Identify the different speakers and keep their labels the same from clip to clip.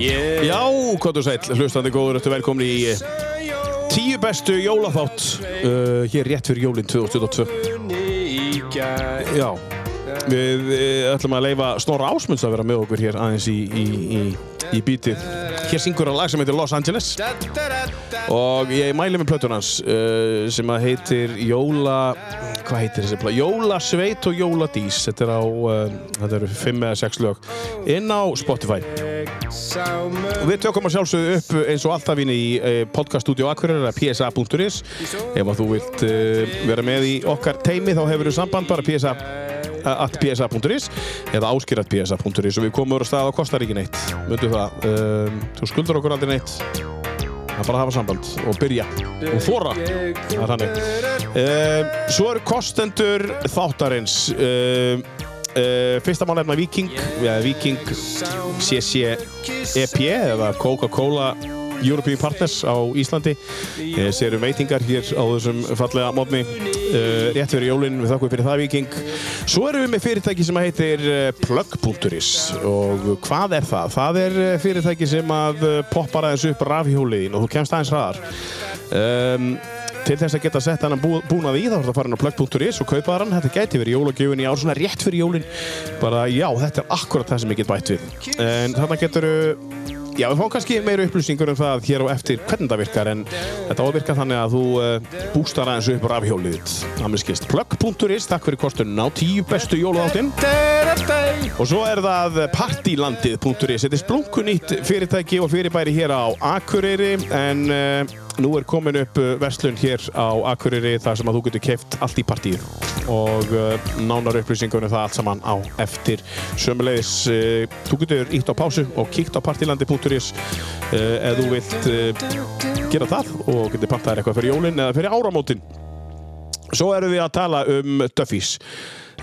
Speaker 1: Yeah.
Speaker 2: Já, hvað þú sæl, hlustandi góður, þetta velkomni í eh, tíu bestu jólaþátt uh, hér rétt fyrir jólinn 2022. Já, við uh, ætlum að leifa Snorra Ásmunds að vera með okkur hér aðeins í, í, í, í bítið. Hér syngur hann lag sem heitir Los Angeles og ég mæli með plötun hans uh, sem að heitir Jóla, hvað heitir þessi plötun? Jólasveit og Jóladís, þetta er á, uh, þetta eru fimm eða sex lög, inn á Spotify. Og Við tökum að sjálfsögðu upp eins og alltaf inn í eh, podcaststudio Akureyrar eða psa.is Ef að þú vilt eh, vera með í okkar teimi þá hefur þú samband bara psa eh, at psa.is eða áskir at psa.is og við komum úr að staða og kostar ekki neitt Mundu það, um, þú skuldar okkur aldrei neitt Það er bara að hafa samband og byrja og þóra Það er hannig um, Svo eru kostendur þáttarins um, Uh, fyrsta mál nefna Viking ja, Viking CCEP eða Coca-Cola European Partners á Íslandi þessi eru veitingar hér á þessum fallega mótni uh, rétt fyrir jólinn, við þakkum fyrir það Viking svo erum við með fyrirtæki sem heitir eh, Plug.is og hvað er það? Það er eh, fyrirtæki sem að eh, poppar aðeins upp rafhjóliðin og þú kemst aðeins hraðar um, til þess að geta sett hann bú, búnað í þá er það farin á plug.is og kaupa hann þetta gæti verið jólagjöfin í ár svona rétt fyrir jólin bara já, þetta er akkurat það sem ég get bætt við en þarna getur já, við fáum kannski meira upplýsingur um það hér á eftir hvernig það virkar en þetta á að virka þannig að þú uh, bústar aðeins upp rafhjólið þitt. það mér skist plug.is, takk fyrir kostunum á tíu bestu jólaðáttinn Og svo er það partilandið.is Þetta er splunkunýtt fyrirtæki og fyrirbæri hér á Akureyri en uh, nú er komin upp eh, verslun hér á Akureyri þar sem að þú getur keift allt í partíð og uh, nánar upplýsingunum það allt saman á eftir sömulegis uh, þú getur ítt á pásu og kíkt á partilandi.is uh, eða þú vilt uh, gera það og getur partaðir eitthvað fyrir jólinn eða fyrir áramótin Svo erum við að tala um Duffys.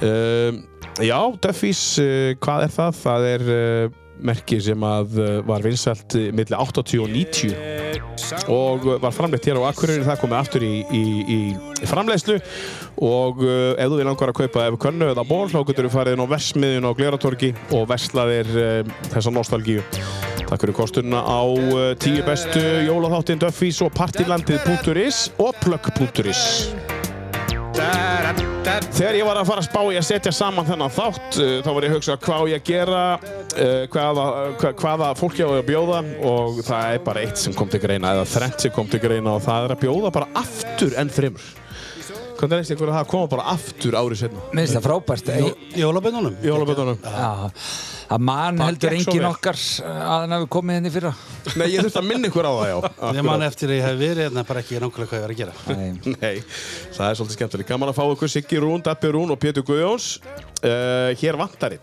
Speaker 2: Um, já, Duffys, uh, hvað er það? Það er uh, merki sem að uh, var vinsælt uh, milli 80 og 90 og uh, var framleitt hér á Akureyri það komið aftur í, í, í framleiðslu og uh, ef þú vil langar að kaupa ef könnu eða ból þá getur þú farið inn á versmiðin á Gleratorgi og verslaðir uh, þessa nostalgíu Takk fyrir kostunna á uh, tíu bestu jólaþáttin Duffys og partilandið.is og plug.is Þegar ég var að fara að spá í að setja saman þennan þátt uh, þá var ég að hugsa hvað á ég að gera uh, hvaða, hva, hvaða fólki á ég að bjóða og það er bara eitt sem kom til greina eða þrennt sem kom til greina og það er að bjóða bara aftur enn þrimur Hvernig leist ykkur að það koma bara aftur árið setna?
Speaker 3: Mér finnst það frábært Ég-
Speaker 4: Jólabennunum?
Speaker 2: Jólabötunum
Speaker 3: Já, að man heldur
Speaker 2: gekk svo
Speaker 3: engin
Speaker 2: vel.
Speaker 3: okkar eh, að hann hafi komið henni fyrra
Speaker 2: Nei, ég þurfti að minna ykkur á það, já
Speaker 4: Ég man eftir að ég hef verið hérna bara ekki nákvæmlega hvað ég var að gera.
Speaker 3: Nei,
Speaker 2: Nei, það er svolítið skemmtilegt Gaman að fá ykkur Siggi Rún, Dabbi Rún og Pétur Guðjóns uh, Hér vantarinn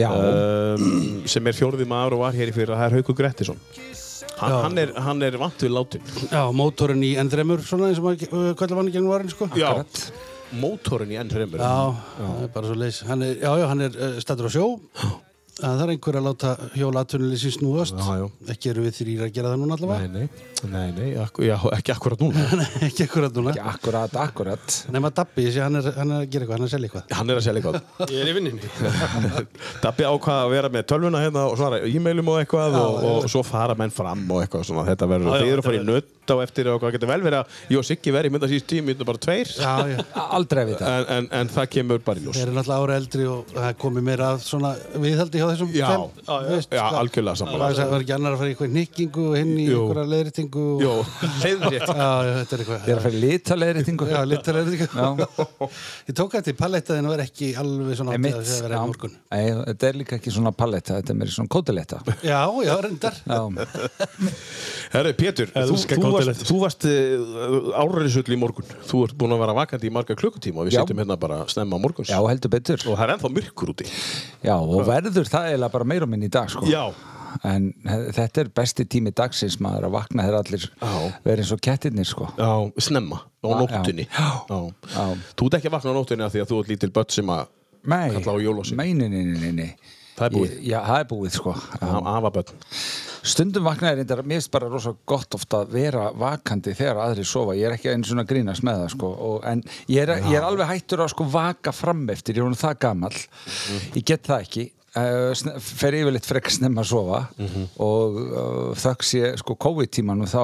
Speaker 3: Já,
Speaker 2: um, sem er fjórði maður og var hér í fyrir það er Haukur Grettisson hann, hann, er, hann er vant við látin
Speaker 4: Já, mótorinn í N3-ur svona eins og maður uh, kallar mann í gegnum varin sko.
Speaker 2: já,
Speaker 3: Akkurat.
Speaker 2: mótorin í enn fremur
Speaker 4: Já, það er bara svo leys. Hann er, já, já, hann er uh, stættur á sjó. En það er einhver að láta hjólatunleysi snúast.
Speaker 2: Já, já.
Speaker 4: Ekki eru við þrýra að gera það núna allavega.
Speaker 2: nei, nei, nei, nei akku, já, ekki akkurat núna
Speaker 4: Nei, ekki akkurat núna.
Speaker 3: ekki akkurat, akkurat
Speaker 4: Nefn að Dabbi, ég sé hann er, hann er að gera eitthvað, hann er að selja eitthvað.
Speaker 2: hann er að selja eitthvað
Speaker 1: Ég er í vinninni.
Speaker 2: Dabbi ákvað að vera með tölvuna hérna og svara e-mailum og eitthvað og, og svo fara menn fram og eitthvað svona þetta verður,
Speaker 4: já,
Speaker 2: þið eru að fara í
Speaker 4: þetta
Speaker 2: nutt á eftir og eitthvað getur vel verið að, jú, Siggi verið mynda síðust tími, mynda bara tveir
Speaker 4: Já, já.
Speaker 3: Aldrei að vita
Speaker 2: en, en, en það kemur bara í ljós
Speaker 4: Þeir eru náttúrulega ára eldri og það er komið meira af svona viðhaldi hjá þessum
Speaker 2: Já,
Speaker 4: tveim,
Speaker 2: já, já.
Speaker 4: veist,
Speaker 2: Já,
Speaker 4: það-
Speaker 2: algjörlega sammála.
Speaker 4: Það var ekki annar að fara í eitthvað nikkingu og hinn í
Speaker 2: Jú.
Speaker 4: einhverja leiðritingu og...
Speaker 2: Jó, leiðrétt
Speaker 4: Já, já, þetta er eitthvað
Speaker 3: Þeir eru að fyrir litaleiðréttingu
Speaker 4: Já, litur leiðritingu
Speaker 3: Já.
Speaker 4: Ég tók eftir palettaðin og var ekki alveg svona átt að
Speaker 3: Einmitt,
Speaker 4: það vera
Speaker 3: já.
Speaker 4: í morgun
Speaker 3: Nei, þetta er líka ekki svona paletta, þetta er meira svona kótaletta
Speaker 4: Já, já, reyndar
Speaker 3: Já,
Speaker 2: Herru, Pétur, þú,
Speaker 1: Elska
Speaker 2: þú
Speaker 1: gott
Speaker 2: varst,
Speaker 1: elefant.
Speaker 2: þú varst uh, áriðsull í morgun. Þú ert búin að vera vakandi í marga klukkutíma og við
Speaker 3: Já.
Speaker 2: sittum hérna bara snemma morguns.
Speaker 3: já heldur betur
Speaker 2: Og það er ennþá myrkur úti.
Speaker 3: Já, og verður það eiginlega bara meira minn í dag sko.
Speaker 2: Já.
Speaker 3: En he- þetta er besti tími dagsins maður að vakna þeir allir
Speaker 2: Já.
Speaker 3: verið eins og kettirnir sko.
Speaker 2: Já, snemma, á
Speaker 3: Já,
Speaker 2: nóttunni.
Speaker 3: já. Já.
Speaker 2: Þú ert ekki að vakna á nóttunni af því að þú ert lítil börn sem að
Speaker 3: Nei,
Speaker 2: Kalla á jólasvein.
Speaker 3: nei, nei, nei, nei, nei.
Speaker 2: Það er búið.
Speaker 3: Ég- Já, það er búið sko. Já.
Speaker 2: hafa afa börn.
Speaker 3: Stundum vaknaði reyndar, mér finnst bara rosa gott ofta að vera vakandi þegar aðri sofa, ég er ekki einu svona að grínast með það sko, og, en
Speaker 2: Mhm.
Speaker 3: ég er, ég er alveg hættur að sko vaka fram eftir, ég er hún það gamall, ég get það ekki, eh, sn- fer yfirleitt frekk snemma að sofa
Speaker 5: Mhm.
Speaker 3: og uh, þöggs ég sko COVID-tímanum þá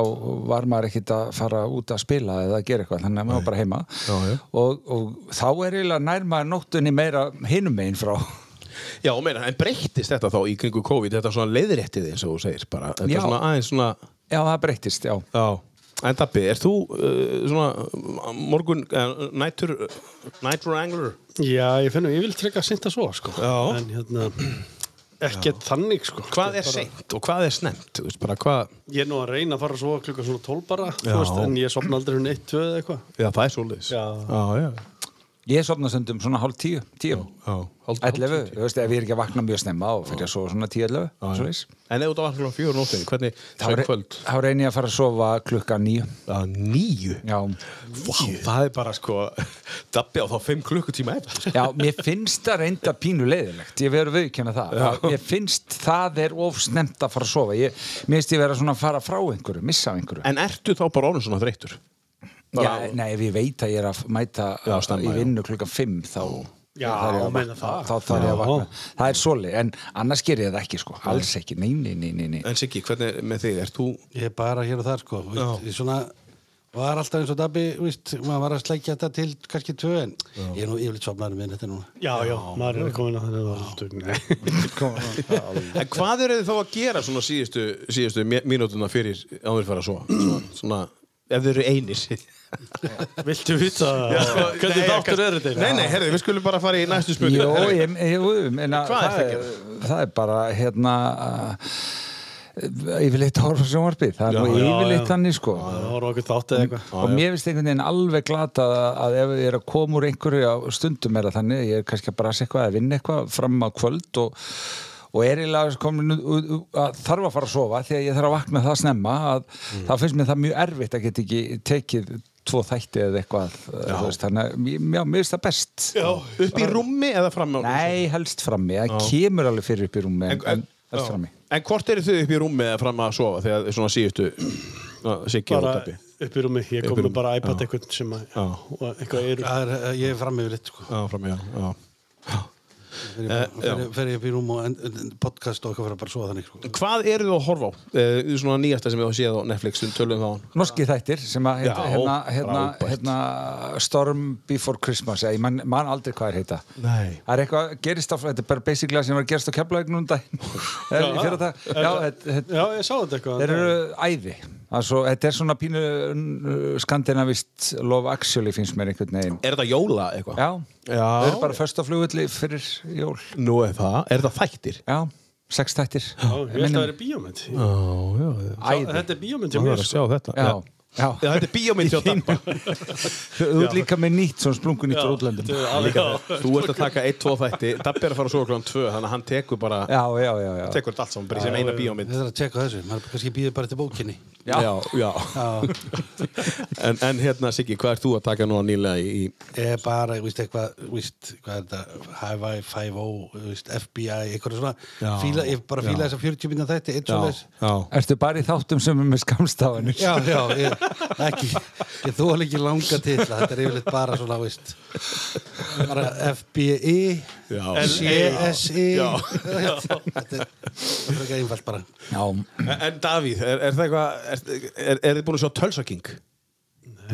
Speaker 3: var maður ekkit að fara út að spila eða að gera eitthvað þannig að maður var bara heima
Speaker 2: Já, já.
Speaker 3: Og, og þá er eiginlega nærma nóttunni meira hinum megin frá
Speaker 2: Já, meina, en breyttist þetta þá í kringu COVID, þetta svona leiðréttið eins og þú segir bara, þetta
Speaker 3: Já.
Speaker 2: svona aðeins svona,
Speaker 3: Já, það breyttist, já
Speaker 2: já. En Dabbi, er þú uh, svona morgun, uh, nætur, night wrangler?
Speaker 4: Já, ég finn að ég vil treka sint að svo sko.
Speaker 2: Já.
Speaker 4: En hérna, ekkert þannig sko. Þetta
Speaker 2: Hvað er
Speaker 4: bara-
Speaker 2: seint og hvað er snemt, þú veist, bara hvað,
Speaker 4: Ég er nú að reyna að fara að sofa klukka svona 12 bara, þú
Speaker 2: Já.
Speaker 4: veist, en ég sopna aldrei hún 1-2 eða eitthvað.
Speaker 2: já, það er svoleiðis.
Speaker 4: Já.
Speaker 2: já, já.
Speaker 3: Ég sopna stundum svona hálf tíu, tíu
Speaker 2: já. Hálf- hálf-
Speaker 3: 11, þú veist, ef ég er ekki að vakna mjög snemma og fyrir að sofa svona 10-11,
Speaker 2: Já,
Speaker 3: svo
Speaker 2: já. En ef þú var svona fjóru nóttin, hvernig,
Speaker 3: Þá,
Speaker 2: það er
Speaker 3: re-
Speaker 2: kvöld?
Speaker 3: þá reyni ég að fara að sofa klukka 9
Speaker 2: Já, nýju.
Speaker 3: Já,
Speaker 2: Vá, það er bara sko, Dabbi á þá fimm klukkutíma eftir, sko.
Speaker 3: já mér finnst það reynda pínu leiðilegt, ég verður viðkjanna það já. Mér finnst það er of snemt að fara að sofa ég, Mér finnst ég vera svona að fara frá einhverju, missa af einhverju
Speaker 2: En ertu þá bara orðin svona þreyttur?
Speaker 3: já,
Speaker 2: bara-
Speaker 3: Nei, ef ég veit að ég er að mæta
Speaker 2: Já, snemma,
Speaker 3: í
Speaker 2: já.
Speaker 3: vinnu klukka 5 þá
Speaker 4: Já,
Speaker 3: þarf ég að
Speaker 4: meina
Speaker 3: vakna.
Speaker 4: það.
Speaker 3: þá þarf ég að
Speaker 4: Já.
Speaker 3: vakna Það er svoleið, en annars ger ég það ekki sko, alls ekki, nei, nei, nei, nei, nei.
Speaker 2: En Siggi, hvernig er með þig, ert þú
Speaker 4: Ég er bara hér og þar sko, þú veist,
Speaker 2: Já.
Speaker 4: ég svona, var alltaf eins og Dabbi, veist, maður var að sleikja þetta til kannski 2 en ég er nú yfirleitt sopnaður með þetta núna.
Speaker 1: Já, já, maður er komin að þannig að það er stöngni.
Speaker 2: En hvað eru þið þá að gera svona síðustu, síðustu mí- mínútuna fyrir áður fara að sofa? Svona, svona ef þið eru einir sko,
Speaker 1: Viltu vita það?
Speaker 2: Nei,
Speaker 1: Hvernig
Speaker 2: kannski-
Speaker 1: þáttur er þetta?
Speaker 2: Nei, nei, herri, við skulum bara fara í næstu spurning
Speaker 3: Jó,
Speaker 2: Herri,
Speaker 3: ég, ég, jú, meina,
Speaker 2: Hvað er
Speaker 3: það,
Speaker 2: það að
Speaker 3: er, það er bara hérna uh, yfirleitt horfa á sjónvarpið það er nú
Speaker 1: Já, já,
Speaker 3: yfirleitt
Speaker 1: já.
Speaker 3: þannig sko
Speaker 1: Það voru okkur þátt eða eitthvað.
Speaker 3: og mér finnst einhvern veginn alveg glata að ef ég er að koma úr einhverju á stundum er það þannig, ég er kannski að brasa eitthvað að vinna eitthvað fram á kvöld og, og er eiginlega komin út- út- út- að þarf að fara að sofa því að ég þarf að vakna það snemma að þá finnst mér það mjög erfitt að geta ekki tekið tvo þætti eða eitthvað eh, þú veist, þannig að já, mér finnst það best
Speaker 2: Já, upp í rúmi eða fram á
Speaker 3: Nei, helst frammi, það kemur alveg fyrir upp í rúmi en,
Speaker 2: en,
Speaker 3: en,
Speaker 2: já.
Speaker 3: helst frammi
Speaker 2: en hvort eru þið upp í rúmi eða fram að sofa þegar svona síðustu na, Siggi og
Speaker 1: Bara
Speaker 2: Dabbi
Speaker 1: upp í rúmi, ég
Speaker 2: Upp í
Speaker 1: kom
Speaker 2: rúmi,
Speaker 1: með bara
Speaker 2: já.
Speaker 1: iPad eitthvað sem að,
Speaker 2: Já.
Speaker 1: og eitthvað eru.
Speaker 4: Það er, eh, ég er fram yfirleitt sko,
Speaker 2: Já, fram, já, já.
Speaker 4: fer ég,
Speaker 2: Eh, já.
Speaker 4: fer, ég- fer ég upp í rúm og en, en, podcast og eitthvað fyrir að bara sofa þannig sko.
Speaker 2: Hvað eru þið að horfa á? Eh, svona nýjasta sem við þá séð á Netflix um tölum þá
Speaker 3: Norski þættir sem að heita,
Speaker 2: Já,
Speaker 3: hérna, hérna,
Speaker 2: frábært.
Speaker 3: hérna Storm Before Christmas eða ég man, man aldrei hvað er heita
Speaker 2: Nei.
Speaker 3: Það er eitthvað gerist á, þetta er bara basically það sem var gerist á keflaug núna um daginn Er- í fyrradag. Já, þetta- þetta-
Speaker 1: Já, ég sá þetta eitthvað.
Speaker 3: þeir eru æði Alsvo, þetta er svona pínu uh, skandinavist Love Actually finnst mér einhvern veginn
Speaker 2: Er þetta jóla eitthvað?
Speaker 3: Já,
Speaker 2: Já.
Speaker 3: þeir eru bara föstaflugulli fyrir jól
Speaker 2: Nú er það, er það þættir?
Speaker 3: Já, sex þættir
Speaker 1: Já, ég held að það er bíómynd.
Speaker 2: Já, já, já.
Speaker 3: Æði.
Speaker 1: Þetta er bíómynd hjá
Speaker 2: Ég
Speaker 1: mér.
Speaker 2: var að
Speaker 1: sko.
Speaker 2: sjá þetta
Speaker 3: Já, já.
Speaker 2: Já, þetta er bíómynd hjá Dabba
Speaker 3: Þú ert líka með nýtt svona splungunýtt úr útlöndum
Speaker 1: Þetta er alveg- Já.
Speaker 2: Þú ert að taka 1-2 þætti Dabbi er að fara svo klokkan 2 Þannig að hann tekur bara
Speaker 3: Já, já, já, já.
Speaker 2: Tekur þetta allt saman bara í sem eina bíómynd
Speaker 4: Þetta er að tjekka á þessu, maður kannski býður bara til bókinni.
Speaker 3: Já.
Speaker 2: já, já. en, en hérna Siggi, hvað ert þú að taka núna nýlega í í-
Speaker 4: Ég er bara, ég veist eitthvað, ég veist, hvað er þetta, Hi-Fi, 5O, ég veist, FBI, eitthvað svona,
Speaker 2: Já.
Speaker 4: fíla, ég bara fíla þess að 40 minna þetta, eitt svo þess.
Speaker 2: já.
Speaker 3: um Ertu bara í þáttum sem er með skamstafanir?
Speaker 4: Já, já, ég, ekki, ég þóla ekki langa til það, þetta er yfirleitt bara svona, veist, bara FBI,
Speaker 2: Já.
Speaker 4: CSI, þetta er þetta er ekki einfalt bara.
Speaker 3: Já,
Speaker 2: En- En Davíð, er, er það eitthvað Er, er, er þið búin að sjá Tölsaking?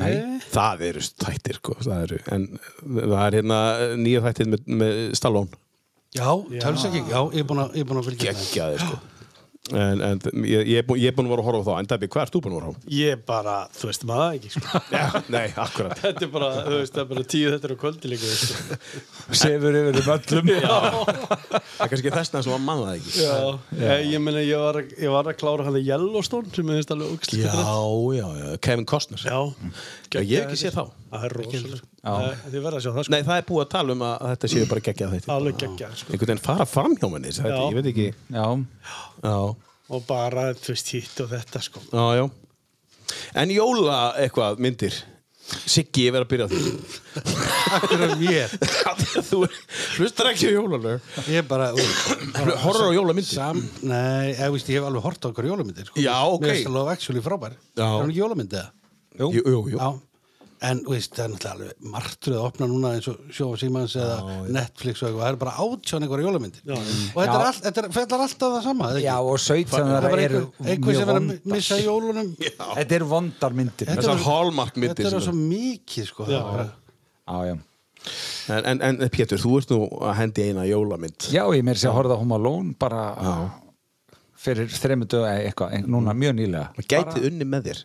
Speaker 3: nei.
Speaker 2: Það eru þættir sko, það eru, En það er hérna nýja þættir með, með Stallone
Speaker 4: Já, tölsæking, já, ég er búin að, ég er búin að fylgja það.
Speaker 2: Gekkjaði sko En, en ég, ég, er bú- ég er búin að vera að horfa á það En Dabbi, hvað ert þú búin að vera að horfa á?
Speaker 1: Ég bara, þú veist maður ekki, sko.
Speaker 2: Já, nei, akkurat
Speaker 1: Þetta er bara, þú veist, það er bara tíu þetta er á kvöldi líka, veist.
Speaker 3: Sefur yfir um öllum.
Speaker 2: Það er kannski þessna sem að manna það ekki
Speaker 1: Já, Eh, ég, ég meina, ég var, að- ég var að klára hann að Yellowstone sem ég veist alveg ógst.
Speaker 2: já, já, Kevin Costner
Speaker 1: Já,
Speaker 2: Já, ég hef ekki séð þá.
Speaker 1: Það er rosalega. Það- Þið verða að sjá það sko.
Speaker 2: Nei, það er búið að tala um að þetta séu bara geggjað þetta
Speaker 1: Alveg geggja sko.
Speaker 2: Einhvern veginn fara fram hjá manni þetta,
Speaker 1: Já.
Speaker 2: Ég veit ekki
Speaker 3: Já,
Speaker 2: Já,
Speaker 1: Og bara, þú veist, hitt og þetta sko.
Speaker 2: já, já En jóla eitthvað myndir Siggi, ég verð að byrja á því
Speaker 4: Akkur er mér,
Speaker 2: Þú hlustar ekki á jólalög
Speaker 4: ég er bara, bara
Speaker 2: Horror á jólamyndir
Speaker 4: Sam, nei, ég veist, ég hef alveg hort á okkur jólamyndir sko.
Speaker 2: Já, ok.
Speaker 4: Mér er alltaf Love Actually frábær
Speaker 2: Já.
Speaker 4: Er hún ekki jólamyndið?
Speaker 2: Jú, jú, jú
Speaker 4: Já, en þú veist, það er náttúrulega alveg martröð að opna núna eins og sjófa símans eða Netflix og eitthvað, það er bara átján eitthvað jólamyndir og þetta er,
Speaker 3: Já.
Speaker 4: all, þetta er, þetta er alltaf það sama eða ekki?
Speaker 3: Já, og 17
Speaker 4: það er
Speaker 3: þeirra
Speaker 4: bara
Speaker 3: eru
Speaker 4: einhver, einhver
Speaker 3: mjög
Speaker 4: sem verður að
Speaker 3: vondar.
Speaker 4: missa jólunum
Speaker 3: Þetta eru vondar myndir.
Speaker 4: Þetta
Speaker 2: Þessar
Speaker 4: var-
Speaker 2: hallmark myndir
Speaker 4: þetta er
Speaker 2: sem
Speaker 4: svo mikið sko, það
Speaker 1: Já.
Speaker 4: er bara,
Speaker 3: Já, já.
Speaker 2: En, en, en Pétur, þú ert nú að hendi eina jólamynd
Speaker 3: Já, ég meir sér að horfa á Home Alone bara fyrir þremmu dög eitthvað, ein- núna mjög nýlega.
Speaker 2: Gætið unni með þér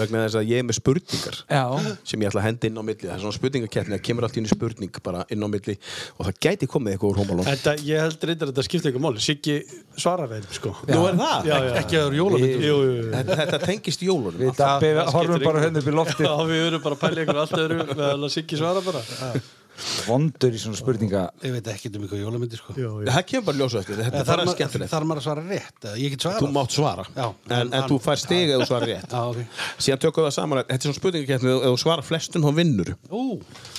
Speaker 2: vegna þess að ég er með spurningar
Speaker 3: Já,
Speaker 2: sem ég ætla að henda inn á milli það er svona spurningakeppni að kemur allt í einu spurning bara inn á milli og það gæti komið eitthvað úr hómalón
Speaker 1: Þetta, ég held reyndar að þetta skipta ykkur máli Siggi svarar þeim, sko
Speaker 2: Nú er það?
Speaker 1: Já, já.
Speaker 4: ekki að það eru jólamyndir
Speaker 1: Jú, jú, jú.
Speaker 2: Þetta, þetta tengist jólunum
Speaker 3: við dabbi
Speaker 1: það
Speaker 3: horfum
Speaker 1: skiptir
Speaker 3: bara
Speaker 1: engu.
Speaker 3: henni upp í lofti.
Speaker 1: Já, við verðum bara að pæla ykkur allt öðru meðan að Siggi svarar bara
Speaker 3: Vondur í svona spurninga.
Speaker 4: ég veit ekki um eitthvað jólamyndir sko.
Speaker 1: Jú, jú.
Speaker 2: Það kemur bara ljósa eftir, þetta er
Speaker 4: þar,
Speaker 2: bara
Speaker 4: ma
Speaker 2: skemmtilegt
Speaker 4: þar maður að svara rétt eða ég get svarað
Speaker 2: Þú mátt svara,
Speaker 4: Já.
Speaker 2: en, en þú fær stig eða þú svarar rétt
Speaker 4: Já, ok.
Speaker 2: Síðan tökum við það saman, þetta er svona spurningakeppni ef þú svarar flestum þá vinnur
Speaker 4: Ú,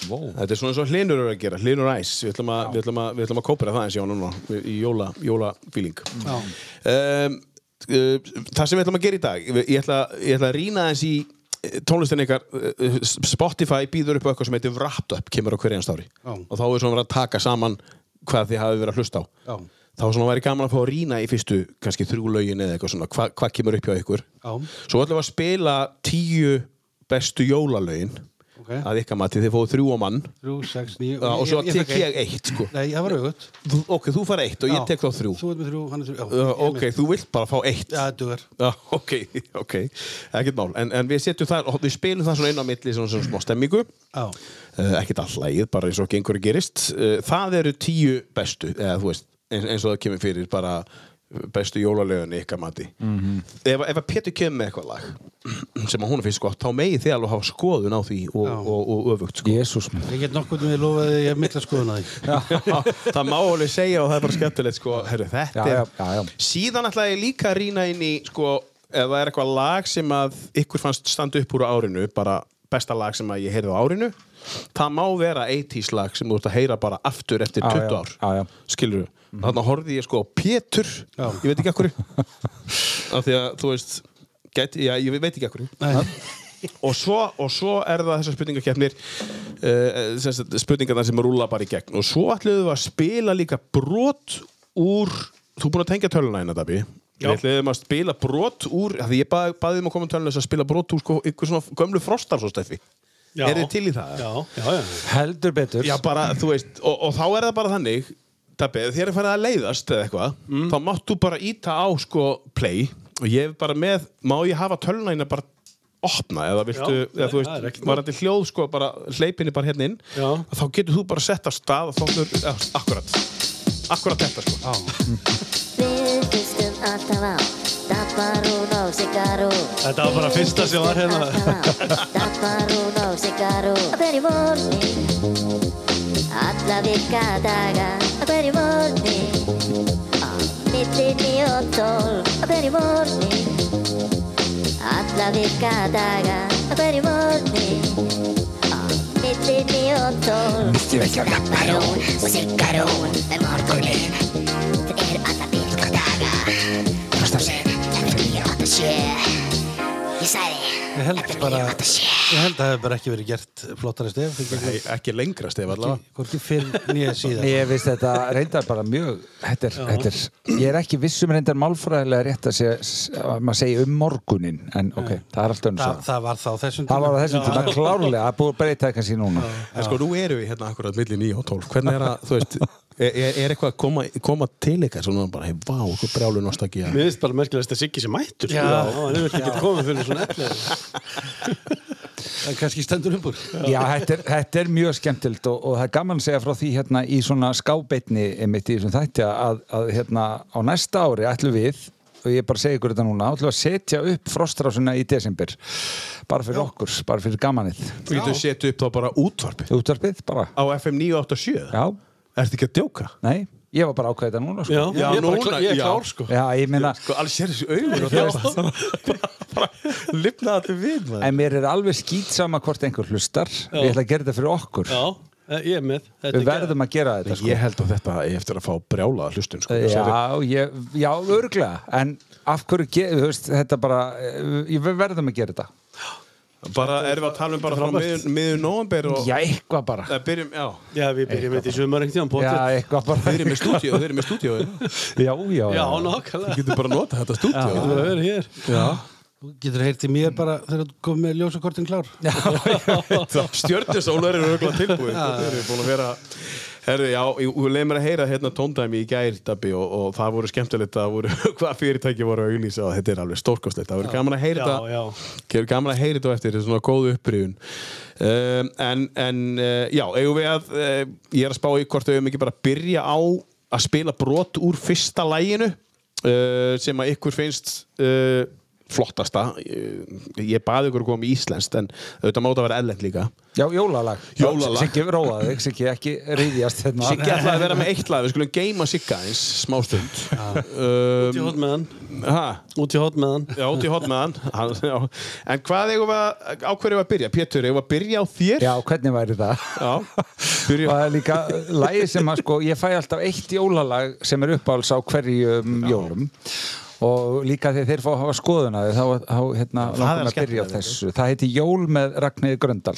Speaker 3: Vó.
Speaker 2: Þetta er svona eins og hlinur eru að gera, hlinur æs Við ætlum að, við ætlum að, við ætlum að kópera það eins já núna í jóla, jóla fíling um, uh, Það sem við ætlum að gera í dag Ég ætla, ég ætla að rýna eins í eh, tónlistin ykkar eh, eh, Spotify býður upp á eitthvað sem heitir Wrapped Up kemur á hverjans ári
Speaker 4: Já.
Speaker 2: og þá er svona verið að taka saman hvað þið hafið verið að hlusta á
Speaker 4: Já.
Speaker 2: þá svona væri gaman að fá að rýna í fyrstu kannski þrjú lögin eða eitthvað svona hvað hva kemur upp hjá ykkur
Speaker 4: Já.
Speaker 2: svo ætlum við að spila tíu bestu jólalögin
Speaker 4: Ok.
Speaker 2: að ykkar mati, þið fóðu þrjú á mann
Speaker 4: þrjú, sex, níu
Speaker 2: Já, og svo
Speaker 4: ég- ég
Speaker 2: tek
Speaker 4: fékk
Speaker 2: ég eitt sko.
Speaker 4: Nei, það var auðvitað
Speaker 2: Þú- ok, þú fara eitt og ég tek þá þrjú
Speaker 4: Þú ert með þrjú, hann er þrjú
Speaker 2: uh,
Speaker 4: já,
Speaker 2: ok, þú vilt bara fá eitt
Speaker 4: Já, þetta er
Speaker 2: Já, ok, ok, ekkert mál en, en við setjum það, og við spilum það svona inn á milli svona, svona smá stemmingu
Speaker 4: Já,
Speaker 2: uh, ekkert allægið, bara eins og gengur gerist uh, það eru tíu bestu eða þú veist, eins, eins og það kemur fyrir bara bestu jólalögun í ykkar mati
Speaker 6: Mhm.
Speaker 2: ef, ef að Pétur kemur með eitthvað lag sem að hún finnst gott, þá megið þið alveg hafa skoðun á því og,
Speaker 4: Já.
Speaker 2: og, og, öfugt sko.
Speaker 3: Jésús minn.
Speaker 4: ég get nokkuð með lofaði að ég hef mikla skoðun að því
Speaker 2: það má alveg segja og það er bara skemmtilegt sko, herru, þetta
Speaker 3: Já, já,
Speaker 2: er
Speaker 3: já, já.
Speaker 2: síðan ætla ég líka að rýna inn í sko, ef það er eitthvað lag sem að ykkur fannst standa upp úr á árinu bara besta lag sem að ég heyrði á árinu það má vera 80s lag sem þú ert að heyra bara aftur eftir
Speaker 3: Já,
Speaker 2: 20
Speaker 3: já,
Speaker 2: ár
Speaker 3: já, já.
Speaker 2: skilur þú, þannig að horfði ég sko á Pétur, ég veit ekki akkur af því að þú veist gæti, já, ég veit ekki akkur og svo, og svo er það þessar spurningakeppnir uh, spurningarnar sem rúla bara í gegn og svo ætluðu við að spila líka brot úr, þú er búin að tengja töluna hérna Dabbi, við ætluðum að spila brot úr, af því ég bað, baði um að koma töluna þess að spila brot úr sko, ykkur svona gömlu frostar svo steffi,
Speaker 1: Já.
Speaker 2: er þið til í það?
Speaker 1: Já, já, já
Speaker 3: Heldur betur.
Speaker 2: Já, bara, þú veist, og, og þá er það bara þannig Dabbi, ef þér er farið að leiðast eða eitthvað, þá mátt þú bara íta á sko play og ég er bara með má ég hafa töluna hérna bara opna eða viltu,
Speaker 1: Já,
Speaker 2: eða þú
Speaker 1: það er
Speaker 2: veist
Speaker 1: ekkert
Speaker 2: varandi hljóð sko bara, hleypinni bara hérna inn
Speaker 1: Já.
Speaker 2: og þá getur þú bara sett af stað og þá þurr, ja, akkurat akkurat þetta sko
Speaker 7: Við hlustum alltaf á Dabbarún og Sigarún
Speaker 1: Þetta var bara fyrsta sem var hérna
Speaker 7: Dabbarún og Sigarún Á hverju morgni Alla virka daga Á hverju morgni Á millinni og tól Á hverju morgni Alla virka daga Á hverju morgni Á millinni og tól
Speaker 6: Mistum ekki á lapparón og siggarón með morguninn Þetta eru alla virka daga Frostásinn, þetta er nýja átta sjö Ég sagði,
Speaker 4: Ég held
Speaker 6: þetta er
Speaker 4: bara
Speaker 6: nýja átta sjö
Speaker 4: Ég held að það hefur bara ekki verið gert flottari stef
Speaker 2: Nei, ekki lengra stef allavega
Speaker 4: Hvorki fyrr nýja síðan
Speaker 3: Ég veist þetta reyndar bara mjög þetta er, þetta er, ég er ekki viss um reyndar málfræðilega rétt að, sé, að maður segi um morgunin en ok, það er alltaf önnur
Speaker 4: Þa,
Speaker 3: saga.
Speaker 4: Það var þá þessum
Speaker 3: Það var á
Speaker 4: tíma.
Speaker 3: þessum tíma klárlega að búið að breyta það kannski núna
Speaker 2: En sko, nú erum við hérna akkurat milli 9 og 12 Hvernig er að, þú veist, er, er- er eitthvað að koma, koma til ykkar svona bara, hei, vá, hvað brjálu nostalgía
Speaker 1: Mér finnst bara merkilegast að Siggi sem mættur sko.
Speaker 4: Já.
Speaker 1: hann hefur ekki getað komið fyrir svona eftir
Speaker 4: En kannski stendur um úr
Speaker 3: Já, þetta er, þetta er mjög skemmtilt og, og það er gaman að segja frá því hérna í svona skábeitni einmitt í þessum þætti að, að hérna á næsta ári ætlum við og ég bara segi ykkur þetta núna, ætlum við að setja upp frostrásuna í desember bara fyrir okkur, bara fyrir gamanið
Speaker 2: Þú getur setið upp þá bara útvarpi
Speaker 3: Útvarpið bara,
Speaker 2: á FM 987
Speaker 3: já,
Speaker 2: Ertu ekki að djóka?
Speaker 3: nei ég var bara ákveðið þetta núna sko.
Speaker 1: Já, já, ég, er bara
Speaker 2: núna,
Speaker 1: klá, ég er
Speaker 2: já.
Speaker 1: klár sko
Speaker 3: Já, ég meina,
Speaker 2: Sko, alls er þessi augur og það bara lifnaði allir við maður.
Speaker 3: en mér er alveg skýt sama hvort einhver hlustar ég ætla að gera þetta fyrir okkur
Speaker 1: Já, eh, ég er með Þetta
Speaker 3: við
Speaker 1: er
Speaker 3: verðum að gera þetta sko.
Speaker 2: Ég held að þetta eigi eftir að fá brjálaða hlustun sko. Þessari-
Speaker 3: já, ég, já, örglega en af hverju, ge- þú veist, þetta bara eh, við verðum að gera þetta
Speaker 2: Bara erum við að tala um bara frá
Speaker 1: Frábært.
Speaker 2: miðjum miðjum nóvember og...
Speaker 3: Já, eitthvað bara
Speaker 2: Eða byrjum, já.
Speaker 1: Já, við byrjum þetta í sumar einhvern
Speaker 3: Já,
Speaker 1: tíðan
Speaker 3: eitthvað bara
Speaker 2: Þeir eru með stúdíu, þeir eru með stúdíu.
Speaker 3: Já, já,
Speaker 1: Já, nákvæmlega
Speaker 2: Getur bara að nota þetta
Speaker 1: Þú
Speaker 2: stúdíu.
Speaker 1: verður að vera hér
Speaker 4: Þú getur heyrt í mér bara þegar þú komið með ljósakortin klár.
Speaker 2: Stjörnusólar eru auðvitað tilbúin Þeir eru búin að vera Herðu, já, ég leið mér að heyra hérna tóndæmi í gær, Dabbi, og, og það voru skemmtilegt að voru, hvað fyrirtæki voru að auglýsa og þetta er alveg stórkostlegt, það voru gaman að heyra
Speaker 1: Já,
Speaker 2: þetta
Speaker 1: já
Speaker 2: Gerur gaman að heyri þetta á eftir, þetta er svona góð upprýðun um, En, en uh, já, eigum við að uh, Ég er að spá í hvort við eigum ekki bara að byrja á að spila brot úr fyrsta læginu uh, sem að ykkur finnst uh, flottasta Ég, ég baði ykkur að koma í íslenskt en auðvitað máta að vera ellend líka
Speaker 3: já jólalag
Speaker 2: Jólalag.
Speaker 3: Siggi róaði, Siggi ekki reyðjast hérna
Speaker 2: Siggi ætlaði að vera með eitt lag, við skulum geima Sigga eins smástund
Speaker 1: Út í
Speaker 2: um,
Speaker 1: hót með hann
Speaker 2: ha,
Speaker 1: Út í hót með hann
Speaker 2: Já, út í hot með hann, hann já. En hvað eigum við að, á hverju eigum við að byrja? Pétur, eigum við að byrja á þér?
Speaker 3: Já, hvernig væri það?
Speaker 2: Já, byrjum
Speaker 3: Það er líka lægi sem að sko, ég fæ alltaf eitt jólalag sem er uppáhalds á hverjum jólum og líka þegar þeir fá að hafa skoðuna þá, þá hérna, langar mig að byrja á
Speaker 4: sko.
Speaker 3: þessu það heiti Jól með Ragnhildi Gröndal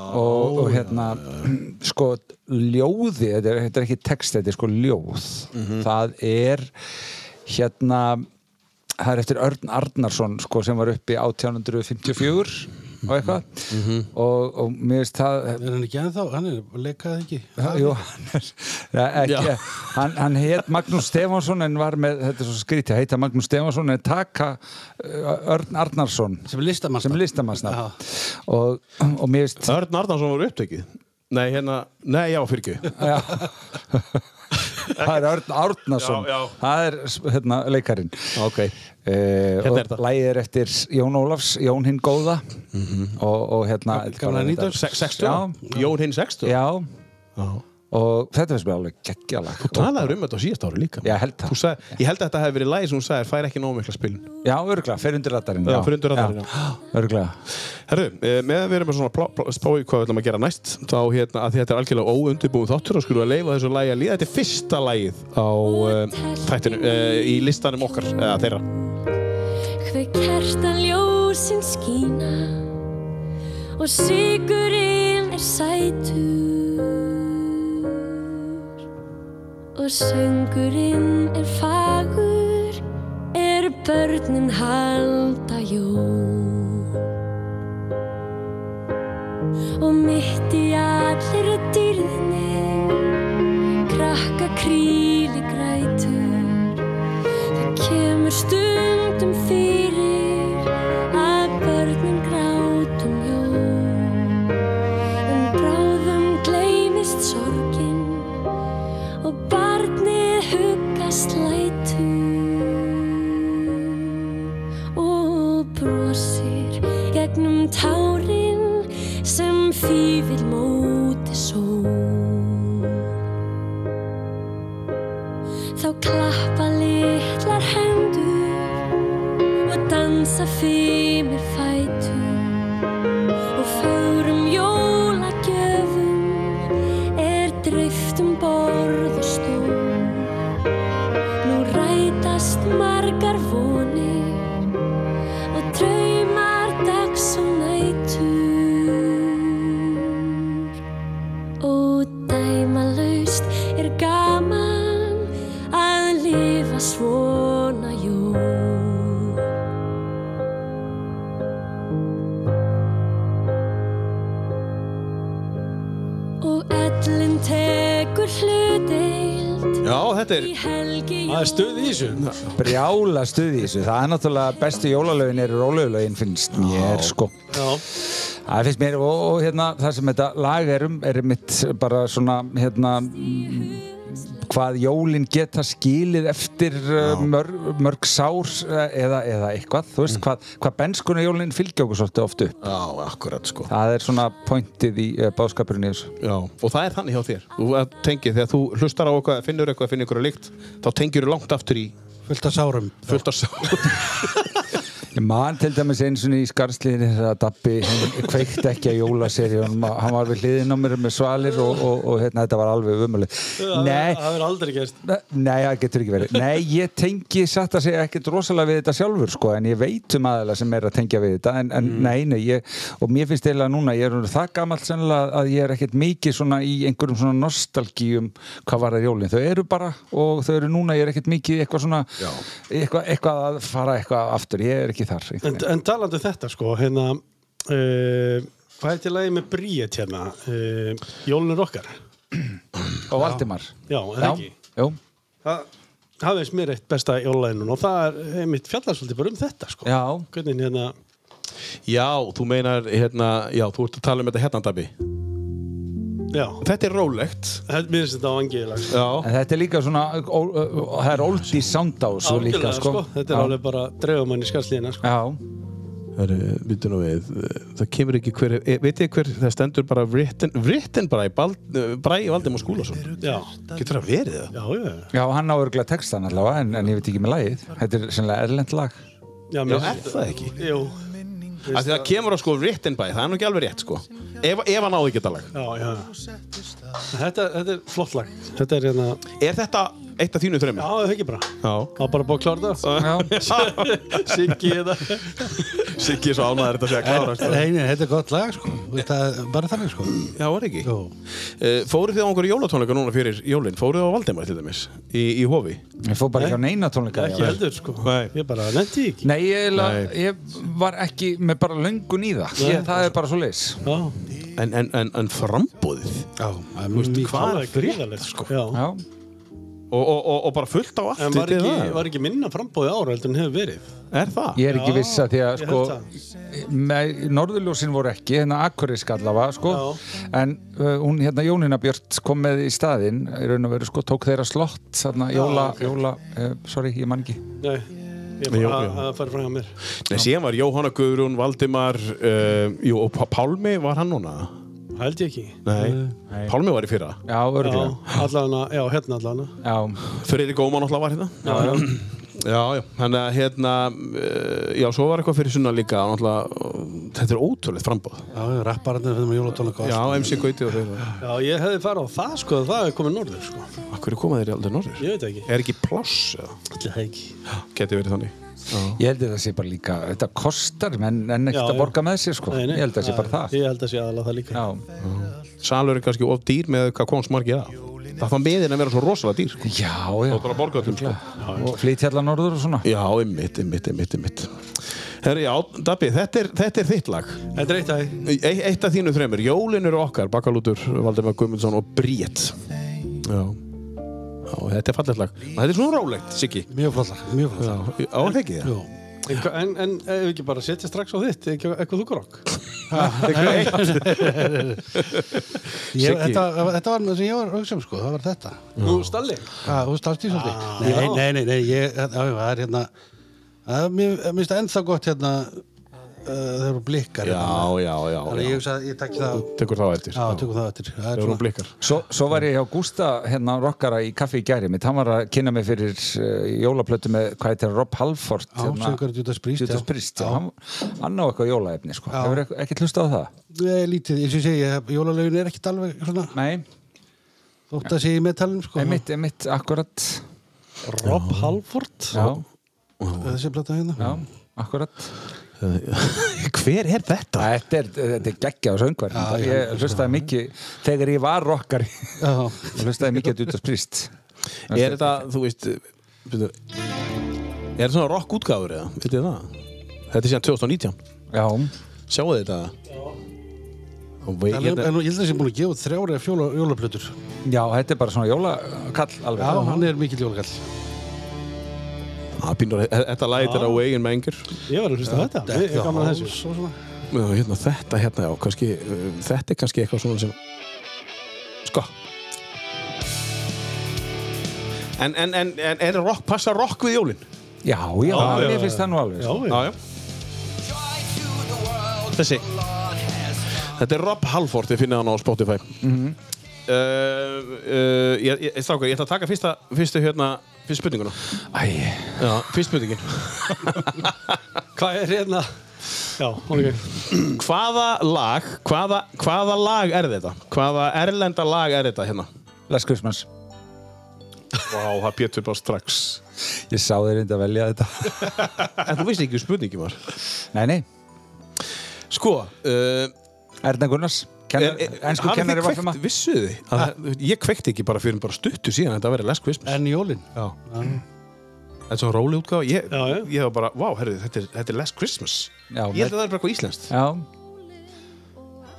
Speaker 3: og, og hérna sko ljóði þetta er, þetta er ekki text, þetta er sko ljóð
Speaker 4: Mhm.
Speaker 3: það er hérna það er eftir Örn Arnarsson sko, sem var uppi 1854 og eitthvað og, og mér finnst það
Speaker 4: Mhm. Er hann ekki ennþá? Hann er leikað ekki.
Speaker 3: Ha, Jú, hann er, ja, ekki, hann, hann heit Magnús Stefansson en var með, þetta er svo skrítið, heita Magnús Stefansson en taka uh, Örn Arnarsson
Speaker 4: Sem er listamannsnafn.
Speaker 3: sem listamannsnafn. og, og mér veist
Speaker 2: Örn Arnarsson var upptekið Nei, hérna, nei, já, fyrir ekki
Speaker 3: já. það er Örn Arnarsson
Speaker 2: Já, já.
Speaker 3: það er hérna, leikarinn
Speaker 2: Ok
Speaker 3: Uh,
Speaker 2: Hérna er Mhm.
Speaker 3: og
Speaker 2: það.
Speaker 3: lægið er eftir Jón Ólafs, Jón hinn góða og, og hérna
Speaker 4: gamla
Speaker 3: þetta-
Speaker 4: nýdags.
Speaker 2: Se- 60
Speaker 3: Já.
Speaker 2: Jón hinn 60
Speaker 3: já,
Speaker 2: Já.
Speaker 3: og þetta finnst mér alveg geggjalag
Speaker 2: Þú talaður um þetta á síðast ári líka
Speaker 3: Já, held það.
Speaker 2: Þú sagði, Ég held að þetta hefði verið lægi sem hún sagði fær ekki nóg mikla spilun
Speaker 3: Já, örgulega, fer undir radarinn
Speaker 2: Já, fer undir radarinn,
Speaker 3: Örgulega
Speaker 2: Herru, eh, meðan við erum með svona plá, plá, spái hvað við ætlum að gera næst þá hérna að þetta er algjörlega óundibúið þáttur og skulum við að leifa þessu lægi að líða Þetta er fyrsta lægið á uh, þættinu uh, í listanum okkar, eða þeirra
Speaker 8: Hve kertan ljósin skína og sigurinn er sætur og söngurinn er fagur er börnin halda jól og mitt í allir dýrðinni krakka kríli grætur Það kemur stundum fyrir að börnin grátum jól En bráðum gleymist sorgin og barnið hugast lætur Og brosir gegnum tárin sem fýfir móti sól þá klappa litlar hendur og dansa fyrir fætur og förum jólagjöfum er dreift um borð og stól nú rætast margar vonir og draumar dags og nætur og dæmalaust er gaman að lifa svona jól. Og ellin tekur hlutdeild
Speaker 2: Já, þetta er
Speaker 8: í helgi
Speaker 1: Það er stuð í þessu
Speaker 3: brjála stuð í þessu það er náttúrulega bestu jólalögin eru rólauglaugin finnst mér sko
Speaker 1: Já
Speaker 3: það finnst mér og, og hérna það sem þetta lag er um er mitt bara svona hérna mm, hvað jólin geta skilið eftir uh, mörg, mörg sár eh, eða, eða eitthvað þú veist hvað, hvað benskuna jólin fylgja okkur svolítið oft upp
Speaker 2: Mm. Já, akkurat sko
Speaker 3: það er svona pointið í uh, báskapurinn í þessu
Speaker 2: Já, og það er þannig hjá þér Þú að tengir, þegar þú hlustar á eitthvað, finnur eitthvað, finnur eitthvað líkt þá tengir þú langt aftur í
Speaker 4: Fullt af sárum.
Speaker 2: fullt af sá
Speaker 3: Ég man til dæmis eins og í skarslíðinni þegar að Dabbi hann kveikti ekki að jólaseríunum hann var við hliðin á mér með svalir og, og, og hérna, þetta var alveg umulig Nei,
Speaker 1: Það verður aldrei gerst
Speaker 3: Nei, það getur ekki verið. Nei, ég tengi satt að segja ekkert rosalega við þetta sjálfur sko, en ég veit um aðeila sem er að tengja við þetta en, en
Speaker 1: Mm.
Speaker 3: nei, nei, ég, og mér finnst eiginlega núna, ég er orðinn það gamalt sennilega að ég er ekkert mikið svona í einhverjum svona nostalgíum hvað var það jólinn, þau eru bara og þau eru núna, ég er ekkert mikið eitthvað svona eitthvað, eitthvað að fara eitthvað aftur, ég er ekki þar sko.
Speaker 1: En,
Speaker 3: einhvern veginn.
Speaker 1: en talandi um þetta sko hérna uh, Hvað heitir lagið með Bríet hérna? Uh, Jólunir okkar
Speaker 3: og Valdimar
Speaker 1: Já, en ekki
Speaker 3: jú,
Speaker 1: Það það finnst mér eitt besta jólæðinun og það er einmitt fjallar svolítið bara um þetta sko
Speaker 3: já,
Speaker 1: Hvernig hérna
Speaker 2: Já, þú meinar, hérna, já, þú ert að tala um þetta hérna, Dabbi.
Speaker 1: Já,
Speaker 2: Þetta er rólegt.
Speaker 1: þetta mér finnst þetta á angiðilag sko.
Speaker 2: Já.
Speaker 3: en þetta er líka svona ó, ó, ó, það er oldi sound á svo líka
Speaker 1: Algjörlega,
Speaker 3: sko.
Speaker 1: Þetta er
Speaker 3: Já.
Speaker 1: alveg bara draugamann í skarslíðina sko.
Speaker 3: já,
Speaker 2: Hörru, býttu nú við, það kemur ekki hver, e, veit ég hver, það stendur bara Vritten, Vritten bara í Bald, Bræ Valdimar Skúlason.
Speaker 1: Já,
Speaker 2: Getur það verið það?
Speaker 1: já, já
Speaker 3: Já, hann á örgulega textan allavega, en, en ég veit ekki með lagið. Þetta er sennilega erlend lag.
Speaker 1: Já,
Speaker 2: Já,
Speaker 1: mér
Speaker 2: er það ekki?
Speaker 1: Jú,
Speaker 2: Af því það kemur á sko Vritten bæ, það er nú ekki alveg rétt sko. Ef, ef hann áði ekki þetta lag.
Speaker 1: já, já Þetta, þetta er flott lag Þetta er hérna Já,
Speaker 2: Er þetta eitt af þínu þrömmu?
Speaker 1: það er ekki bara
Speaker 2: Já.
Speaker 1: Það er bara búið að klára það
Speaker 3: Já,
Speaker 1: Siggi þetta
Speaker 2: Siggi er svo ánæður þetta sé að klára. sko.
Speaker 4: Nei, nei, þetta er gott lag sko Það er bara þannig sko
Speaker 2: Já, var ekki.
Speaker 4: Jó.
Speaker 2: Uh, fóruð þið á einhverju jólatónleika núna fyrir jólinn? Fóruð þið á Valdimar til dæmis? Í, í hofi?
Speaker 3: ég fór bara ekki á neina tónleika.
Speaker 1: Ekki heldur sko
Speaker 2: Nei.
Speaker 1: Ég bara nefndi ekki
Speaker 3: Nei, ég, la,
Speaker 2: Nei.
Speaker 3: ég var ekki með bara löngun í það. Ég, það er bara svo leis.
Speaker 1: Já,
Speaker 2: En, en, en, en frambúðið?
Speaker 4: Já, það er mjög mikið
Speaker 1: það er gríðalegt sko Já
Speaker 3: Já,
Speaker 2: Og, og, og, og bara fullt á allt
Speaker 1: En var
Speaker 2: vitið
Speaker 1: ekki,
Speaker 2: það?
Speaker 1: var ekki minna frambóði ára heldur en hefur verið
Speaker 2: Er það?
Speaker 3: ég er ekki
Speaker 1: Já,
Speaker 3: viss að því að
Speaker 1: ég
Speaker 3: sko,
Speaker 1: held
Speaker 3: með, norðurljósin voru ekki, hérna Akureysk allavega, sko, en uh, hún, hérna Jónina Björt kom með í staðinn, í raun og veru, sko, tók þeirra slott, þarna, jóla, jóla, uh, sorry, ég man ekki.
Speaker 1: Nei, ég
Speaker 2: Jú,
Speaker 1: bara
Speaker 2: jú.
Speaker 1: að fara fram hjá mér
Speaker 2: Nei, síðan var Jóhanna Guðrún, Valdimar uh, Jú, og Pá- Pálmi var hann núna?
Speaker 1: Held ég ekki
Speaker 2: Nei, Pálmi var í fyrra
Speaker 3: Já,
Speaker 1: Já,
Speaker 3: örgulega.
Speaker 1: allana, já, hérna allana
Speaker 3: Já,
Speaker 2: Friðrik Óman alltaf var hérna
Speaker 1: Já,
Speaker 2: Já, já, þannig að hérna uh, Já, svo var eitthvað fyrir sunna líka náttúrulega, uh, Þetta er ótrúlegt frambóð
Speaker 4: Já, rappararnir
Speaker 1: hérna
Speaker 4: fyrir með jólatónleika
Speaker 2: Já, MC Gauti og þeir
Speaker 1: já, ég hefði farið á það sko Það er komið norður sko
Speaker 2: Akkur koma þeir aldrei norður?
Speaker 1: Ég veit ekki
Speaker 2: Er ekki pláss? eða?
Speaker 1: Ætli það ekki
Speaker 2: Geti verið þannig
Speaker 3: Ég held að það sé bara líka, þetta kostar menn en
Speaker 1: Já,
Speaker 3: ekkert að
Speaker 1: já.
Speaker 3: borga með sér sko,
Speaker 1: Nei, nei.
Speaker 3: ég held að það sé bara það.
Speaker 1: Ég held að sé aðalega það líka
Speaker 3: Já,
Speaker 2: Salur er kannski of dýr með hvað komst margir af Það þá meðin að vera svo rosalega dýr sko.
Speaker 3: já, já.
Speaker 2: Og bara borga öllum sko.
Speaker 3: Og flytjallan orður og svona.
Speaker 2: Já, einmitt, einmitt, einmitt, einmitt Herri, já, Dabbi, þetta er, þetta er þitt lag
Speaker 1: Þetta er eitt að
Speaker 2: E- Eitt af þínu þreymur, Jólin eru okkar Bakalútur, Valdemar Guðmundsson og Bríett Já Já, þetta er fallegt lag Og Þetta er svona rólegt, Siggi
Speaker 4: Mjög flott lag, mjög flott
Speaker 2: Já,
Speaker 4: lag
Speaker 2: á það ekki það
Speaker 4: Jó.
Speaker 1: En, hva- en, en ef ekki bara setja strax á þitt ekki, eitthvað þú grokk
Speaker 4: Ég, þetta, þetta var það sem ég var að hugsa um sko, það var þetta
Speaker 2: Mm.
Speaker 1: Nú, Stalli
Speaker 4: Hvað, þú stafst í
Speaker 1: Ah.
Speaker 4: svolítið? Nei, nei, nei, nei, ég, já, já, það er hérna það er- Mér mér finnst það ennþá gott hérna uh, Það eru blikkar
Speaker 2: Já,
Speaker 4: hérna.
Speaker 2: já, já,
Speaker 4: Þannig ég
Speaker 2: já.
Speaker 4: hugsa að ég takk það
Speaker 2: Tekur það á eftir
Speaker 4: Já, tökum það eftir Það er
Speaker 2: Þegar hún
Speaker 4: svona
Speaker 2: blikkar
Speaker 3: Svo, svo var ég hjá Gústa hérna rockara í kaffi í gæri mitt, hann var að kynna mig fyrir uh, jólaplötu með, hvað heitir hann, Rob Halford.
Speaker 4: Ásöngur Judas Priest
Speaker 3: Judas Hérna, Priest, já. Hann, hann á eitthvað jólaefni sko,
Speaker 4: Já.
Speaker 3: hefur ekki hlusta á það?
Speaker 4: Nei, lítið, eins og ég segi, ég- jólalögin er ekkit alveg svona
Speaker 3: Nei,
Speaker 4: Þótt að sé í metalum sko
Speaker 3: emitt, emitt, akkurat,
Speaker 1: Rob Halford
Speaker 3: já,
Speaker 4: Þessi plata hérna
Speaker 3: já, akkurat.
Speaker 2: Hver er þetta?
Speaker 3: Þetta er, þetta er geggjað söngvar ég hlustaði mikið þegar ég var rockari ég hlustaði mikið að Judas Priest
Speaker 2: Er þetta, þú veist byrju, Er þetta svona rock útgáfur eða? Veitir þið það? Þetta er síðan 2019
Speaker 3: já,
Speaker 2: Sjáu þetta? Já Og vei,
Speaker 4: En,
Speaker 2: hérna,
Speaker 4: en ég held að sé búin að gefa út þrjár eða fjóla jólaplötur Já,
Speaker 3: já, þetta er bara svona jólakall alveg
Speaker 4: hann er mikill jólakall
Speaker 2: að pínur, ah, þetta lagið er á veginn með engur
Speaker 1: Ég var að hlusta á þetta Ég er gaman að þessu
Speaker 4: Svo svona
Speaker 2: Já, hérna, þetta hérna, já, kannski, uh, þetta er kannski eitthvað svona sem sko en, en, en, en er rock, passa rock við jólin?
Speaker 3: já, já,
Speaker 2: já,
Speaker 3: mér finnst það nú alveg
Speaker 1: Já,
Speaker 3: sko.
Speaker 1: já,
Speaker 2: já þessi þetta er Rob Halford, ég finna hann á
Speaker 3: Mhm.
Speaker 2: Eh, Spotify mm -hmm. uh, uh, ég, ég, strákar, ég ætla að taka fyrsta, fyrsta hérna fyrst spurninguna
Speaker 3: Æ,
Speaker 2: Já, fyrst spurningin
Speaker 1: Hvað er hérna? Já, ok.
Speaker 2: Hvaða lag, hvaða, hvaða lag er þetta? Hvaða erlenda lag er þetta hérna?
Speaker 3: Les Kristmanns
Speaker 2: Vá, það pétur bara strax
Speaker 3: Ég sá þér reyndi að velja þetta
Speaker 2: En þú veist ekki hvað spurningin var
Speaker 3: Nei, nei,
Speaker 2: Sko, uh, Eh,
Speaker 3: Erna Gunnars kennar, Ensku kennari var fyrir maður
Speaker 2: Vissu þið? Að, ég kveikti ekki bara fyrir bara stuttu síðan að þetta verið Les Christmas
Speaker 4: En jólin
Speaker 2: Já Þetta er svona róli útgáð ég,
Speaker 1: Já, já.
Speaker 2: ég var bara, vá, herru, þetta, er- þetta er Les Christmas
Speaker 3: Já,
Speaker 2: Ég held að það er bara eitthvað íslenskt
Speaker 3: Já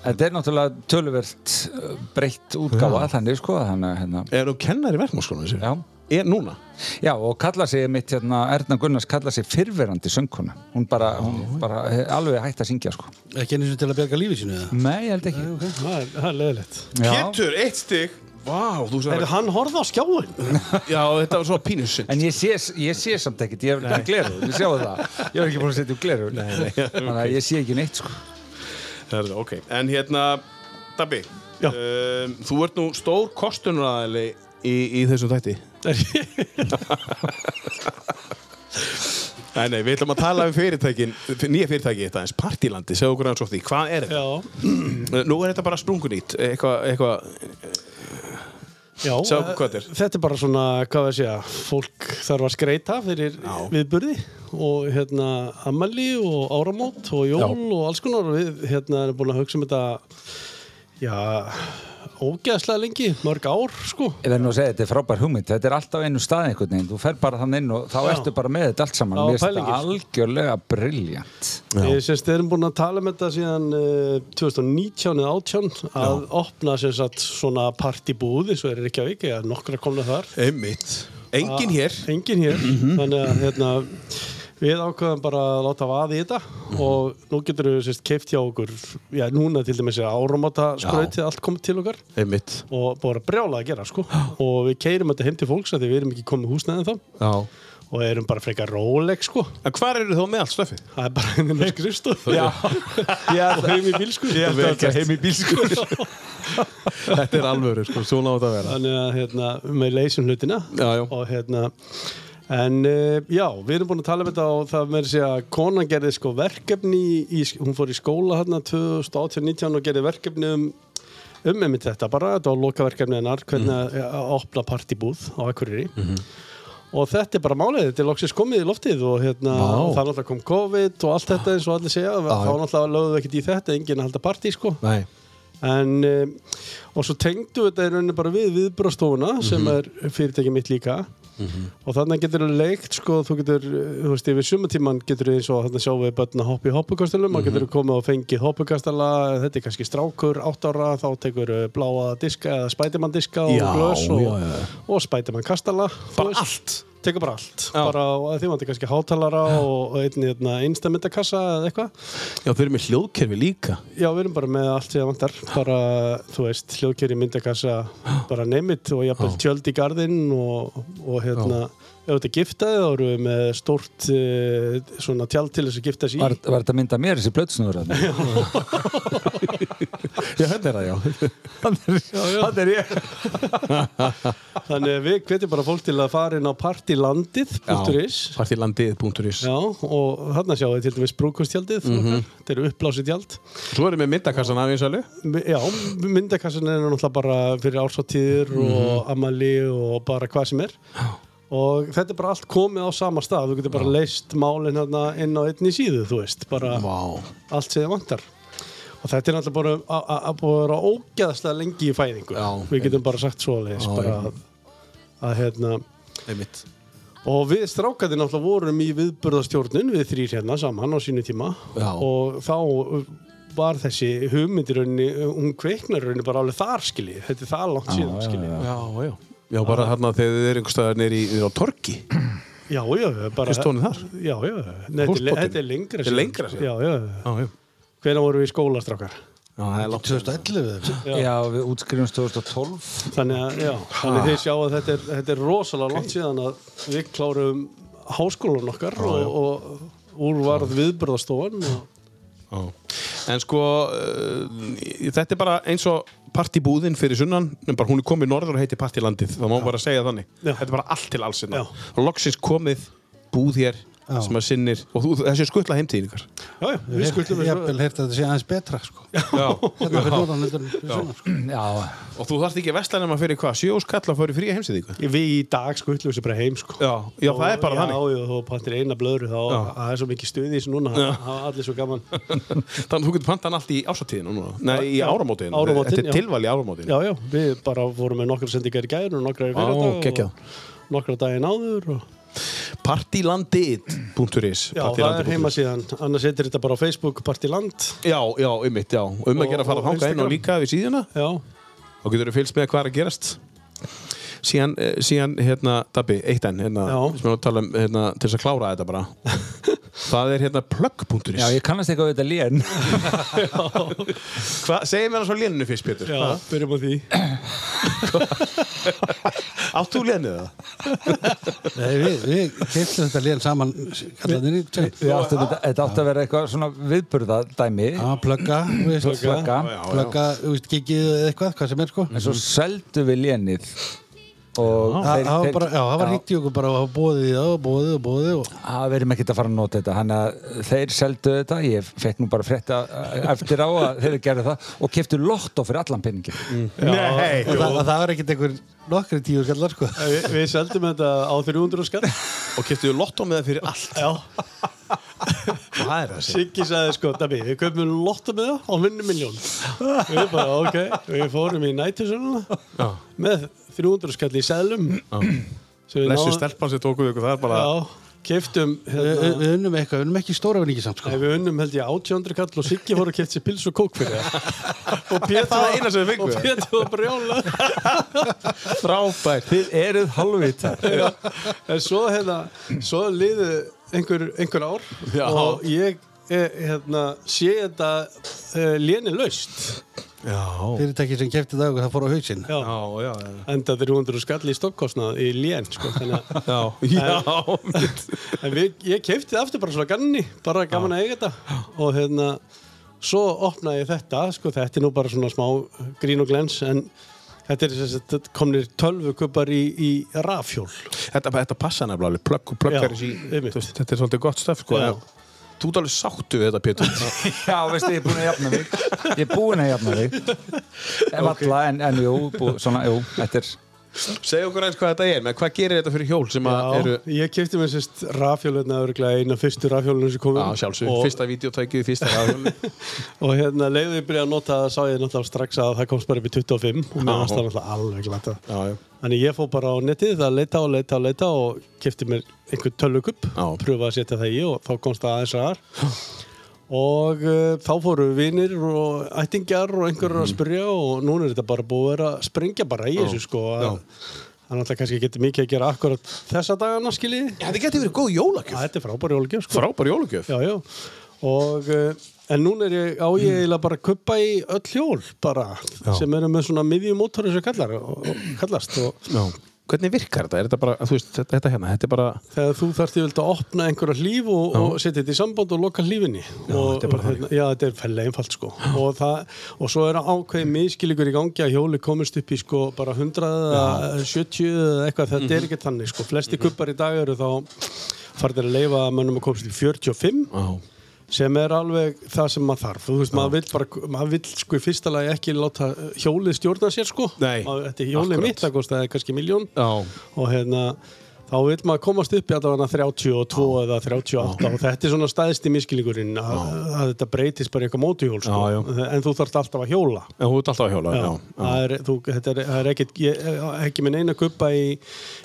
Speaker 3: Þetta er náttúrulega töluvert uh, breytt útgáfa þannig sko þannig, að, hérna.
Speaker 2: Er þú kennari verknámskólanum þessu?
Speaker 3: Já.
Speaker 2: Er núna?
Speaker 3: Já og kalla sig mitt hérna, Erna Gunnars kalla sig fyrverandi söngkona hún bara, hún bara eh, alveg hægt að syngja sko
Speaker 4: Ekki einu sem til að berga lífi sínu eða
Speaker 3: Nei, ég held ekki
Speaker 1: Það er, það er leðilegt.
Speaker 3: Já.
Speaker 2: Pétur, eitt stig Vá, þú
Speaker 1: Er
Speaker 2: sagði
Speaker 1: hann horfð á skjáin?
Speaker 2: Já, þetta var svo sko. pínusinn
Speaker 3: En ég sé, ég sé samt ekkert, ég hef ekki gleru, við sjáum það. Ég hef ekki búin að setja upp gleru. Þannig að ég sé ekki neitt, sko.
Speaker 2: Herðu, ok. En hérna, Dabbi,
Speaker 1: Já.
Speaker 2: um, þú ert nú stór kostunaræðili í, í þessum þætti. Nei, nei, við ætlum að tala um fyrirtækin, nýja fyrirtæki þetta eins, Partilandi, segja okkur aðeins of því, hvað er þetta?
Speaker 1: Já.
Speaker 2: Nú er þetta bara sprungunýtt, eitthvað, eitthva,
Speaker 1: Já,
Speaker 2: Sjá hvað þetta er.
Speaker 1: þetta er bara svona, hvað það sé að fólk þarf að skreita fyrir
Speaker 2: Já.
Speaker 1: viðburði og hérna ammali og áramót og jól og alls konar og við hérna erum búin að hugsa um þetta já, ógeðslega lengi, mörg ár sko
Speaker 3: Ég verð nú að segja, þetta er frábær hugmynd. Þetta er alltaf einu stað einhvern veginn. Þú fer bara þann inn og þá ertu bara með þetta allt saman.
Speaker 1: Já,
Speaker 3: Mér finnst þetta
Speaker 1: pælingin,
Speaker 3: algjörlega briljant.
Speaker 1: Við sérst erum búin að tala um þetta síðan uh, 2019 eða 18 að opna sem sagt svona partibúð eins og er í Reykjavík eða nokkra komna þar Ah,
Speaker 2: einmitt, engin hér, Mhm.
Speaker 1: enginn hér þannig að hérna, við ákveðum bara að láta vaði í þetta
Speaker 2: Mhm.
Speaker 1: og nú getur við sérst keift hjá okkur já, núna til dæmis að áramóta skrautið allt komið til okkar
Speaker 2: einmitt,
Speaker 1: og bara brjála að gera sko og við keirum þetta heim til fólks að því við erum ekki komið húsnæðin þá
Speaker 2: já.
Speaker 1: og erum bara frekar róleg sko
Speaker 2: En hvar eru þú með allt stöfið?
Speaker 1: það er bara henni með skrifstof
Speaker 3: og heim í
Speaker 1: sko.
Speaker 3: bílskur. Ég ætla alltaf heim í bílskur.
Speaker 2: sko. þetta er alvöru, sko, svona átt að vera.
Speaker 1: þannig að hérna, með leysum hlutina
Speaker 2: Já, já.
Speaker 1: og hérna en uh, já, við erum búin að tala um þetta og það með segja að konan gerði sko verkefni í, í, hún fór í skóla hérna 2018-19 og gerði verkefni um um einmitt þetta bara, þetta var lokaverkefni hennar, hvernig að- að opna partibúð á Akureyri og þetta er bara málið, þetta er loksins komið í loftið og hérna, það er náttúrulega kom COVID og allt þetta eins og allir segja, þá náttúrulega lögðu ekkert í þetta, enginn að halda partí sko
Speaker 2: Nei.
Speaker 1: en um, og svo tengdu þetta í rauninni bara við viðbrastofuna sem er fyrirtækið mitt líka og þannig getur þú leikt sko, þú getur, uh, þú veist, yfir sumatíman getur þú eins og þannig sjáum við börn að hoppa í hoppukastalum og
Speaker 2: Mhm.
Speaker 1: getur þú komið og fengið hoppukastala þetta er kannski strákur, 8 ára þá tekur uh, bláa diska eða spætimann diska og
Speaker 2: Já,
Speaker 1: glös og,
Speaker 2: já, já.
Speaker 1: og spætimann kastala
Speaker 2: Bara allt.
Speaker 1: tekur bara allt, bara og því vantir kannski hátalara og, og einni hérna, einstamindakassa eða eitthvað
Speaker 2: Já, þau eru með hljóðkerfi líka.
Speaker 1: Já, við erum bara með allt sem það vantar bara, þú veist, hljóðkerri myndakassa bara neymit og jafnvel tjöld í garðinn og, og hérna ef þetta giftaði þá eru við með stórt eh, svona tjald til þess að gifta sér
Speaker 3: Var
Speaker 1: í
Speaker 3: var þetta mynd að mér, þessi blötsnúður? Já,
Speaker 2: Já, þetta er það, já.
Speaker 3: það er ég.
Speaker 1: þannig að við hvetjum bara fólk til að fara inn á partilandið.is
Speaker 2: Partilandið.is.
Speaker 1: Já, og þarna sjáum við til dæmis brúkustjaldið mm þetta eru uppblásið tjald
Speaker 2: Mhm. Svo erum við myndakassan af einsælu.
Speaker 1: Mi- Já, myndakassan er náttúrulega bara fyrir ársáttíður og amali og bara hvað sem er og þetta er bara allt komið á sama stað þú getur bara leist málin hérna inn á einni síðu, þú veist, bara allt sem þið vantar og þetta er náttúrulega bara a- a- að búið að vera ógeðslega lengi í fæðingu,
Speaker 2: Já,
Speaker 1: við getum bara sagt svo leis, bara að, að hérna
Speaker 2: Einmitt.
Speaker 1: Og við strákandi náttúrulega vorum í viðburðastjórnun við þrýr hérna saman á sínu tíma
Speaker 2: Já.
Speaker 1: og þá var þessi hugmyndir rauninni, uh, hún kveiknar rauninni bara alveg þar skiljið, þetta er það langt síðan skiljið.
Speaker 2: Já, já. Já, bara hérna þegar þið eru einhver staðar nýri á torki.
Speaker 1: Já, já, bara...
Speaker 2: Fyrst tónið þar?
Speaker 1: Já, já, Nei, þetta er-
Speaker 2: Húsbótin?
Speaker 1: þetta er lengra
Speaker 2: Þetta er lengra síðan?
Speaker 1: Já, já,
Speaker 2: Já, já.
Speaker 1: hvenær vorum við í skóla strákar?
Speaker 2: Já, það er langt.
Speaker 4: 2011 eða?
Speaker 3: Já, við útskrifumst 2012.
Speaker 1: Þannig að, já, þannig að þið sjá að þetta er, þetta er rosalega langt síðan að við klárum háskólan okkar og, og úr varð viðburðastofan og
Speaker 2: En sko, uh, þetta eh, er bara eins og partibúðin fyrir sunnan en bara hún er komið norður og heitir partilandið það má bara segja þannig,
Speaker 1: Já.
Speaker 2: þetta er bara allt til alls hérna.
Speaker 1: Já.
Speaker 2: og loksins komið búð hér
Speaker 4: Já.
Speaker 2: sem að sinnir og þú, þessi er skuttla heimtíðin ykkar
Speaker 1: Já, já, við skuldum
Speaker 4: Ég hef heyrt að þetta sé aðeins betra sko. Þetta
Speaker 1: Hérna
Speaker 4: fyrir norðan heldur en fyrir sunnan sko.
Speaker 3: já,
Speaker 2: og þú þarft ekki að vestla nema fyrir hvað, sjóskall að fara í fría heimsið ykkar
Speaker 1: Við í dag skuldum þessu bara heim sko.
Speaker 2: já, já það er bara
Speaker 1: já,
Speaker 2: þannig
Speaker 1: Já, þú pantir eina blöðru þá
Speaker 2: Já.
Speaker 1: það er svo mikið stuð í þessu núna það hafa allir svo gaman
Speaker 2: þannig að þú getur pantan allt í ásatíðinu núna nei, í
Speaker 1: Já.
Speaker 2: áramótiðinu,
Speaker 1: Áramótin,
Speaker 2: þetta
Speaker 1: já.
Speaker 2: er tilval í áramótiðinu
Speaker 1: Já, já, við bara vorum með nokkra sendingar í gæðinu og nokkra í
Speaker 2: Vá,
Speaker 1: fyrradag
Speaker 2: geggjað.
Speaker 1: og nokkra daginn áður og...
Speaker 2: partilandið.is
Speaker 1: Já, það er heimasíðan, annars heitir þetta bara á Facebook Partiland
Speaker 2: já, já, ymmit, já, og um
Speaker 1: Og-
Speaker 2: að gera að fara
Speaker 1: og
Speaker 2: að hanga inn og
Speaker 1: Instagram.
Speaker 2: líka við síðuna
Speaker 1: Já,
Speaker 2: þá getur þú fylgst með hvað er að gerast síðan, eh, síðan hérna, Dabbi, eitt enn hérna,
Speaker 1: Já.
Speaker 2: sem við tala um, hérna, til þess að klára þetta bara það er hérna plugg.is
Speaker 3: já, ég kannast eitthvað við þetta lén
Speaker 2: Hva- segir mér það svo léninu fyrst, Pétur
Speaker 1: já, byrjum á því
Speaker 2: átt þú lénið það?
Speaker 4: Nei, Við, við keiltum þetta lén saman kallanir í tveim.
Speaker 3: Við áttum þetta þetta átti að vera eitthvað svona viðburðadæmi
Speaker 4: Já, plugga, þú veist,
Speaker 3: plugga,
Speaker 4: plugga, þú veist, gigið eða eitthvað, hvað sem er sko.
Speaker 3: en svo seldu við lénið og
Speaker 4: Það
Speaker 3: þeir-
Speaker 4: það var
Speaker 3: þeir-
Speaker 4: bara, já, það var
Speaker 3: já.
Speaker 4: hýtti okkur bara og bóðið í það og bóðið og bóðið og
Speaker 3: að við erum ekkert að fara að nota þetta þannig að uh, þeir seldu þetta, ég fekk nú bara frétta uh, eftir á að þeir gerðu það og keftu lottó fyrir allan penningin
Speaker 4: Mm.
Speaker 2: nei,
Speaker 4: og það, það var ekkert einhver nokkri tíu skallar sko.
Speaker 1: Vi, Við seldum þetta á 300 skall
Speaker 2: og kiptuðu lottó með það fyrir allt
Speaker 1: Já,
Speaker 2: hvað er það?
Speaker 1: Siggi sagði sko, Dabbi, við köpum lotta með það og vinnum miljón Við bara, ok, við fórum í nættisönuna með 300 skall í seðlum Sem við
Speaker 2: lessu
Speaker 1: náðum-
Speaker 2: stelpan sem tókuðu ykkur, það er bara
Speaker 1: Já, keftum
Speaker 4: Við- Við
Speaker 1: hérna,
Speaker 4: við unnum eitthvað, við unnum ekki stóra vinningi samt sko.
Speaker 1: Nei, við unnum held ég 800 kall og Siggi voru að kefta sér pils og kók fyrir það og Pétur
Speaker 2: Það
Speaker 1: var-
Speaker 2: er eina sem við fengum.
Speaker 1: og Pétur var brjála
Speaker 2: frábært
Speaker 3: Þið eruð halvvita
Speaker 1: en svo hérna svo liðu einhver, einhver ár
Speaker 2: Já.
Speaker 1: og ég eh, hérna, sé þetta uh, léni laust
Speaker 2: já,
Speaker 4: Fyrirtæki sem kefti það okkur, það fór á hausinn.
Speaker 1: Já.
Speaker 2: já, já, já.
Speaker 1: enda 300 skall í stokkostnað í lén sko, þannig að
Speaker 2: Já, já,
Speaker 1: En við, ég kefti það aftur bara svona ganni, bara gaman að eiga þetta og hérna, svo opnaði ég þetta, sko þetta er nú bara svona smá grín og glens en þetta er þess að komnir 12 kubbar í, í rafhjól.
Speaker 2: þetta, þetta passa nefnilega alveg, plugg, plugg
Speaker 1: Já,
Speaker 2: er þessi,
Speaker 1: einmitt.
Speaker 2: þú veist, þetta er svolítið gott stöf sko,
Speaker 1: Já.
Speaker 2: en þú ert alveg sáttu við þetta Pétur
Speaker 3: Já, veistu, ég er búinn að jafna mig Ég er búinn að jafna mig En valla, en, en jú, bú, svona, jú, þetta er
Speaker 2: Segð okkur eins hvað þetta er, menn hvað gerir þetta fyrir hjól sem að eru
Speaker 1: Ég kefti mér sérst rafhjóluna örglega hérna, eina fyrstu rafhjólunum sem komum
Speaker 2: Já, sjálfsög,
Speaker 1: og,
Speaker 2: fyrsta videotækið, fyrsta rafhjóli
Speaker 1: og hérna leiðið ég byrja að nota það sá ég náttúrulega strax að það komst bara upp í 25 og mér varst það náttúrulega alveg glata.
Speaker 2: Já, já,
Speaker 1: Þannig ég fór bara á netið að leita og leita og leita og kefti mér einhver tölvukupp
Speaker 2: Já.
Speaker 1: pröfaði að setja það í og þá komst það aðeins ræðar og uh, þá fóru vinir og ættingjar og einhverjur að spyrja og núna er þetta bara búið að vera að springja bara í þessu sko að
Speaker 2: Mhm. Já.
Speaker 1: það náttúrulega kannski getur mikið að gera akkurat þessa dagana skiljið
Speaker 2: Þetta getur verið góð jólagjöf
Speaker 1: Þetta er frábæri jólgjöf sko
Speaker 2: Frábær jólagjöf
Speaker 1: Já, já. Og, eh, en núna er ég, á
Speaker 2: Mm.
Speaker 1: ég eiginlega bara að kuppa í öll hjól bara sem eru með svona miðjumótor sem kallar, og, og kallast og
Speaker 2: Já. Hvernig virkar þetta? Er þetta bara, þú veist, þetta, þetta hérna, þetta er bara
Speaker 1: þegar þú þarft yfirleitt að opna einhverja hlýf og, og setja þetta í samband og loka hlýfinni og,
Speaker 2: þetta er bara
Speaker 1: og hérna- já, þetta er fellega einfalt sko og, það, og svo er ákveðið miskilíkur í gangi að hjóli komist upp í sko bara 100 eða 70 eða eitthvað
Speaker 2: Mhm.
Speaker 1: þetta er ekki þannig sko, flesti kuppar í dag eru þá farðir að leifa mönnum að komast í 45
Speaker 2: Já,
Speaker 1: sem er alveg það sem maður þarf þú veist, maður vill bara, maður vill sko í fyrsta lagi ekki láta eh, hjólið stjórna sér sko
Speaker 2: Nei,
Speaker 1: Maður- þetta er hjólið
Speaker 2: akkurat.
Speaker 1: mitt, það kostiði kannski miljón
Speaker 2: já.
Speaker 1: og hérna þá vil maður komast upp í allavega 32 eða 38 og þetta er svona staðist í miskilingurinn að, að þetta breytist bara í eitthvað mótuhjól sko.
Speaker 2: Já,
Speaker 1: en þú þarft alltaf að hjóla
Speaker 2: En þú ert alltaf að hjóla, já, já.
Speaker 1: Það er, þú, þetta er, það er ekkit, ég, ekki með neina kuppa í,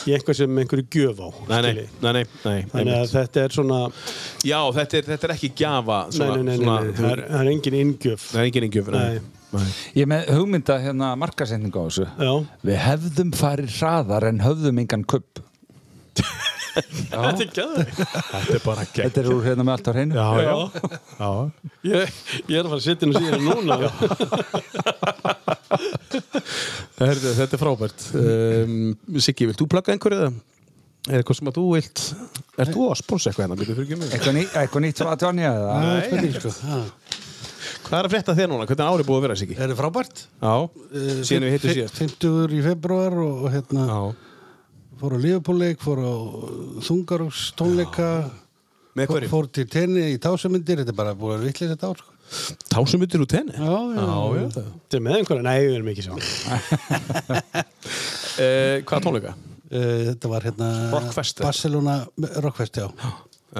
Speaker 1: í eitthvað sem einhverju gjöf á
Speaker 2: Nei, nei,
Speaker 1: skilji.
Speaker 2: nei, nei, nei,
Speaker 1: þannig
Speaker 2: einmitt.
Speaker 1: að þetta er svona
Speaker 2: Já, þetta er, þetta er ekki gjafa
Speaker 1: nei,
Speaker 2: svona,
Speaker 1: nei, nei, nei,
Speaker 2: svona,
Speaker 1: nei,
Speaker 2: þú-
Speaker 1: það er, það er engin inngjöf
Speaker 2: Það er engin ingjöf
Speaker 1: Nei.
Speaker 2: nei.
Speaker 3: Ég er með hugmynda hérna markasendingu á þessu
Speaker 1: Já.
Speaker 3: Við hefðum farið hraðar en höfðum engan kupp
Speaker 1: Þetta er gæður
Speaker 2: Þetta er bara gegn
Speaker 3: Þetta er úr hérna með allt á hreinu
Speaker 2: Já, já, já.
Speaker 1: ég, ég er að fara að setja henni síðan núna
Speaker 2: Herðu, þetta er frábært um, Siggi, vilt þú plugga einhverju það? Er eitthvað sem að þú vilt Er þú að sponsa eitthvað hérna? Býtu fyrir ekki mig
Speaker 3: Eitthvað, ný, eitthvað nýtt frá Atjónia eða?
Speaker 4: Það er spurning sko. Já.
Speaker 2: Hvað er að frétta þér núna? Hvernig er árið búið að vera, Siggi?
Speaker 4: Er þið frábært? Eh,
Speaker 2: Já, síðan við hittum síðast
Speaker 4: 50 í februar og og hérna
Speaker 2: Já.
Speaker 4: fór á Liverpool-leik, fór á Þungarús tónleika
Speaker 2: Með
Speaker 4: fór,
Speaker 2: hverjum?
Speaker 4: fór til tenni í tásumindir þetta er bara búið að vitlega þetta ár sko.
Speaker 2: Tásumutur úr tenni?
Speaker 4: Já, já,
Speaker 2: já, já.
Speaker 1: Þetta er með einhverja, nei, við erum ekki saman
Speaker 2: Eh, Hvaða tónleika?
Speaker 4: Eh, þetta var hérna
Speaker 2: Rockfest, eða?
Speaker 4: Barcelona Rockfest, já,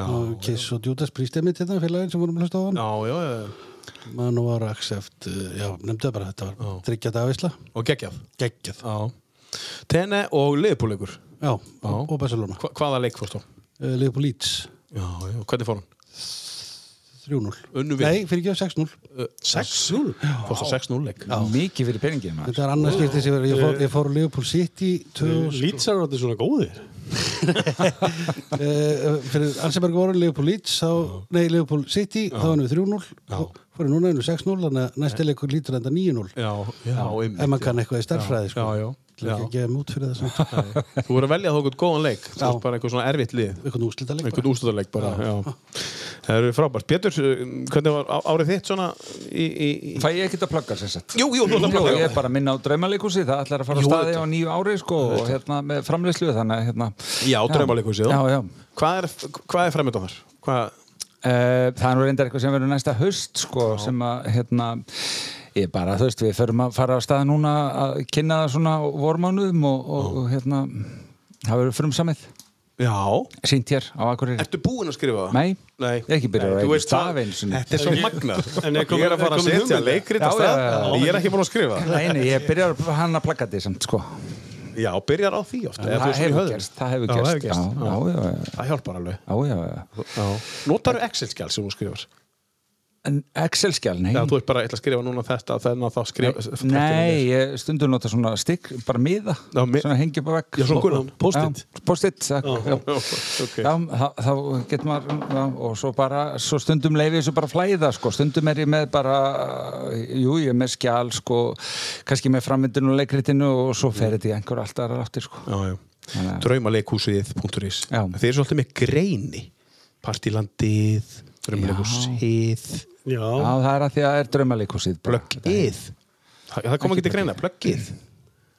Speaker 4: og Kiss og Judas Priest emitt hérna félagin sem vorum að hlusta á hann
Speaker 2: Já, já, já.
Speaker 4: mann var accept, eh, já, nefndu það bara þetta var þryggja dagvisla,
Speaker 2: Og geggjað?
Speaker 4: geggjað já,
Speaker 2: Já. Tenni og liðbúleikur.
Speaker 4: og, og Barcelona,
Speaker 2: Hva, hvaða leik fórst á?
Speaker 4: uh, Liverpool Leeds
Speaker 2: Já, já. Hvernig fór hann?
Speaker 4: 3-0,
Speaker 2: Unnu við.
Speaker 4: nei, fyrir ekki 6-0
Speaker 2: Uh, 6-0? Fórst á 6-0 leik?
Speaker 3: Mikið fyrir peningin maður
Speaker 4: þetta er annars skiptið sem ég var- ég fór, ég fór á Liverpool City
Speaker 2: Eh,
Speaker 4: 2000,
Speaker 1: Lýtsar eru þetta svona góðir Eh,
Speaker 4: uh, fyrir Anseberg voru Liverpool Leeds þá, nei, Liverpool City, þá erum við 3-0 þá fórum núna einu 6-0 þannig að
Speaker 2: Eh.
Speaker 4: næsti leikur lítur enda 9-0
Speaker 2: Já, já, einmitt.
Speaker 4: ef maður kann eitthvað í starffræði sko.
Speaker 2: Já, já,
Speaker 4: Til ekki
Speaker 2: já.
Speaker 4: að gefa mút fyrir það samt
Speaker 2: Þú voru að velja þá einhvern góðan leik. Þú veist bara einhvern svona erfitt lið.
Speaker 4: einhvern úslita leik
Speaker 2: Einhvern úrstöðarleik bara, já. Það eru frábært. Pétur, eh, hvernig var á- árið þitt svona í... í, í...
Speaker 3: Fæ ég ekkert að plugga sem sagt?
Speaker 2: Jú, jú, þú ætlar að plugga,
Speaker 3: Ég
Speaker 2: já.
Speaker 3: er bara að minna á draumaleikhúsi, það ætlar að fara á
Speaker 2: Jú,
Speaker 3: staði á
Speaker 2: auðvitað.
Speaker 3: nýju ári sko og hérna með framleyslu þannig að hérna
Speaker 2: Já, draumaleikhúsið, já.
Speaker 3: Já, já
Speaker 2: Hvað er, hvað er framöndan þar? Hvað...
Speaker 3: Eh, Það er nú reyndar eitthvað sem verður næsta höst sko sem að hérna ég bara þú veist við förum að fara á stað núna að kynna það svona á vormánuðum og, og, og hérna það verður frumsamið
Speaker 2: Já.
Speaker 3: sínt hér á Akureyri
Speaker 2: Ertu búinn að skrifa það?
Speaker 3: Nei,
Speaker 2: Nei.
Speaker 3: ég er ekki byrjaður
Speaker 2: Nei,
Speaker 3: að
Speaker 2: þú
Speaker 3: eiga
Speaker 2: veist það-
Speaker 3: staf einu sinni.
Speaker 2: Þetta er svo magnað.
Speaker 1: En er komin-
Speaker 2: ég er að fara
Speaker 1: er
Speaker 2: að
Speaker 1: komin
Speaker 2: setja
Speaker 1: hugmynd?
Speaker 2: leikrit
Speaker 3: Já,
Speaker 2: af stað.
Speaker 3: já, já.
Speaker 2: Ég er ekki búinn að skrifa það.
Speaker 3: Nei, nei, ég byrjar að hanna plakkati samt sko
Speaker 2: Já, byrjar á því ofta.
Speaker 3: Það hefur gerst, það hefur
Speaker 2: Já, það
Speaker 3: gerst
Speaker 2: hefur gerst.
Speaker 3: Já, já, já, já.
Speaker 2: Það hjálpar alveg.
Speaker 3: Já, já, já.
Speaker 2: Notarðu Excel-skjál sem þú skrifar?
Speaker 3: En Excel-skjál, nei.
Speaker 2: Já, þú ert bara að skrifa núna þetta, þennan þá skrifa...
Speaker 3: Nei, ég stundum nota svona stikk, bara miða,
Speaker 2: Já, mi-
Speaker 3: svona hengi bara vekk.
Speaker 2: Já, svona gulan, post-it.
Speaker 3: Já, Post-it,
Speaker 2: Ah,
Speaker 3: takk, já.
Speaker 2: ok.
Speaker 3: Já, þá- þá getur maður, já, og svo bara, svo stundum leiði þessu bara flæða, sko, stundum er ég með bara, jú, ég er með skjál, sko, kannski með framvindinu og leikritinu og svo fer þetta í einhver alltaf aðra áttir, sko.
Speaker 2: Já, já. Draumaleikhúsið.is
Speaker 3: Já.
Speaker 2: Þeir eru svolítið með greini. Partilandið, Draumalekhúsið,
Speaker 3: Já,
Speaker 1: Já,
Speaker 3: það er að því að það er draumaleikhúsið. bara.
Speaker 2: Plöggið. Það það kom ekki til greina, Plöggið.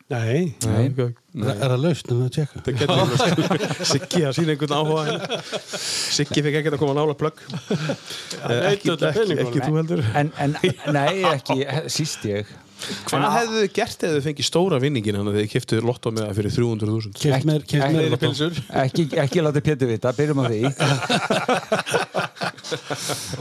Speaker 1: nei
Speaker 3: Nei.
Speaker 4: er er það laust um að tjekka
Speaker 2: Það getur alveg- Siggi að sína einhvern áhuga hérna. Siggi fekk ekkert að koma nála plögg Eh, ekki,
Speaker 1: öllum
Speaker 2: ekki,
Speaker 1: peningunum.
Speaker 2: ekki þú heldur
Speaker 3: En, en, nei, ekki, síst ég.
Speaker 2: Hvað hefðu þið gert eða þið fengið stóra vinningin þannig að þið kiftuð lotto með það fyrir 300.000
Speaker 4: keft mér, keft mér
Speaker 3: Ekki- Ekki, ekki láti Pétur vita, byrjum á því.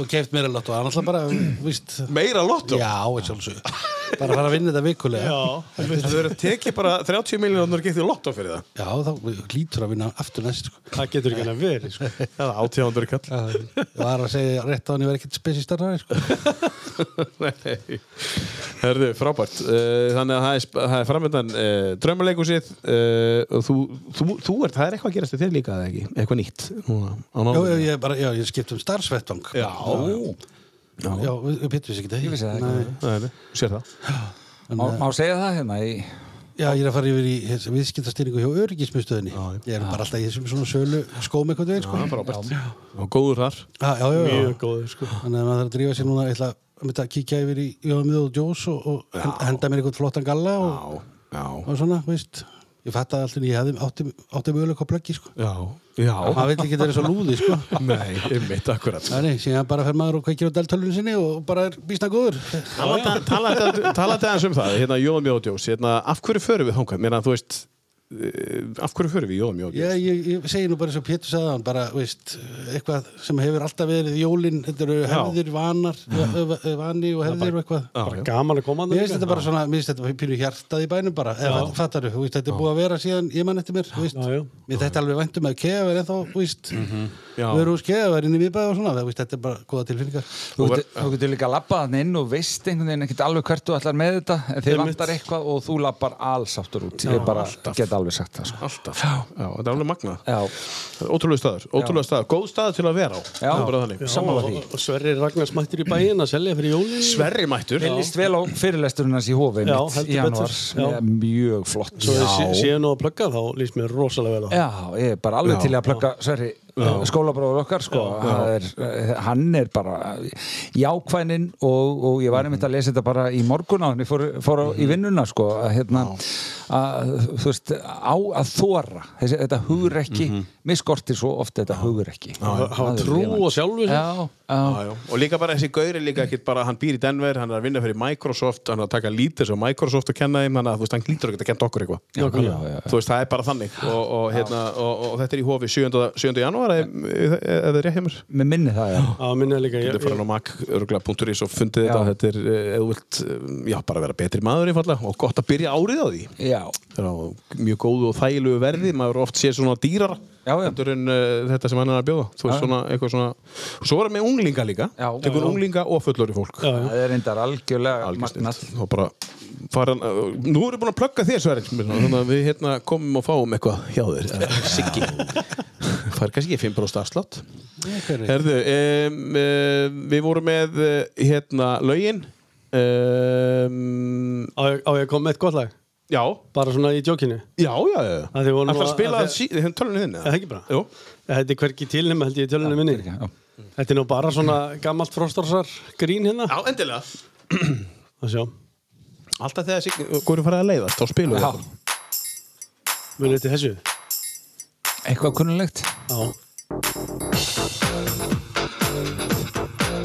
Speaker 4: og keft mér að láta og annars bara, víst
Speaker 2: Meira lotto?
Speaker 4: já, eins og alveg bara fara að vinna þetta vikulega já,
Speaker 2: Það verður að tekið bara 30 miljónur og getið lotto fyrir það
Speaker 4: þá lítur að vinna aftur næst sko.
Speaker 1: Það getur ekki að verið sko.
Speaker 2: Það er átíðandur kall
Speaker 4: ég var að segja rétt á hann ég verði ekkert spesistarnari sko.
Speaker 2: Nei. Herðu, frábært Eh, Þannig að það er, sp- það er framöndan uh, draumaleikusið uh, og þú, þú, þú ert, það er eitthvað að gerast í þér líka eða ekki, eitthvað nýtt núna, á
Speaker 4: já,
Speaker 2: mánudag.
Speaker 4: já, ég, bara, já, ég skipt um starfsvettvang já, já, við pittum sér ekki það
Speaker 3: Ég vissi það
Speaker 4: Nei. eh,
Speaker 3: ekki.
Speaker 2: Nei, nei, þú sér það
Speaker 3: Má, má segja það hérna í...
Speaker 4: Já, ég er að fara yfir í viðskiptastýringu hjá öryggismistöðinni. Ég er bara alltaf í þessum svona sölu skóm eitthvað veginn, sko.
Speaker 2: Það er frábært Og góður þar
Speaker 4: Ah, Já, já, já. já.
Speaker 1: Mjög góður sko.
Speaker 4: Þannig að maður þarf að drífa sér núna, ég ætla að mynda að kíkja yfir í Jóðamið og Jós og, og hen- henda mér einhvern flottan galla og,
Speaker 2: já,
Speaker 4: og svona, veist. Ég fatt að alltaf ég hefði átti, átti möguleika að plöggi, sko.
Speaker 2: já, já
Speaker 4: Maður vill ekki vera svo lúði, sko.
Speaker 2: Nei, einmitt, akkurat
Speaker 4: Þannig, síðan bara fer maður og kveikir á deltölunum sinni og bara er býsna góður.
Speaker 2: Talandi aðeins um það, hérna Jóðum Jóðjós hérna, Af hverju förum við þangað? Mér að þú veist eh, Af hverju förum við Jóðum
Speaker 4: Já,
Speaker 2: Jóðjós?
Speaker 4: ég, ég segi nú bara eins og Pétur sagði hann bara, veist, eitthvað sem hefur alltaf verið jólinn, þetta eru hefðir, vanar, ö- ö- ö- vani og hefðir og eitthvað.
Speaker 1: Bara gaman að koma
Speaker 4: Mér
Speaker 1: þarna
Speaker 4: finnst þetta bara svona, mér finnst þetta pínu hjartað í bænum bara, eða fattar þú, veist, þetta er búið að vera síðan ég mann eftir mér, þú veist,
Speaker 1: Já, Mhm, já.
Speaker 4: mér þetta alveg væntum að kefa er ennþá, þú veist,
Speaker 2: Já.
Speaker 4: við erum hús kefa er inn í miðbæð og svona, þú veist, þetta er bara góða tilfinningar.
Speaker 3: Þú getur- þú getur líka að labba þannig inn og veist einhvern veginn ekkert alveg hvert þú ætlar með þetta en þið vantar eitthvað og þú labbar alls aftur út ég bara get alveg sagt það sko.
Speaker 2: Alltaf, já, þetta er alveg magnað
Speaker 3: Já,
Speaker 2: Ótrúlega staður, ótrúlega staður, góð staður til að vera á
Speaker 3: já,
Speaker 2: Það er bara þannig.
Speaker 3: sammála
Speaker 1: Og-
Speaker 3: því
Speaker 1: og- og Sverri Ragnars mættir í bæinn að selja fyrir jólin
Speaker 2: Sverri mættur
Speaker 3: Mér líst vel á fyrirlesturinn hans í hófi
Speaker 1: Já,
Speaker 3: mitt
Speaker 1: heldur
Speaker 3: í januar,
Speaker 1: betur, já.
Speaker 3: Mér er mjög flott
Speaker 1: Svo þið sé- séu nú að plugga þá líst mér rosalega vel á
Speaker 3: Já, ég er bara alveg
Speaker 2: Já.
Speaker 3: til í að plugga Sverri
Speaker 4: Eh,
Speaker 3: skólabróður Eh, okkar sko, já, Er, eh, hann er bara jákvænin og, og ég var einmitt að lesa þetta bara í morgun á hann, ég fór, fór á- í vinnuna sko, að hérna að, þú veist, á að þóra þessi, þetta hugrekki, mm -hmm. misskortir svo ofta þetta hugrekki
Speaker 1: hafa trú og sjálfu sér
Speaker 3: Já, já,
Speaker 2: Já, já. Og líka bara þessi gauri líka ekkert bara, hann býr í Denver, hann er að vinna fyrir Microsoft, hann er að taka lítið sem Microsoft og kenna þeim, þannig að þú veist, hann lítur ekki að kenna okkur eitthvað.
Speaker 3: já, já, já.
Speaker 2: Þú veist, það er bara þannig og, og, hérna, og, og þetta er í hofi 7. 7. janúar, eða það er rétt hjá mér.
Speaker 3: Mér minni það, já
Speaker 1: að minna líka ég,
Speaker 2: Þetta er farin á mak.is og fundið
Speaker 3: Já.
Speaker 2: þetta, þetta er, eh, ef þú vilt, eh, já, bara vera betri maður einfallega og gott að byrja árið á því.
Speaker 3: Já,
Speaker 2: Það er á mjög góðu og þægilegu verði, maður oft sé svona dýrar
Speaker 3: Já, já.
Speaker 2: heldur en uh, þetta sem hann er að bjóða. Þú
Speaker 3: Já,
Speaker 2: veist,
Speaker 3: já.
Speaker 2: svona, eitthvað svona, svo er hann með unglinga líka,
Speaker 3: Já,
Speaker 2: tekur
Speaker 3: já.
Speaker 2: unglinga og fullori fólk.
Speaker 1: já, já.
Speaker 3: það er reyndar algjörlega
Speaker 2: Algjört.
Speaker 3: magnat
Speaker 2: og bara faran, nú erum við búin að plugga þér Sverrir þannig að við hérna komum og fáum eitthvað hjá þér eh, Siggi fær kannski ekki 5% afslátt Herðu, um, um, við vorum með eh, hérna lögin um,
Speaker 1: Á, ég- á ég að koma með eitt gott lag
Speaker 2: já,
Speaker 1: bara svona í djókinu
Speaker 2: já, já, já
Speaker 1: Að þið vorum
Speaker 2: Ætlar að
Speaker 1: að-
Speaker 2: spila
Speaker 1: að
Speaker 2: að
Speaker 1: þið-
Speaker 2: sí, hérna tölunni þinn
Speaker 1: Er það ekki bara?
Speaker 2: Jú,
Speaker 1: þetta er hverki til nema held ég í tölunum minni
Speaker 3: já.
Speaker 1: þetta er nú bara svona gammalt frostarsar grín hérna
Speaker 2: já, endilega
Speaker 1: að sjá
Speaker 2: Alltaf þegar Siggi, hverju farið að leiðast, þá spilum við
Speaker 3: Já,
Speaker 2: þetta.
Speaker 1: munið til þessu
Speaker 3: eitthvað kunnulegt
Speaker 1: já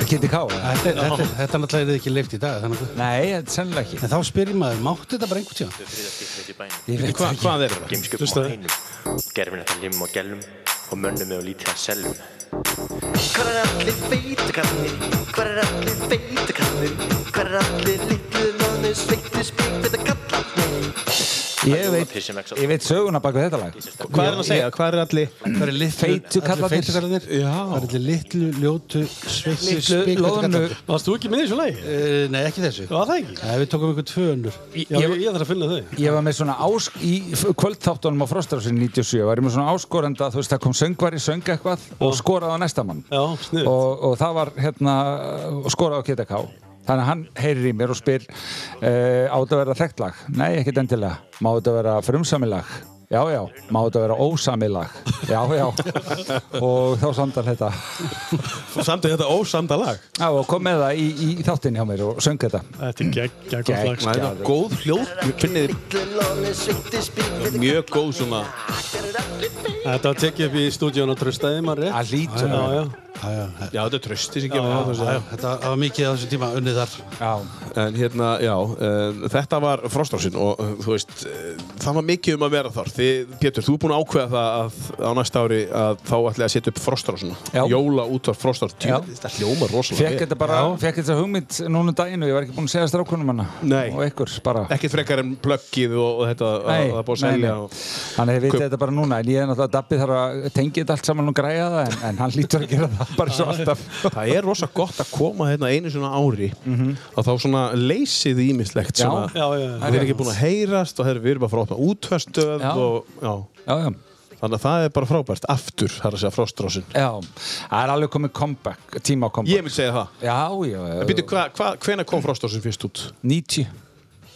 Speaker 3: Það geti ká eða?
Speaker 4: Þetta, þetta, þetta er náttúrulega ekki leift í dag þannig. að-
Speaker 3: Nei, þetta er sennilega ekki
Speaker 4: En þá spyrir maður, máttu þetta bara einhvern tíma?
Speaker 3: Ég veit
Speaker 2: Hva,
Speaker 3: það ekki
Speaker 2: Hvað er þetta?
Speaker 9: Geimskupum og heinum Gerfin þetta lim og gelum Og mönnum með og lítið að selum Hvar er allir feitu kannir? Hvar er allir feitu kannir? Hvar er allir litlu manni sveittu spíkvita kallarnir?
Speaker 3: Ég veit, ég veit söguna bak við þetta lag
Speaker 2: Hvað er hann að segja? Hvað er allir?
Speaker 4: Það eru litlu,
Speaker 3: Feitu kallarnir.
Speaker 4: kallarnir. Það eru litlu, ljótu, sveitsu,
Speaker 3: Litlu, loðnu
Speaker 1: varst þú ekki með í þessu lagi?
Speaker 2: Eh,
Speaker 4: Uh, nei, ekki þessu.
Speaker 1: var það ekki?
Speaker 4: Nei, við tókum ykkur tvö önnur.
Speaker 1: já ég, ég þarf að finna þau
Speaker 3: Ég var með svona ásk í f- kvöldþáttunum á Frostarásinu 97 var ég með svona áskorenda, þú veist, það kom söngvari, söng eitthvað og skoraði á næsta mann
Speaker 1: já snið
Speaker 3: og, og það var hérna og skoraði á KTK þannig að hann heyrir í mér og spyr uh, á þetta að vera þekkt lag? Nei, ekkert endilega má þetta vera frumsamilag? Já, já, má þetta vera ósamilag? Já, já og þá samdal þetta
Speaker 2: Samt er þetta ósamda lag
Speaker 3: Já, og kom með það í, í þáttinn hjá mér og söng þetta
Speaker 1: þetta er geggja gott lag sko.
Speaker 2: Það er góð hljóð, ég finni þið mjög góð svona
Speaker 1: Þetta var tekið upp í stúdíón og tröstaði maður rétt.
Speaker 3: Það lítur
Speaker 1: Já, já.
Speaker 4: Já, já, já,
Speaker 2: Já, þetta er trösti sem kemur að
Speaker 4: já, þetta það var mikið á þessum tíma unnið þar.
Speaker 3: já.
Speaker 2: En hérna, já, um, þetta var frostrásin og uh, þú veist, uh, það var mikið um að vera þar Þið, Pétur, þú er búin að ákveða það að á næsta ári að þá ætlaði að setja upp
Speaker 3: Já.
Speaker 2: frostrásin Jóla út af frostrásin
Speaker 3: Já.
Speaker 2: Þetta hljómar
Speaker 1: Sko,
Speaker 2: rosalega
Speaker 3: Fekk
Speaker 2: vel.
Speaker 3: þetta bara, fekk þetta hugmynd núna um daginn og ég var ekki búinn að segja strákunum hana
Speaker 2: Nei.
Speaker 3: og ykkur bara
Speaker 2: Ekkert frekar en plöggið og, og þetta að- að það er búið að selja og-
Speaker 3: Þannig að ég veit
Speaker 2: Kaup-
Speaker 3: þetta bara núna en ég er náttúrulega Dabbi þarf að tengja þetta allt saman og græja það en, en hann lítur að gera það bara svo alltaf
Speaker 2: Það er rosa gott að koma hérna einu svona ári og þá svona leysið ímislegt
Speaker 3: Mhm. Já.
Speaker 2: svona,
Speaker 1: Já, já, já.
Speaker 2: Þeir eru ekki búin að heyrast og þeir eru bara frá að opna útfærstöð
Speaker 3: Já.
Speaker 2: og já.
Speaker 3: Já, já
Speaker 2: Þannig að það er bara frábært aftur, það er að segja frostrásin
Speaker 3: Já, það er alveg komið comeback, tíma á comeback
Speaker 2: Ég vil segja það
Speaker 3: Já, já, já
Speaker 2: Býtu, hva, hva, hvena kom frostrásin fyrst út?
Speaker 3: 90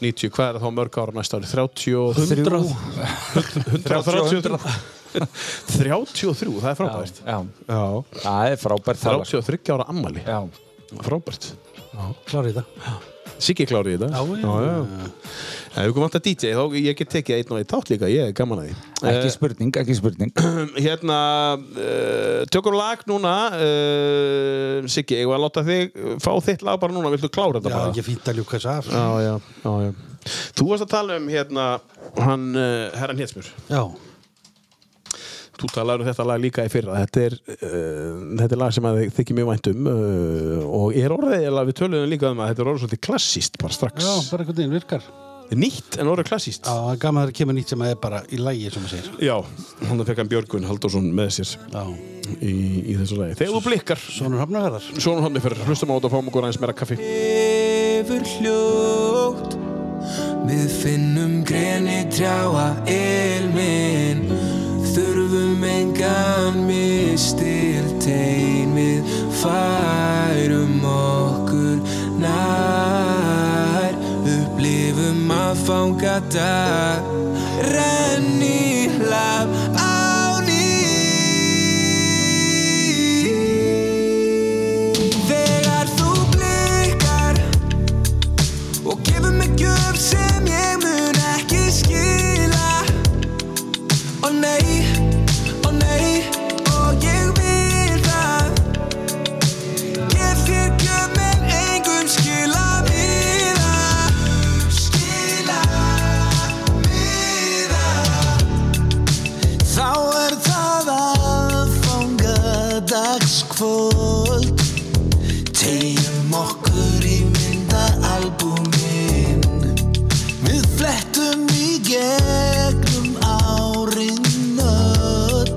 Speaker 2: 90, hvað er það þá mörg ára næsta ári? 33
Speaker 3: 100
Speaker 2: 133 33, það er frábært
Speaker 3: Já,
Speaker 2: Já.
Speaker 3: það er frábært það lag.
Speaker 2: 33 ára ammali
Speaker 3: Já,
Speaker 2: Frábært
Speaker 4: Klárið það.
Speaker 2: Siggi klári í þetta
Speaker 4: Já, já.
Speaker 2: Ef við komum alltaf DJ þá ég get tekið einn og einn tátt líka, ég er gaman að
Speaker 1: Eh.
Speaker 2: því
Speaker 3: ekki spurning, ekki spurning
Speaker 2: Hérna, uh, tökum lag núna uh, Siggi, ég var að láta þig fá þitt lag bara núna, viltu klára þetta
Speaker 4: Já,
Speaker 2: bara?
Speaker 4: ekki fínt að ljúka þessu af.
Speaker 2: Já, já, já, já Þú varst að tala um hérna hann, uh, herran Hetsmjör
Speaker 4: Já.
Speaker 2: Þú talaður um þetta lag líka í fyrra Þetta er, uh, þetta er lag sem að þið þykir mjög vænt um uh, og er orðið við töluðum líka um að þetta er orðið svolítið klassíst bara strax
Speaker 4: Já, bara einhvern veginn virkar.
Speaker 2: Nýtt en orðið klassíst
Speaker 4: Já, það er gaman að það kemur nýtt sem að er bara í lægi, sem að segja.
Speaker 2: Já, hann fekk hann Björgvin Halldórsson með sér
Speaker 4: Já.
Speaker 2: í, í þessu lagi. Þegar þú blikkar,
Speaker 4: Svonur hafnaverðar.
Speaker 2: svona hann er fyrir, hlustum á þetta og fáum okkur aðeins meira kaffi.
Speaker 5: yfir hljótt Við finnum greni trjáa ilmin Þurfum engan mistil tegin Við færum okkur nær Upplifum að fanga dag Renni hlaf á ný Lögadagskvöld Tegjum okkur í myndaalbumin Við flettum í gegnum árin öll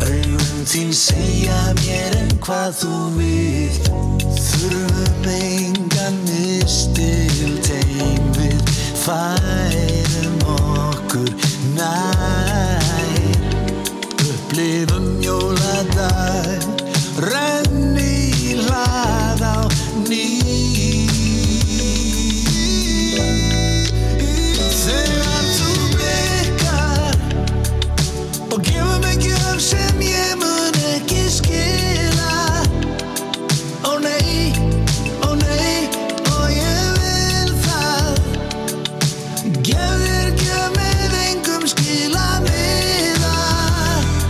Speaker 5: Augun þín segja mér en hvað þú vilt Þurfum engan mistil Tegn við færum okkur nær upplifum jóladag renni í hlað á ný þegar þú blikkar og gefur mig gjöf sem ég mun ekki skila ó nei, ó nei og ég vil það Gef þér gjöf með engum skilamiða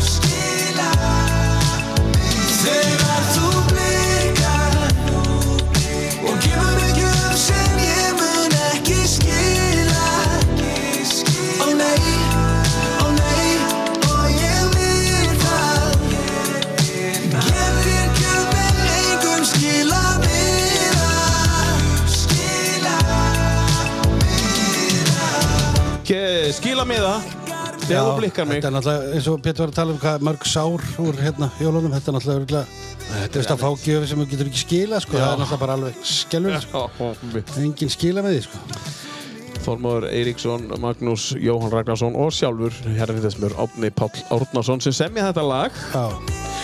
Speaker 5: Skilamiða Þegar þú blikar og gefur mig gjöf sem ég mun ekki skila Ó nei, ó nei og ég vil það Gef þér gjöf með engum skilamiða Skilamiða
Speaker 2: Ke- Eh, Skila mig það
Speaker 4: Já,
Speaker 2: Þegar þú blikkar mig
Speaker 4: Þetta er náttúrulega, eins og Pétur var að tala um hvað mörg sár úr hérna jólunum, þetta er náttúrulega örugglega- Þetta er að fá gjöfi sem þú getur ekki skila, sko, það er náttúrulega bara alveg skelvur, sko. Engin skila með því, sko.
Speaker 2: Þormóður Eiríksson, Magnús Jóhann Ragnarsson og sjálfur herrfittismur Átni Páll Árnarsson sem semja þetta lag
Speaker 4: Já,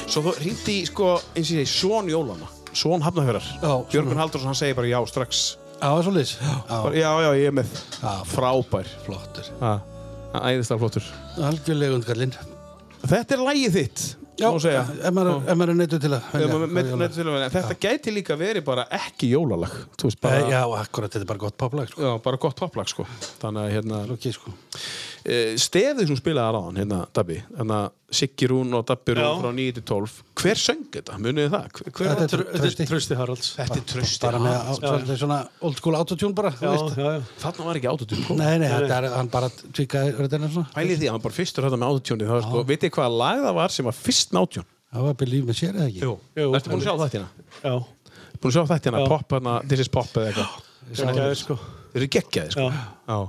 Speaker 2: Svo þú hringdi í, sko, eins og ég segi, Són Jólana Són Hafnafjörðar
Speaker 4: Já,
Speaker 2: Björgun Haldursson, hann segir bara já strax
Speaker 4: á, svo liðs. Já,
Speaker 2: bara, Já, já, ég er með
Speaker 4: Já.
Speaker 2: Frábær
Speaker 4: flottur.
Speaker 2: Æðislega flottur
Speaker 4: Algjörlega undgallinn.
Speaker 2: Þetta er lagið þitt
Speaker 4: Já,
Speaker 2: má segja.
Speaker 4: ef maður er- ef maður er neittur til að
Speaker 2: Ef
Speaker 4: velja
Speaker 2: maður
Speaker 4: hvað
Speaker 2: með-
Speaker 4: jóla-
Speaker 2: með- til að velja. Þetta gæti líka verið bara ekki jólalag Þú veist, bara,
Speaker 4: Eh, Já, akkurat, þetta er bara gott poplag, sko.
Speaker 2: já, bara gott poplag sko. Þannig að hérna,
Speaker 4: Lóki, sko.
Speaker 2: Eh, stefið sem spilaði ráðan hérna, Dabbi, hérna Siggi Rún og Dabbi Rún frá 9 til 12 hver söng þetta, munið þið það? Hver, hver,
Speaker 4: Þetta er
Speaker 1: Tr- Þetta
Speaker 4: trösti.
Speaker 1: er Trösti Haralds
Speaker 2: þetta er trösti
Speaker 4: Bara með á- svolítið svona old school autotune bara, þú
Speaker 1: Já,
Speaker 4: veist.
Speaker 1: já, já
Speaker 2: þarna var ekki autotune kom
Speaker 4: Nei, nei, þetta er, hann bara tvíkaði röddina svona.
Speaker 2: pælið því, hann var bara fyrstur hérna með autotune það var sko, veit ég hvaða lag það var sem var fyrst með autotune
Speaker 4: Það var Believe með sér eða ekki?
Speaker 1: Jú.
Speaker 2: ertu búin að sjá þættina?
Speaker 1: Já,
Speaker 2: búin að sjá þættina,
Speaker 1: Já.
Speaker 2: pop hérna, this is pop eða eitthvað
Speaker 1: það er sko
Speaker 2: þeir eru geggjaði sko
Speaker 1: Já,
Speaker 2: Já.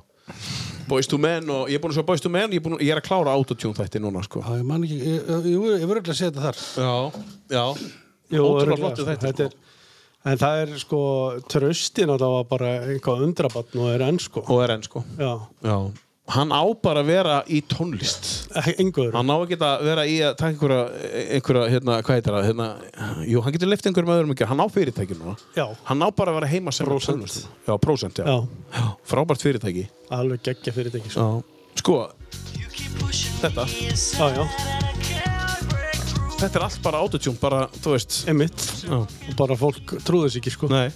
Speaker 2: Boys to Men og ég er búin að sjá Boys to Men ég er, búin, ég er að klára autotune þætti núna sko
Speaker 4: Já, ég man ekki, ég- ég- jú, ég verður ekki að segja þetta þar.
Speaker 2: já, já
Speaker 1: Jú,
Speaker 2: ótrúlega
Speaker 1: örugglega,
Speaker 2: flottur
Speaker 1: sko,
Speaker 2: þættir
Speaker 1: þetta
Speaker 2: sko.
Speaker 1: er En það er sko, tröstin að það var bara einhvað undrabann og er enn sko
Speaker 2: og er enn sko
Speaker 1: Já,
Speaker 2: Já. Hann á bara að vera í tónlist.
Speaker 1: engur
Speaker 2: Hann á ekki að vera í að taka einhverja, einhverja hérna, hvað heitir það, hérna, jú, hann getur leift einhverjum öðrum ekki, hann á fyrirtæki núna.
Speaker 1: Já,
Speaker 2: Hann á bara að vera heima sem
Speaker 1: Prósent.
Speaker 2: tónlist. Já, prósent, já.
Speaker 1: já,
Speaker 2: já. Frábært fyrirtæki.
Speaker 1: alveg geggja fyrir þetta ekki sko
Speaker 2: Já. Sko, þetta,
Speaker 1: Já, já,
Speaker 2: þetta er allt bara autotune, bara, þú veist.
Speaker 1: einmitt
Speaker 2: Já.
Speaker 1: Og bara fólk trúður sér ekki sko
Speaker 2: Nei.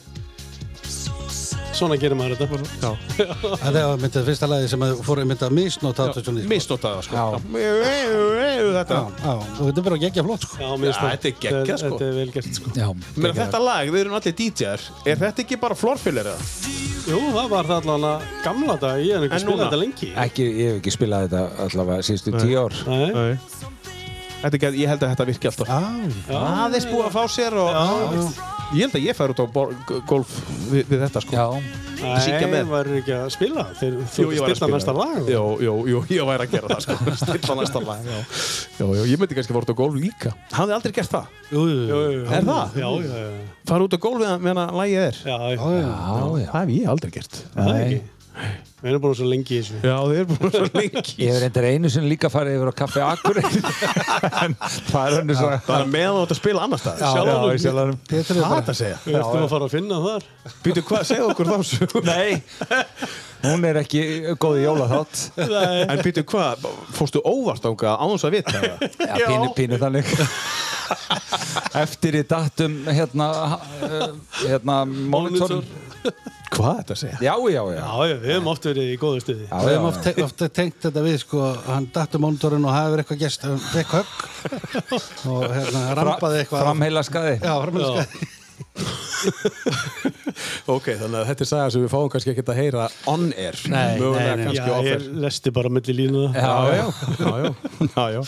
Speaker 1: Svona gerir maður þetta
Speaker 2: Já.
Speaker 4: Það var myndið fyrsta lagi sem að fóru myndið að misnóta autotune. í, sko.
Speaker 2: Misnotaða, sko.
Speaker 3: Já.
Speaker 2: Já. Þetta.
Speaker 4: Já, já, og þetta er bara geggjað flott, sko.
Speaker 1: Já, mér
Speaker 2: Já,
Speaker 1: sko.
Speaker 2: þetta er geggjað,
Speaker 1: Þetta-
Speaker 2: sko.
Speaker 1: Þetta er vel gert sko
Speaker 3: Já,
Speaker 2: Ég Meina, þetta lag, við erum allir DJ-ar, er þetta ekki bara florfiller eða?
Speaker 1: Jú, það var það allan gamla dag Ég er ekki
Speaker 2: En
Speaker 1: spilað
Speaker 2: núna?
Speaker 1: þetta lengi
Speaker 3: ekki, ég hef ekki spilað þetta allavega síðustu tíu ár
Speaker 1: Nei,
Speaker 2: Nei. Þetta, get- ég held að þetta virki alltaf.
Speaker 4: Já,
Speaker 1: Ah.
Speaker 2: aðeins búið að fá sér og ég held að ég fær út á bor- g- golf við, við þetta sko
Speaker 3: Já,
Speaker 2: syngja
Speaker 1: nei,
Speaker 2: með.
Speaker 1: var ekki að spila Þeir, Þú
Speaker 2: Jú, ég var að
Speaker 1: stilla
Speaker 2: spila
Speaker 1: næsta
Speaker 2: það.
Speaker 1: lag
Speaker 2: Jú, jú, jú, ég væri að gera það sko Stilla næsta lag Já, já, já ég myndi kannski fara út á golf líka Hafði aldrei gert það
Speaker 4: jú, jú, jú.
Speaker 2: Er það?
Speaker 1: Já, já, já,
Speaker 2: Fara út á golf meðan- meðan að lagið er
Speaker 1: já,
Speaker 4: Já,
Speaker 1: já.
Speaker 4: já.
Speaker 3: já, já
Speaker 2: Það hef ég aldrei gert
Speaker 1: Það er ekki Við erum búin svo lengi í þessu
Speaker 2: Já, þið er búin svo lengi
Speaker 3: Ég hef reyndar einu sem líka farið yfir á kaffi Akurey en það er henni svo
Speaker 2: Það er meðan þú átt að spila annar stað
Speaker 3: Já, í sjálfanum
Speaker 4: Pétur er
Speaker 2: Hvað er
Speaker 4: bara,
Speaker 2: þetta að segja?
Speaker 1: Við ertum að fara að finna þar
Speaker 2: Býtu, hvað segja okkur þá svo? Nei
Speaker 3: Hún er ekki góð í jólaþátt
Speaker 2: En býtu, hvað, fórstu óvart ánga án þess að vita það?
Speaker 3: Já, pínu, pínu þannig Eftir í datum hérna eh, hérna monitor
Speaker 2: Hvað er þetta að segja?
Speaker 3: Já, já, já
Speaker 1: Já, já, við hefum oft verið í góðu stuði
Speaker 3: Já, já,
Speaker 4: við hefum oft, te oft tengt þetta við, sko, hann dattu mónitorinn og hafði verið eitthvað gest, hann fekk högg og hérna, rampaði eitthvað.
Speaker 3: Framheila skaði
Speaker 4: Já, framheilaskaði.
Speaker 2: Ok, þannig að þetta er saga sem við fáum kannski ekkert að heyra on air
Speaker 4: Nei,
Speaker 2: Mögulega
Speaker 4: nei, nei.
Speaker 1: Já,
Speaker 2: kannski off air
Speaker 1: ég lesti bara milli línu
Speaker 3: Já, já
Speaker 2: já, já, já.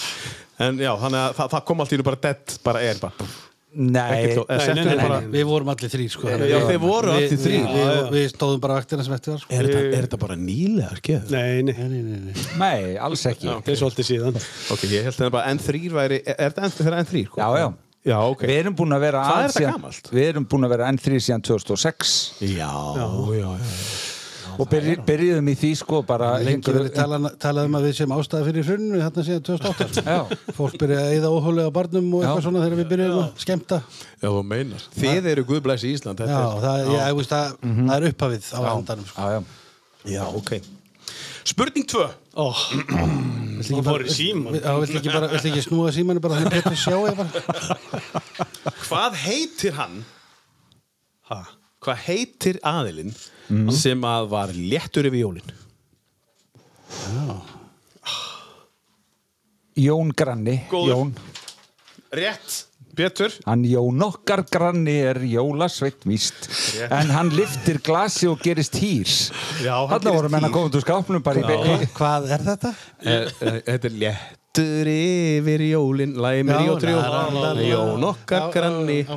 Speaker 2: en já, þannig að það, það kom allt í nú bara dead, bara er bara
Speaker 3: Nei,
Speaker 2: Ekkert þó- eða
Speaker 1: nei,
Speaker 2: settu þau
Speaker 1: nei, nei,
Speaker 2: bara-
Speaker 1: nei.
Speaker 4: Við vorum allir þrýr sko.
Speaker 2: Já, þeir voru
Speaker 4: Við-
Speaker 2: allir þrír.
Speaker 4: Við, við, við stóðum bara vaktina sem eftir var sko.
Speaker 2: Er þetta- er þetta bara nýlega, ekki?
Speaker 1: Nei, nei,
Speaker 4: Nei, nei, nei, nei.
Speaker 3: nei, alls ekki
Speaker 1: það er svolítið síðan
Speaker 2: Ok, ég held þetta bara N3 væri, er er þetta N- þeirra N3? sko?
Speaker 3: Já, já
Speaker 2: Já, ok.
Speaker 3: Við erum búin að vera
Speaker 2: Hvað er
Speaker 3: aðeins
Speaker 2: þetta
Speaker 3: síðan-
Speaker 2: gamalt?
Speaker 3: Við erum búin að vera N3 síðan 2006
Speaker 2: Já, já, já.
Speaker 3: og byrj, byrjuðum í því sko bara
Speaker 4: Lengi
Speaker 3: einhverju-
Speaker 4: verið talað tala um að við séum ástæði fyrir hrunnu hérna síðan 2008 sko.
Speaker 3: Já.
Speaker 4: Fólk byrjaði að eyða óhólega barnum og eitthvað
Speaker 3: Já.
Speaker 4: svona þegar við byrjuðum að skemmta
Speaker 2: Já, þú meinar. Þið eru Guðblæs í Ísland, þetta
Speaker 4: Já,
Speaker 2: er...
Speaker 4: það, já. Ég, veist, það, það er upphafið á handanum sko.
Speaker 3: Mhm. Já, já
Speaker 2: Já, ok. Spurning 2.
Speaker 1: Ó, það Mm. fór í síman
Speaker 4: Já, viltu ekki, bara- viltu ekki snúa símanu bara þannig að Pétur sjá ég bara
Speaker 2: Hvað heitir hann? Ha? Hvað heitir aðilinn sem að var léttur yfir jólinn?
Speaker 3: Jón Granni
Speaker 2: Góður.
Speaker 3: Jón
Speaker 2: Rétt. Betur.
Speaker 3: Hann Jón okkar granni er jólasveitt víst en hann liftir glasi og gerist hýrs
Speaker 2: Já, hann
Speaker 3: Þarna
Speaker 2: gerist
Speaker 3: voru menn
Speaker 2: hýr.
Speaker 3: að koma út úr skápnum bara í byrju
Speaker 4: Hvað er þetta?
Speaker 2: Eh, Þetta er léttur yfir jólinn, læg með
Speaker 4: Já,
Speaker 2: í og trjó.
Speaker 4: la, la, la, la.
Speaker 2: Jón okkar
Speaker 4: Já,
Speaker 2: granni.
Speaker 4: já,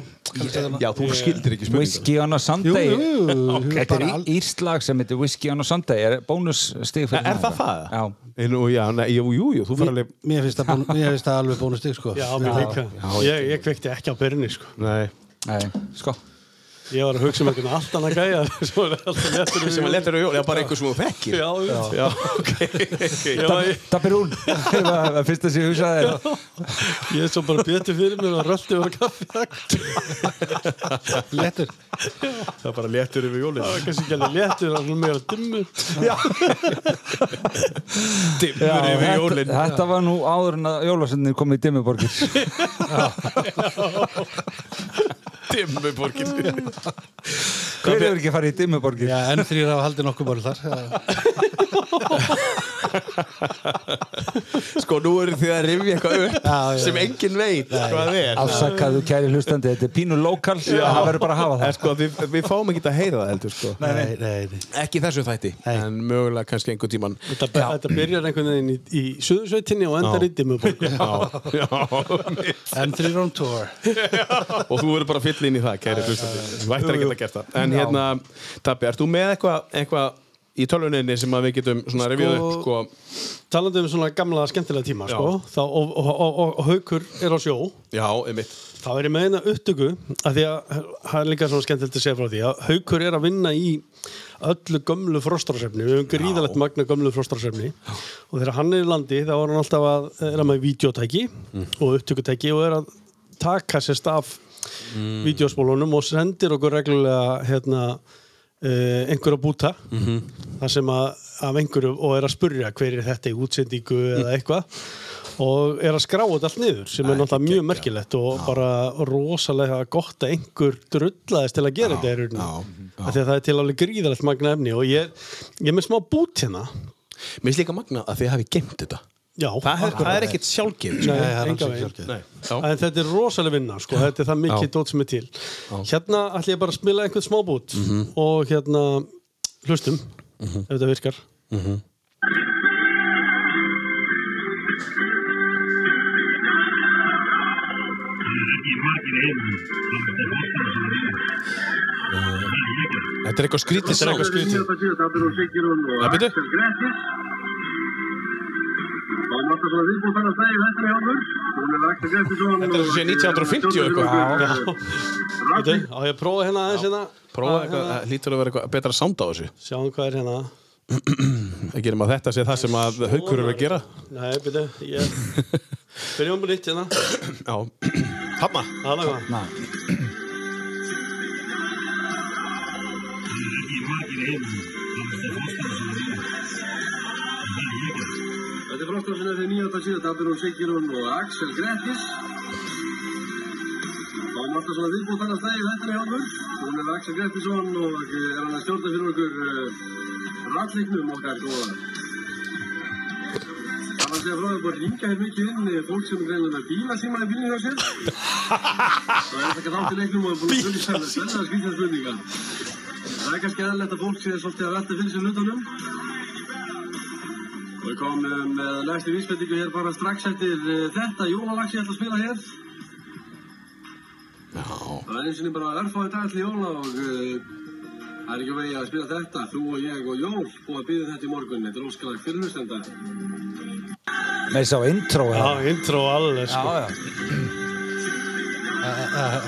Speaker 2: Já, þú skildir ekki spurninga.
Speaker 3: Whisky on a Sunday
Speaker 4: Jú, jú, jú, jú,
Speaker 3: Þetta er
Speaker 4: bara al-
Speaker 3: írslag sem heitir Whisky on a Sunday er bónusstig fyrir
Speaker 2: Er það það?
Speaker 3: Já,
Speaker 2: En, og já, nei, jú, jú, jú, þú fara alveg...
Speaker 4: Mér finnst það bón- mér finnst það alveg bónustig sko.
Speaker 1: Já, mér líka Ég, ég kveikti ekki á byrjunni, sko
Speaker 2: Nei.
Speaker 3: nei, sko
Speaker 1: Ég var að hugsa um einhvern allt annað gæja Svo er alltaf léttur
Speaker 2: sem að letur á jól, já bara einhver sem þú þekkir
Speaker 1: Já, já,
Speaker 2: já ok, okay.
Speaker 1: já ég,
Speaker 3: Dabirún, það var það fyrsta sem ég hugsaði
Speaker 1: ég er svo bara betur fyrir mér að röldi yfir að kaffi Það
Speaker 4: Lettur
Speaker 2: það er bara léttur yfir jólin
Speaker 1: var kannski ekki alveg léttur, það var meira dimmur
Speaker 2: dimmur
Speaker 3: Já,
Speaker 2: yfir
Speaker 3: þetta,
Speaker 2: jólin
Speaker 3: þetta var nú áður en að jólasendin kom í Dimmuborgir
Speaker 2: dimmur borgin
Speaker 3: Hver hefur ekki farið í Dimmuborgir?
Speaker 4: Já, N3 hafa haldið nokkuð mál þar Já,
Speaker 2: sko nú eru þið að rifja eitthvað upp
Speaker 4: Já, já.
Speaker 2: sem enginn veit hvað er
Speaker 3: Afsakaðu kæri hlustandi, þetta er pínu lokal það verður bara að hafa
Speaker 2: en
Speaker 3: það
Speaker 2: sko við, við fáum ekki að heyra það heldur sko
Speaker 4: nei, nei, nei.
Speaker 2: ekki í þessu þætti en mögulega kannski einhvern tíman
Speaker 1: Þetta, þetta byrjar einhvern veginn í, í suðursveitinni og endar
Speaker 2: Já.
Speaker 1: í dimmuborg
Speaker 2: já, já
Speaker 4: N3 on tour
Speaker 2: og þú verður bara að fylla inn í það, kæri hlustandi þú vættir ekki að gera það en hérna, Dabbi, ert þú með eitthvað eitthva í tölvuninni sem að við getum svona revjöð upp sko,
Speaker 1: Talandi um svona gamla skemmtilega tíma
Speaker 2: Já.
Speaker 1: sko, þá, og, og, og, og, og haukur er á sjó
Speaker 2: já, einmitt
Speaker 1: þá er ég með eina upptöku af því að það er líka svona skemmtilegt að segja frá því að haukur er að vinna í öllu gömlu frostrarsefni við höfum gríðalegt magna gömlu frostrarsefni og þegar hann er í landi þá er hann alltaf að er hann með videotæki og upptökutæki og er að taka sér staf mm. videospólunum og sendir okkur reglulega hérna Uh, einhverja búta þar sem að af einhverju og er að spurja hver er þetta í útsendingu eða eitthvað og er að skrá þetta allt niður sem er náttúrulega mjög merkilegt og bara rosalega gott að einhver drullaðist til að gera þetta í rauninni af því að það er til alveg gríðalegt magna efni og ég, ég er með smá bút hérna
Speaker 2: Mér finnst líka magna að þið hafi gemt þetta
Speaker 1: Já,
Speaker 2: Það er, það er ekkit sjálfgefið sko.
Speaker 1: Nei,
Speaker 4: Nei, það er alls
Speaker 1: engan
Speaker 4: ekki
Speaker 1: veginn.
Speaker 4: sjálfgefið.
Speaker 2: Nei.
Speaker 1: En þetta er rosalega vinna, sko, þetta er það mikið dót sem er til. Hérna ætlum ég bara að spila einhvern smábút
Speaker 2: Mhm.
Speaker 1: og hérna hlustum, ef þetta virkar.
Speaker 2: Mhm. Þetta er eitthvað skrítið
Speaker 1: Þetta er eitthvað skrítið.
Speaker 2: Það byrju Þetta er svo sé 1950 og eitthvað
Speaker 1: Þetta, á ég að prófa hérna aðeins hérna.
Speaker 2: Prófa
Speaker 1: Að,
Speaker 2: eitthvað,
Speaker 1: hérna,
Speaker 2: það hlýtur að vera eitthvað betra sound á þessu
Speaker 1: Sjáum hvað er hérna.
Speaker 2: Það gerum að þetta sé það sem að haukur eru að gera
Speaker 1: Nei, byrju, ég... Byrjum bara nýtt hérna.
Speaker 2: Já, hafna
Speaker 1: Hala hvað.
Speaker 10: Þetta er Frostarsson FM 97, Dabirún Sigurún og Axel Grettis. Þá er Martarsson að viðbúið þannast dagi, þetta er hjá okkur. Hún er Axel Grettisson og eh, er hann að stjórna fyrir okkur uh, ratleiknum okkar góða. Það var að segja frá því að búið að ringja hér mikið inn eh, fólk sem er greinlega með bílasíma í bílinu hjá sér. Það er þetta ekki þátt í leiknum og er búin að spyrja sér að spyrja að skrýta spurninga. Það er kannski aðalegt að fólk sé svolítið að velta fyrir sér hlutunum. Og Við komum með næstu vísbendingu hér bara strax eftir eh, þetta jólalag sem ég ætla að spila hér. Já. Það er eins og niður bara örfáði dag til jóla og eh, það er ekki vegið að spila þetta. Þú og ég og Jól búið að býða þetta í morgun. Þetta er óskalag fyrirlustenda.
Speaker 3: Með þess að á intro
Speaker 1: Já, intro alveg sko.
Speaker 3: já, já.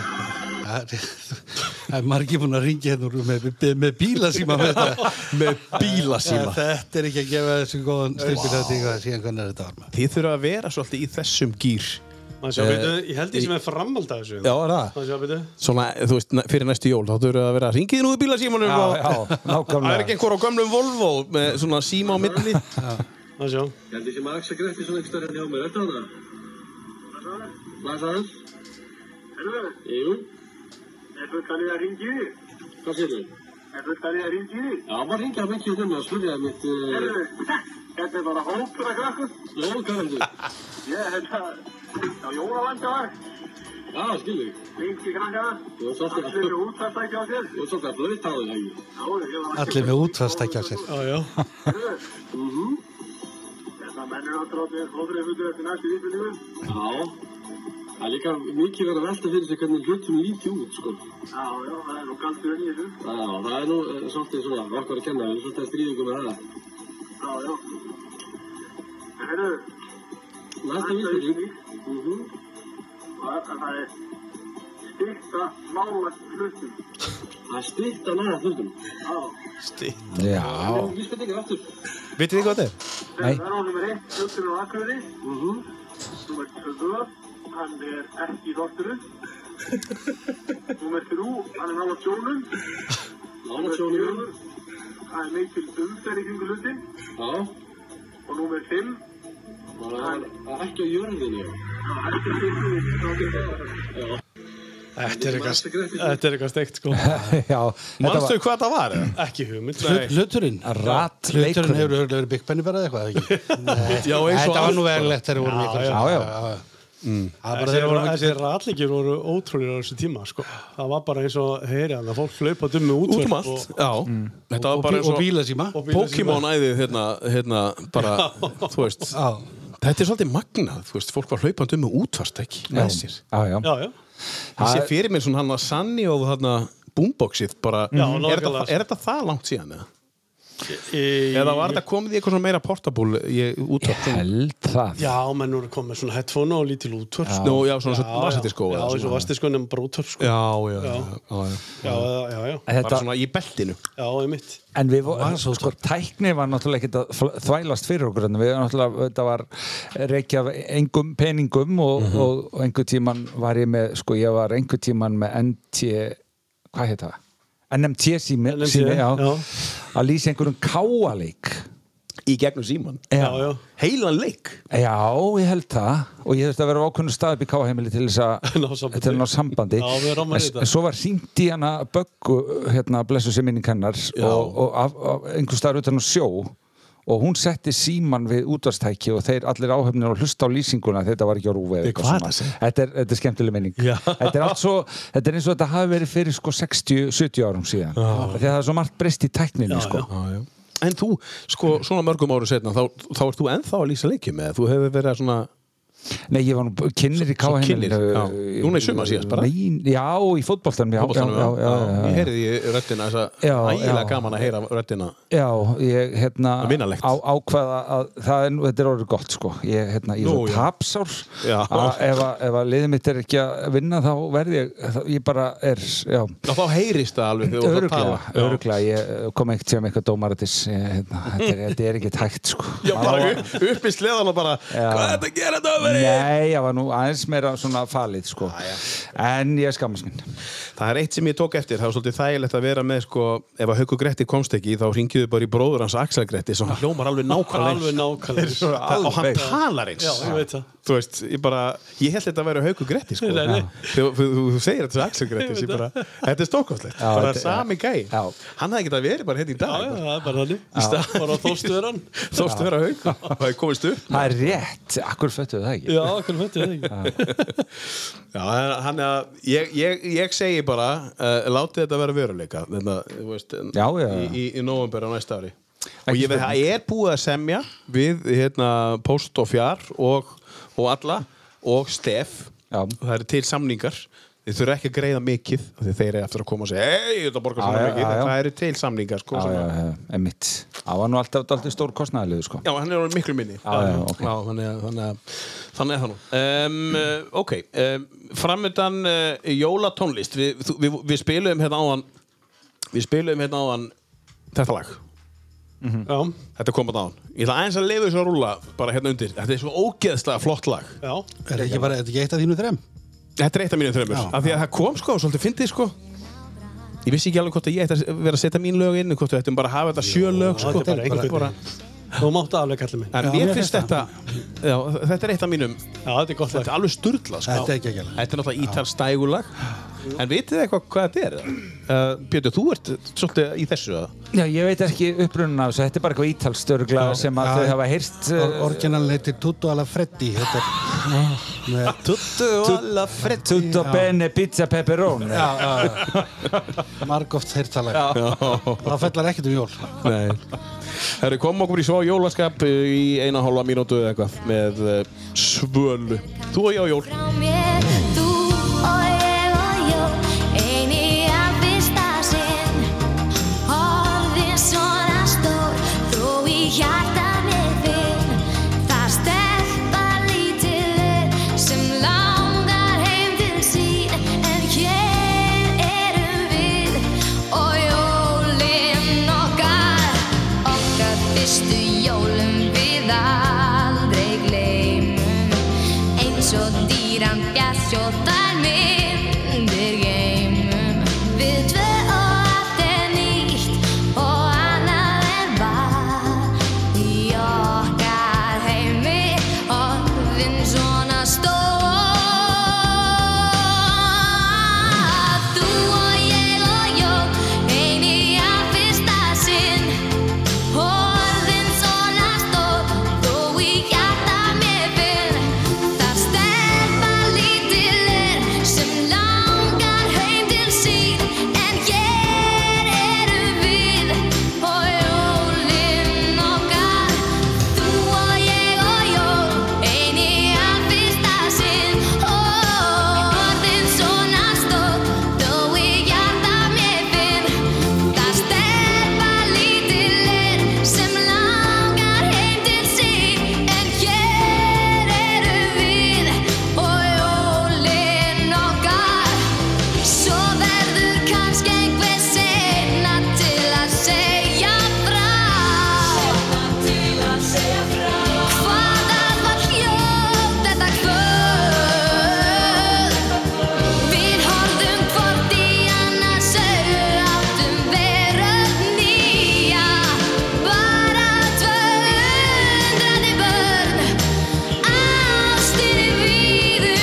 Speaker 4: Það er- það er margir búin að ringja hérna úr með, með, með bílasíma með þetta.
Speaker 2: Með bílasíma.
Speaker 4: Þetta er ekki að gefa þessu góðan styrkir wow. þetta eitthvað síðan hvernig er þetta var maður.
Speaker 2: Þið þurfa að vera svolítið í þessum gýr.
Speaker 1: Maður sjá, byrju, Ég held ég sem er framald af þessu
Speaker 2: Eh, Já, er það?
Speaker 1: Maður sjá, byrju.
Speaker 2: Svona, þú veist, næ- fyrir næstu jól, þá þurfa að vera ringið nú í bílasímanum
Speaker 3: Já,
Speaker 2: og...
Speaker 3: já, nákvæmlega.
Speaker 2: Það er ekki einhver á gömlum Volvo með svona síma á milli.
Speaker 1: Maður sjá.
Speaker 10: Ég held ég sem að Axel Grettisson ekki stöður hérna hjá mér. Þetta hana? Blæsaður? Herðu? Jú.
Speaker 11: Er fullt að liða ringi í því?
Speaker 10: Hvað sér þau?
Speaker 11: Er fullt að liða ringi í því?
Speaker 10: Já, maður ringja mikið um það, spurja mitt... Uh,
Speaker 11: Heyrðu, Þetta er bara hópur að krakkur.
Speaker 10: Jó, hvað heldur?
Speaker 11: sko? Ég held að á jólavandi var,
Speaker 10: Já, skilur ég.
Speaker 11: ringi krakkar,
Speaker 10: Þú er svolítið
Speaker 11: allir eru útastækja á þér.
Speaker 10: Þú er svolítið að flauta á þig, Helgi.
Speaker 11: Já, ég hérna. var ekki-
Speaker 4: Allir með útfast ekki á sér.
Speaker 1: Já, já.
Speaker 11: Heyrðu,
Speaker 10: Mhm.
Speaker 11: Þessar Hérna, menn eru náttúrulega hlóðrið hundur eftir næstu vísbendingum.
Speaker 10: Já. Það er líka mikið verið að velta fyrir sig hvernig hlutum líti út, sko.
Speaker 11: Já, já, það er nú galdur enn í þessu.
Speaker 10: Já, það er nú eh, svolítið svona, okkar að kenna, við erum svolítið að stríðingum með það.
Speaker 11: Já, já. Herru,
Speaker 10: Næsta vísbending. Mhm.
Speaker 11: það er styrta nálægt hlutum.
Speaker 10: Það er stýtt að næra hlutum.
Speaker 11: Já,
Speaker 3: Já,
Speaker 10: Vísbendinga aftur.
Speaker 2: Vitið þið hvað þetta er?
Speaker 3: Nei.
Speaker 11: það er á nummer 1, hlutum á Akureyri.
Speaker 10: Mhm.
Speaker 11: Númer 2, hann er ekki í þortinu. Númer 3, hann er nála sjónum.
Speaker 10: Nála sjónum.
Speaker 11: hann er mikil umferð í kringu hlutin.
Speaker 10: Já.
Speaker 11: Og númer 5,
Speaker 10: Það er- það er ekki á jörðinni.
Speaker 11: hann er ekki í þortinu.
Speaker 1: Þetta er eitthvað- þetta er eitthvað steikt sko
Speaker 3: já þetta
Speaker 2: Manstu hvað þetta var? eða?
Speaker 1: Ekki hugmynd
Speaker 4: Hlut- Hluturinn?
Speaker 3: Ratleikurinn.
Speaker 4: Hluturinn hefur örugglega verið Big Benny bara eða eitthvað, eða ekki?
Speaker 2: Já, eins og
Speaker 4: Þetta var
Speaker 2: alls.
Speaker 4: nú verðilegt þegar við vorum ykkur.
Speaker 3: já, já. Mm.
Speaker 4: Það bara þegar við vorum
Speaker 1: Þessi ratleikir voru ótrúlega á þessu tíma sko. Það var bara eins og heyri hann að fólk hlaupa dummi út
Speaker 2: Út um allt, já. Þetta var
Speaker 4: og,
Speaker 2: bara
Speaker 4: bí-
Speaker 2: eins
Speaker 4: og
Speaker 2: og
Speaker 4: bílasíma.
Speaker 1: og bílasíma.
Speaker 2: Pokémon-æðið hérna, hérna, bara, þú veist.
Speaker 4: Já.
Speaker 2: Þetta er svolítið magnað, þú veist, fólk var hlaupandi um með útvast ekki, með sér.
Speaker 3: Já, já.
Speaker 1: Já, já
Speaker 2: Ég sé
Speaker 3: Það-
Speaker 2: fyrir mér svona hann að Sanni og hann að boomboxið bara,
Speaker 1: Já,
Speaker 2: er, þetta,
Speaker 1: nákvæmlega.
Speaker 2: er þetta það langt síðan eða?
Speaker 1: e,
Speaker 2: Eða var þetta komið í eitthvað svona meira portable í útvart?
Speaker 3: Held það
Speaker 1: Já, menn voru komið með svona headphone og lítil útvörf sko.
Speaker 2: Nú, já, svona svona vasetti sko.
Speaker 1: Já, eins og vastiskó nefnum bara útvörf sko.
Speaker 2: Já, já, já, já, já.
Speaker 1: Já, já, já, já,
Speaker 3: En
Speaker 2: Bara
Speaker 3: Þetta,
Speaker 2: svona í beltinu.
Speaker 1: já, ég mitt
Speaker 3: en við vorum, sko, tækni var náttúrulega ekkert að fl- þvælast fyrir okkur en við varum náttúrulega, þetta var reykja af engum peningum og, og, og einhver tíman var ég með, sko, ég var einhver tíman með NT, hvað heit það? NMT sími,
Speaker 1: NMT,
Speaker 3: sími já,
Speaker 1: já.
Speaker 3: að lýsa einhverjum káaleik
Speaker 2: Í gegnum síman.
Speaker 1: Já, já,
Speaker 2: Heilan leik.
Speaker 3: Já, ég held það og ég þurfti að vera á ákveðnum stað upp í káheimili til þess að
Speaker 1: Ná sambandi.
Speaker 3: til að ná sambandi
Speaker 1: Já, við erum að
Speaker 3: En
Speaker 1: reyta.
Speaker 3: s- svo var hringt í hana Böggu, hérna, blessu sem minni kennar og, og af, af, einhver staðar utan á sjó og hún setti síman við útvarstæki og þeir allir áhefnir að hlusta á lýsinguna þetta var ekki á rúfi eða eitthvað
Speaker 2: hvað
Speaker 3: svona.
Speaker 2: er það að segja?
Speaker 3: þetta, er, þetta er skemmtileg minning þetta er, allt svo, þetta er eins og þetta hafi verið fyrir sko 60-70 árum síðan Af því að það er svo margt breyst í tækninni sko.
Speaker 2: En þú, sko, svona mörgum árum setna, þá, þá ert þú ennþá að lýsa leikjum eða þú hefur verið að svona...
Speaker 3: Nei, ég var nú kynir í
Speaker 2: Svo- svo
Speaker 3: káheimilinu
Speaker 2: kynnir, já. Núna í sumar síðast bara?
Speaker 3: eh, Nei, Já, í fótboltanum, já,
Speaker 2: fótboltanum,
Speaker 3: já, já, já, já,
Speaker 2: Ég heyrði í röddina þess að
Speaker 3: Já,
Speaker 2: ægilega
Speaker 3: já.
Speaker 2: gaman að heyra röddina.
Speaker 3: Já, ég hérna
Speaker 2: Það er vinalegt.
Speaker 3: á, ákvaða að það er, nú- þetta er orðið gott sko ég, hérna, ég er
Speaker 2: Nú,
Speaker 3: svo
Speaker 2: já.
Speaker 3: tapsár
Speaker 2: Já.
Speaker 3: að ef, að- ef að liðið mitt er ekki að vinna þá verð ég, þá, ég bara er já,
Speaker 2: Já, þá heyrist það alveg þegar þú ert að
Speaker 3: öruglega,
Speaker 2: tala.
Speaker 3: öruglega ég eh, kom ekkert sem eitthvað dómaratis ég, hérna, þetta, er, þetta er ekki tækt sko
Speaker 2: Já, bara
Speaker 3: Á-
Speaker 2: upp- upp í sleðan og bara,
Speaker 3: Já.
Speaker 2: hvað er þetta að gera döfari?
Speaker 3: Nei, ég var nú aðeins meira svona falið sko en ég skammast mín
Speaker 2: Það er eitt sem ég tók eftir, það var svolítið þægilegt að vera með, sko, ef að Hauku Gretti komst ekki, þá ringiðu bara í bróður hans Axel Gretti, sem hann hljómar alveg nákvæmlega. eins.
Speaker 1: Alveg nákvæmlega eins.
Speaker 2: Þeir eru Og hann
Speaker 3: alveg.
Speaker 2: talar eins.
Speaker 1: Já, ég veit það.
Speaker 2: Þú veist, ég bara, ég held þetta að vera Hauku Gretti, sko.
Speaker 1: Nei, nei.
Speaker 2: Þú, þú, þú, þú segir þetta sem Axel Gretti, ég bara, þetta er stókvæmslegt.
Speaker 3: Já,
Speaker 2: Bara
Speaker 3: þetta-
Speaker 2: sami gæi.
Speaker 3: Já.
Speaker 2: Hann hafði getað verið bara hérna í
Speaker 1: Já, já,
Speaker 2: dag.
Speaker 1: það er bara hann Í stað bara þóstuðurann
Speaker 2: Þóstu vera Hauku, það er komist upp.
Speaker 3: Það er rétt, akkur föttuðu það ekki
Speaker 1: Já, hvernig veit ég það ekki
Speaker 2: Já, hann er að, ég, ég, ég segi eh, bara, uh, látið þetta vera veruleika, þetta, þú veist,
Speaker 3: Já, já.
Speaker 2: í, í, í november á næsta ári. og ég veit að það er búið að semja við hérna, Post og Fjar og, og alla og Stef Já. og það eru til samningar þeir þurfa ekki að greiða mikið af því þeir eru eftir að koma og segja hei, þetta borgar svona
Speaker 3: Já, já, já,
Speaker 2: mikið, En
Speaker 3: já.
Speaker 2: það eru til samningar sko,
Speaker 3: Já,
Speaker 2: sem
Speaker 3: já,
Speaker 2: að-
Speaker 3: já, emitt. Það var nú alltaf, alltaf stór kostnæðalegu, sko.
Speaker 2: Já, hann er orðin miklu minni
Speaker 3: Já, já, ok.
Speaker 2: þannig, að, þannig, að, þannig er það nú um, uh, Ok, um, framöndan uh, jólatónlist við, þú- við, við spilum hérna áðan Við spilum hérna áðan Þetta lag
Speaker 1: Já,
Speaker 2: Þetta kom að án Ég ætla aðeins að lifa þessu að rúla bara hérna undir Þetta er svo ógeðslega flott lag
Speaker 1: já
Speaker 4: Er þetta ekki bara, er þetta ekki eitt af þínu þrem?
Speaker 2: Þetta er eitt af mínum þreymur
Speaker 4: Já.
Speaker 2: Af því að það kom sko, svolítið fyndið sko Ég vissi ekki alveg hvort að ég ætti að vera að setja mín lög inn hvort við ættum bara að hafa þetta sjö lög sko.
Speaker 1: þetta er bara einhvern
Speaker 2: bara,
Speaker 1: Þú mátt alveg kallið minn
Speaker 2: En
Speaker 4: Já,
Speaker 2: mér
Speaker 4: mér finnst
Speaker 2: finnst þetta já, Þetta er eitt af mínum
Speaker 1: Já, þetta er gott lag
Speaker 2: Þetta er alveg sturla sko.
Speaker 4: Þetta er ekki ekki alveg.
Speaker 2: Þetta er náttúrulega ítalstægulag En vitið þið eitthvað hvað þetta er? Uh, Björn, þú ert svolítið í þessu eða?
Speaker 3: Já, ég veit ekki upprunna af þessu. Þetta er bara eitthvað ítalstörgla sem að
Speaker 4: Já.
Speaker 3: þau hafa heyrt. eh,
Speaker 4: Or Orginal heitir Tutto alla Freddy Þetta er með,
Speaker 2: Tuttu alla frett
Speaker 3: Tutto bene pizza pepperoni.
Speaker 4: já, já, já. Margoft heyrtalag Það fellar ekkert um jól
Speaker 2: Nei Herru, komum okkur í svá jólaskap uh, í eina og hálfa mínútu eða eitthvað með uh, svölu Þú og ég á jól
Speaker 12: frá mér Þú og ég og jól Ein í að fyrsta sinn Orðin svona stór Þú í hjartan er finn Það steppa lítið upp Sem langar heim til sín En hér erum við Og jólin okkar Okkar fyrstu jólum við aldrei gleymum eins og dýran bjartjóttar myndir geimum Við tvö og allt er nýtt og annað en var Í okkar heimi orðin svona stór Þú og ég og jól eini að fyrsta sinn Orðin svona stór þó í hjarta mér fyrr Það stelpa lítil er sem langar heim til sín En hér erum við og jólinn okkar Þú og ég og jól eini að fyrsta sinn Oh, Orðin svona stór þó í hjarta mér fyrr Það stelpa lítil er sem langar heim til sín En hér erum við og jólinn okkar Svo verður kannski einhver seinna til að segja frá Hvað það var hljótt þetta kvöld Við horfðum hvort í annars augu áttum veröld nýja Bara tvö undrandi börn Ástir við um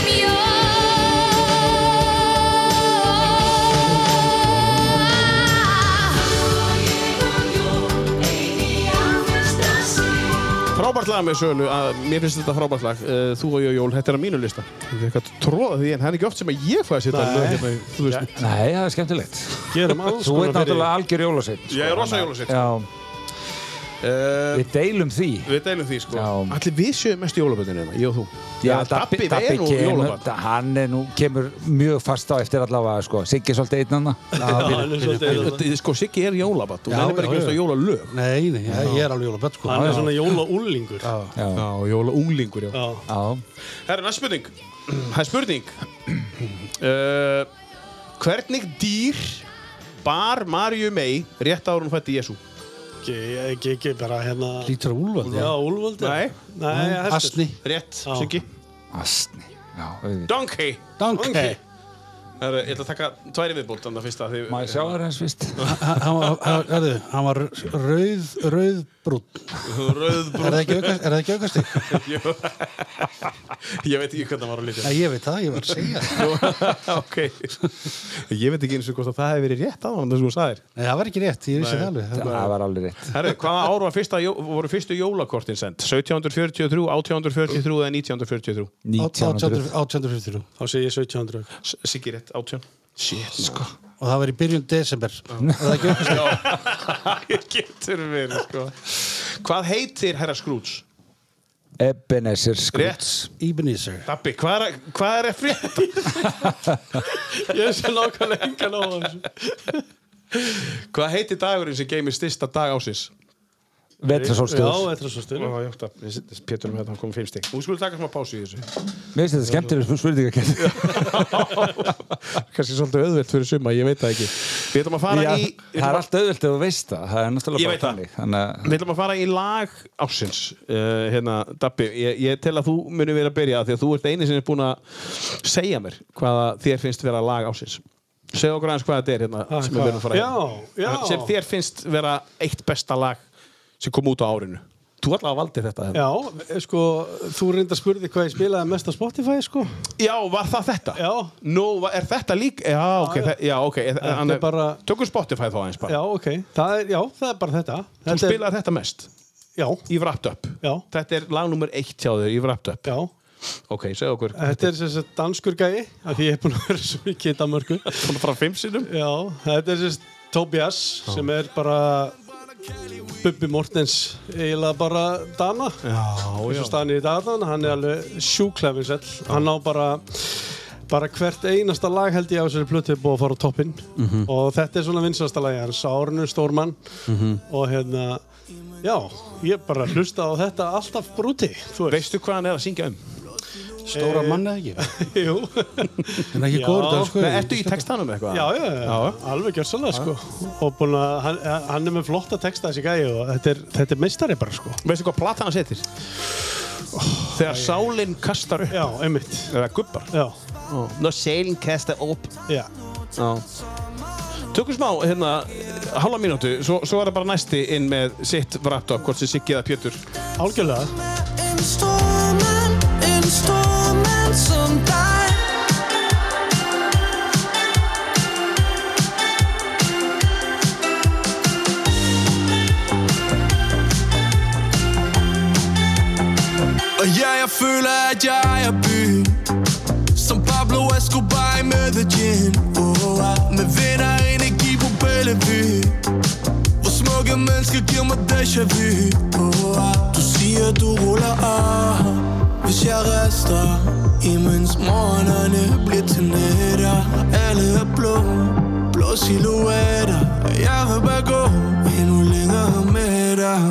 Speaker 2: Frábært lag með svölu, að, mér finnst þetta frábært lag uh, Þú og ég á jól, þetta er á mínu lista Þetta er eitthvað tróða því en það er ekki oft sem að ég fæ að setja
Speaker 1: Nei.
Speaker 2: lög hérna í, þú veist
Speaker 3: Nei, það er skemmtilegt.
Speaker 1: Gerum alls
Speaker 3: Þú ert
Speaker 1: konar fyrir
Speaker 3: náttúrulega algjör jólasinn. sko.
Speaker 2: Ég er rosa jólasinn.
Speaker 3: Já,
Speaker 2: uh,
Speaker 3: við deilum því.
Speaker 2: Við deilum því sko
Speaker 3: Já.
Speaker 2: Allir við séum mest í jólaböndinu hérna, ég og þú
Speaker 3: Já, Dabbi,
Speaker 2: Dabbi, við
Speaker 3: Dabbi
Speaker 2: erum úr
Speaker 3: kemur,
Speaker 2: jólabönd
Speaker 3: da- hann er nú, kemur mjög fast á eftir allavega, sko. Siggi er svolítið einn anna.
Speaker 1: Já, hann er svolítið einn þarna.
Speaker 2: Þetta- Sko, Siggi er jólabönd og
Speaker 4: Já,
Speaker 2: hann er bara ekki
Speaker 4: já,
Speaker 2: mest á
Speaker 4: já.
Speaker 2: jólalög
Speaker 4: Nei, nei, ég er alveg jólaböld sko
Speaker 1: Hann er svona jóla úlingur Já,
Speaker 3: Já,
Speaker 2: Já, jólaunglingur, já
Speaker 1: já
Speaker 3: já.
Speaker 2: Herra, næst spurning Það er spurning uh, Hvernig dýr bar Marju May rétt ára hún fætti Jésu?
Speaker 1: ekki, ekki, ekki bara hérna
Speaker 4: Lítur að úlfa
Speaker 1: Já, úlvöldi
Speaker 2: Nei.
Speaker 1: Nei hestur.
Speaker 4: Asni
Speaker 2: Rétt,
Speaker 1: Já.
Speaker 2: Siggi
Speaker 3: Asni, já, auðvitað.
Speaker 2: Donkey
Speaker 4: Donkey
Speaker 2: Herra, ég ætla að taka tværi viðbót þannig að fyrsta því
Speaker 3: Má ég sjá það hans fyrst?
Speaker 4: Hann hann var, hann- hörðu, hann var rauð, rauðbrún
Speaker 2: Rauðbrún
Speaker 4: Er það ekki aukast- er það ekki aukast þig?
Speaker 2: Ég ég veit ekki hvernig það var á lítið
Speaker 4: Nei, ég veit það, ég var að segja það.
Speaker 2: Ok Ég veit ekki eins og hvort að það hefði verið rétt á hann þessum þú sagðir
Speaker 4: Nei, það var ekki rétt, ég vissi það alveg Það-
Speaker 3: Það var alveg rétt.
Speaker 2: Herru, hvaða ár var fyrsta, jó- voru fyrstu jólakortin send? 1743, 1843 eða 1943?
Speaker 3: 1900.
Speaker 4: 1853
Speaker 1: Þá sé ég 1700
Speaker 2: S- Siggi rétt, 18 Shit, sko
Speaker 4: og það var í byrjun desember og það ekki okkur
Speaker 2: Getur verið, sko. Hvað heitir herra Skrúts?
Speaker 3: Ebenezer Scrooge
Speaker 4: Ebenezer
Speaker 2: Dabbi, hvað er, hvað er að frétta?
Speaker 1: Ég sé nákvæmlega engan á þessu.
Speaker 2: Hvað heitir dagurinn sem geymir styrsta dag ásins?
Speaker 1: Já,
Speaker 3: Vetrasólstöður
Speaker 1: þetta er svo stuð.
Speaker 2: Ó, jóta, Pétur um hérna, hann kom fimm stík. Nú skulum taka smá pásu í þessu.
Speaker 3: Mér finnst þetta skemmtileg spurningakenn
Speaker 2: Kanski svolítið auðvelt fyrir suma, ég veit það ekki. Við ætlum að fara
Speaker 3: Já,
Speaker 2: í...
Speaker 3: það er allt auðvelt ef þú veist það Það er
Speaker 2: Ég
Speaker 3: náttúrulega
Speaker 2: veit það.
Speaker 3: Þannig að
Speaker 2: Við ætlum að fara í lag ásins uh, hérna, Dabbi, ég, ég tel að þú munir vera að byrja því að þú ert eini sem er búin að segja mér hvaða þér finnst vera lag ásins segja okkur aðeins hvað þetta er hérna, sem, við munum að fara í.
Speaker 1: Já, já.
Speaker 2: sem þér finnst vera eitt besta lag sem kom út á árinu Þú allavega valdi þetta hérna.
Speaker 1: Já, eh, sko, þú reyndar spurði hvað ég spilaði mest á Spotify, sko.
Speaker 2: já, var það þetta?
Speaker 1: Já.
Speaker 2: Nú, va- er þetta líka? Já, ok,
Speaker 1: já.
Speaker 2: já, já, okay.
Speaker 1: Þetta er
Speaker 2: Anna,
Speaker 1: bara-
Speaker 2: Tökum Spotify þá aðeins bara
Speaker 1: Já, ok. Það er, já, það er bara þetta.
Speaker 2: Þú
Speaker 1: Þetta er-
Speaker 2: spilaði þetta mest
Speaker 1: Já,
Speaker 2: í Wrapped Up
Speaker 1: já,
Speaker 2: Þetta er lag nummer eitt hjá þau í Wrapped Up
Speaker 1: já.
Speaker 2: Ok, segja okkur
Speaker 1: Þetta er sem sagt danskur gæi, af því ég er búin að vera svo mikið í Danmörku.
Speaker 2: Svona frá fimm sinnum
Speaker 1: Já, þetta er sem sagt Tobias, sem er bara Bubbi Mortens, eiginlega bara Dana.
Speaker 2: Já,
Speaker 1: eins og staðan er í datan, hann er alveg sjúklefinsell, hann á bara bara hvert einasta lag held ég á þessari plötu er búið að fara á toppinn
Speaker 2: Mhm.
Speaker 1: og þetta er svona vinsasta lagi hans, Árnu Stórmann
Speaker 5: Mm-hmm.
Speaker 1: og hérna já, ég bara hlusta á þetta alltaf brúti, þú veist Eh,
Speaker 2: Veistu hvað hann er að syngja um?
Speaker 4: stóra manna ekki
Speaker 1: Jú,
Speaker 4: en ekki
Speaker 1: Já.
Speaker 4: góður þetta
Speaker 2: Nei,
Speaker 4: sko
Speaker 2: ertu í textanum eitthvað?
Speaker 1: já, já, já, alveg gjörsalega sko og búin að, hann, eh, hann er með flotta texta þessi gæi og þetta er, þetta er meistari bara sko
Speaker 2: Veistu hvað platan hann setir? Þegar sálinn kastar upp
Speaker 1: Já, einmitt,
Speaker 2: Eða gubbar
Speaker 1: já,
Speaker 2: Ná sálinn kastar upp
Speaker 1: já
Speaker 2: Já Tökum smá, hérna, eh, hálfa mínútu Svo, svo er það bara næsti inn með sitt wrapped up Hvort sem Siggi eða Pétur
Speaker 1: Algjörlega,
Speaker 5: En stormen, en stormen som deg Og ja, jeg føler, at jeg er byen Som Pablo Escobar i Method Gin oh, ah. Med vind og energi på Bellevue Hvor smukke mennesker giver mig déjà vu oh, ah. Du siger, du ruller af Hvis jeg rester Imens morgenerne bliver til nætter Og alle er blå Blå silhuetter Og jeg vil bare gå endnu længere med dig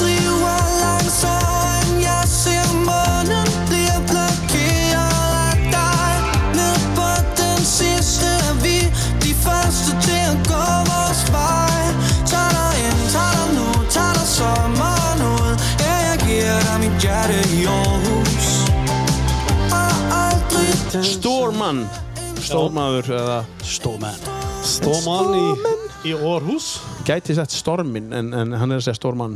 Speaker 5: driver langsomt Jeg ser månen bliver blokeret af dig Ned på den sidste er vi De første til at gå vores vej Tag dig ind, tag dig nu, tag dig sommeren ud Ja, jeg giver dig mit hjerte i Aarhus Og aldrig
Speaker 2: Stórmann Stórmaður eða
Speaker 4: stóma
Speaker 1: Stóman í, í Orhus
Speaker 2: Gæti sett storminn en, en hann er að segja stórmann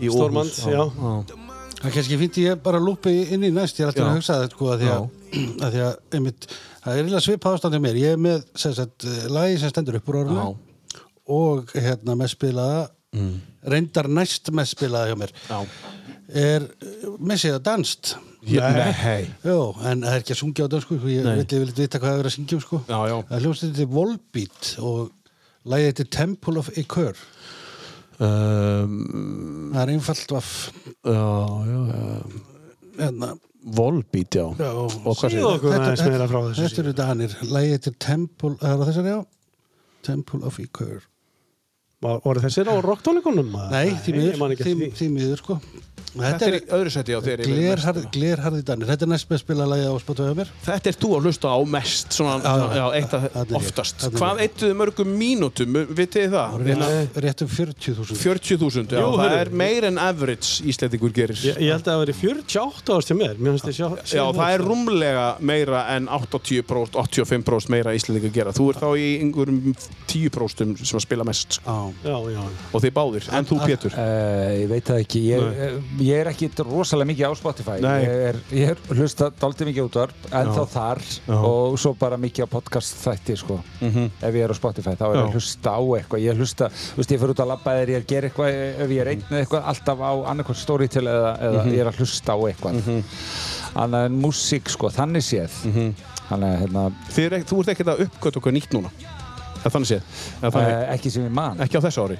Speaker 2: í Óhús
Speaker 1: Stórmann, já.
Speaker 4: Það kannski fyndi ég bara lúpi inn í næst, ég er alltaf að hugsa þetta sko að því að, að, því að einmitt, það er eiginlega svipað ástand hjá mér, ég er með sem sagt, eh, lagi sem stendur upp úr orðinu og hérna mest spilaða reyndar næst mest spilaða hjá mér
Speaker 2: Já.
Speaker 4: er missið að danst
Speaker 2: Nei
Speaker 4: Jó, en það er ekki að sungja á dansku sko, ég vil yfirleitt vita hvað það er að syngja um sko
Speaker 2: Já, já.
Speaker 4: Það er hljómsið til Volbeat og lagið til Temple of Ikur
Speaker 2: um,
Speaker 4: það er einfalt vaff
Speaker 2: Já, já, já
Speaker 4: hérna,
Speaker 2: Volbeat, já
Speaker 4: já,
Speaker 2: Og hvað segir
Speaker 1: Síðu okkur aðeins meira frá þessu
Speaker 4: Þetta eru danir, lægið til Temple, það er þessar já Temple of Ikur
Speaker 1: Var, voru þessir á rocktónleikunum?
Speaker 4: Nei, því miður,
Speaker 1: ég man ekki
Speaker 4: því,
Speaker 1: eftir því.
Speaker 4: því miður sko
Speaker 2: Þetta er í
Speaker 4: Þetta
Speaker 2: öðru seti á þér
Speaker 4: er
Speaker 2: yfir mest. sko.
Speaker 4: glerharð- glerharði danir Þetta er næst með spila lagið á Spotify á mér
Speaker 2: Þetta er þú að hlusta á mest svona, já,
Speaker 4: Já, já.
Speaker 2: já, eitt að
Speaker 4: Þarna er ég.
Speaker 2: oftast
Speaker 4: Þarna er
Speaker 2: Hvað eittuðu mörgum mínútum, vitið þið það? Hérna,
Speaker 4: Rétt um 40.000
Speaker 2: 40.000, já,
Speaker 1: Jú,
Speaker 2: það
Speaker 1: heyrðu.
Speaker 2: er meir en average Íslendingur gerir
Speaker 1: Ég, ég held að það væri 48 árs til mér Mér finnst ég sjá
Speaker 2: Já, það
Speaker 4: sko.
Speaker 2: er rúmlega meira en 80%, 85% meira Íslendingur gera Þú ert þá í einhverjum 10% sem að spila mest sko.
Speaker 4: Já,
Speaker 1: Já, já,
Speaker 2: og þið báðir, en þú Pétur
Speaker 3: Eh, Ég veit það ekki Ég, ég er ekki rosalega mikið á Spotify
Speaker 2: Nei.
Speaker 3: ég er, ég er hlusta daldið mikið útvarp en þá
Speaker 2: Já.
Speaker 3: þar
Speaker 2: Já.
Speaker 3: og svo bara mikið á podcast þætti sko.
Speaker 2: Mhm.
Speaker 3: ef ég er á Spotify þá er
Speaker 2: Já.
Speaker 3: ég að hlusta á eitthvað ég hlusta, þú veist, ég fyrir út að labba eða ég er að gera eitthvað ef ég er einn eða eitthvað alltaf á annarkvæmt storytel eða, eða
Speaker 2: Mhm.
Speaker 3: ég er að hlusta á eitthvað mm -hmm. annað en músík sko, þannig séð þannig að hérna
Speaker 2: Mhm. Þið er, ekki- Þú ert ekkert að uppgöta okkur nýtt núna Eða þannig séð Eða þannig
Speaker 3: Uh, ekki sem ég man
Speaker 2: Ekki á þessu ári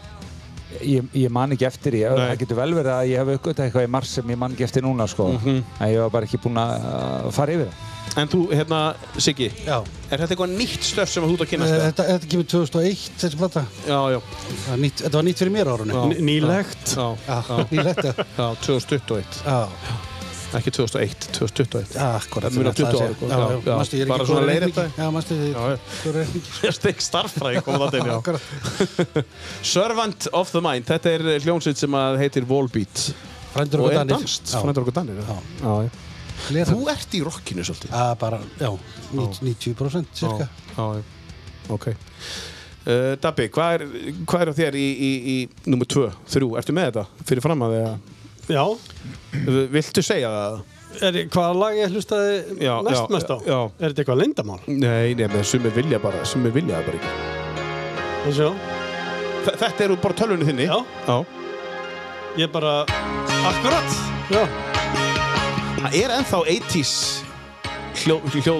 Speaker 3: Ég, ég man ekki eftir því, það getur vel verið að ég hef aukvitað eitthvað í mars sem ég man ekki eftir núna sko. en ég var bara ekki búinn að uh, fara yfir það
Speaker 2: En þú, hérna, Siggi
Speaker 4: Já
Speaker 2: Er þetta eitthvað nýtt stöf sem þú ert að
Speaker 4: Eh,
Speaker 2: kynast eða?
Speaker 4: Þetta, þetta kemur 2001, þessi plata.
Speaker 2: Já, já
Speaker 4: Það er nýtt- Þetta var nýtt fyrir mér á árunni.
Speaker 2: Já. Nýlegt. Já,
Speaker 4: Já, nýlegt, já.
Speaker 2: Já, 2021
Speaker 4: Já.
Speaker 2: Ekki 2001, 2021
Speaker 4: Já, akkurat.
Speaker 2: Það munar 20 ára
Speaker 4: Já, já, manstu, ég er ekki
Speaker 2: Bara
Speaker 4: góður
Speaker 2: svona
Speaker 4: í
Speaker 2: leir
Speaker 4: reikningi. Já, manstu,
Speaker 2: Já, já.
Speaker 4: þú er ekki
Speaker 2: Ég stekk starffræði kom það inn, já. Servant of the Mind, þetta er hljómsveit sem að heitir Wallbeat.
Speaker 4: Frændur
Speaker 2: og
Speaker 4: okkur
Speaker 2: er
Speaker 4: Danir.
Speaker 2: danst,
Speaker 4: Já.
Speaker 2: frændur okkur Danir. Já. Já, já.
Speaker 4: Lera.
Speaker 2: Þú ert í rockinu svolítið.
Speaker 4: Já, bara, já, 90% cirka.
Speaker 2: Já, já, ok. Uh, Dabbi, hvað er, hvað er á þér í, í, í nummer 2, 3? Ertu með þetta fyrir fram að því
Speaker 1: Já.
Speaker 2: að... Viltu segja það?
Speaker 1: Er, hvaða lag ég hlustaði
Speaker 2: Já, já,
Speaker 1: næst mest á?
Speaker 2: já.
Speaker 1: Er þetta eitthvað lindamál?
Speaker 2: Nei, nei, með sumir vilja bara, sumir vilja það bara ekki.
Speaker 1: Þú sjá,
Speaker 2: Þe- Þetta eru bara tölvunni þinni? Já. Já.
Speaker 1: ég bara, akkurat, já.
Speaker 2: Það er ennþá 80s hljó, hljó,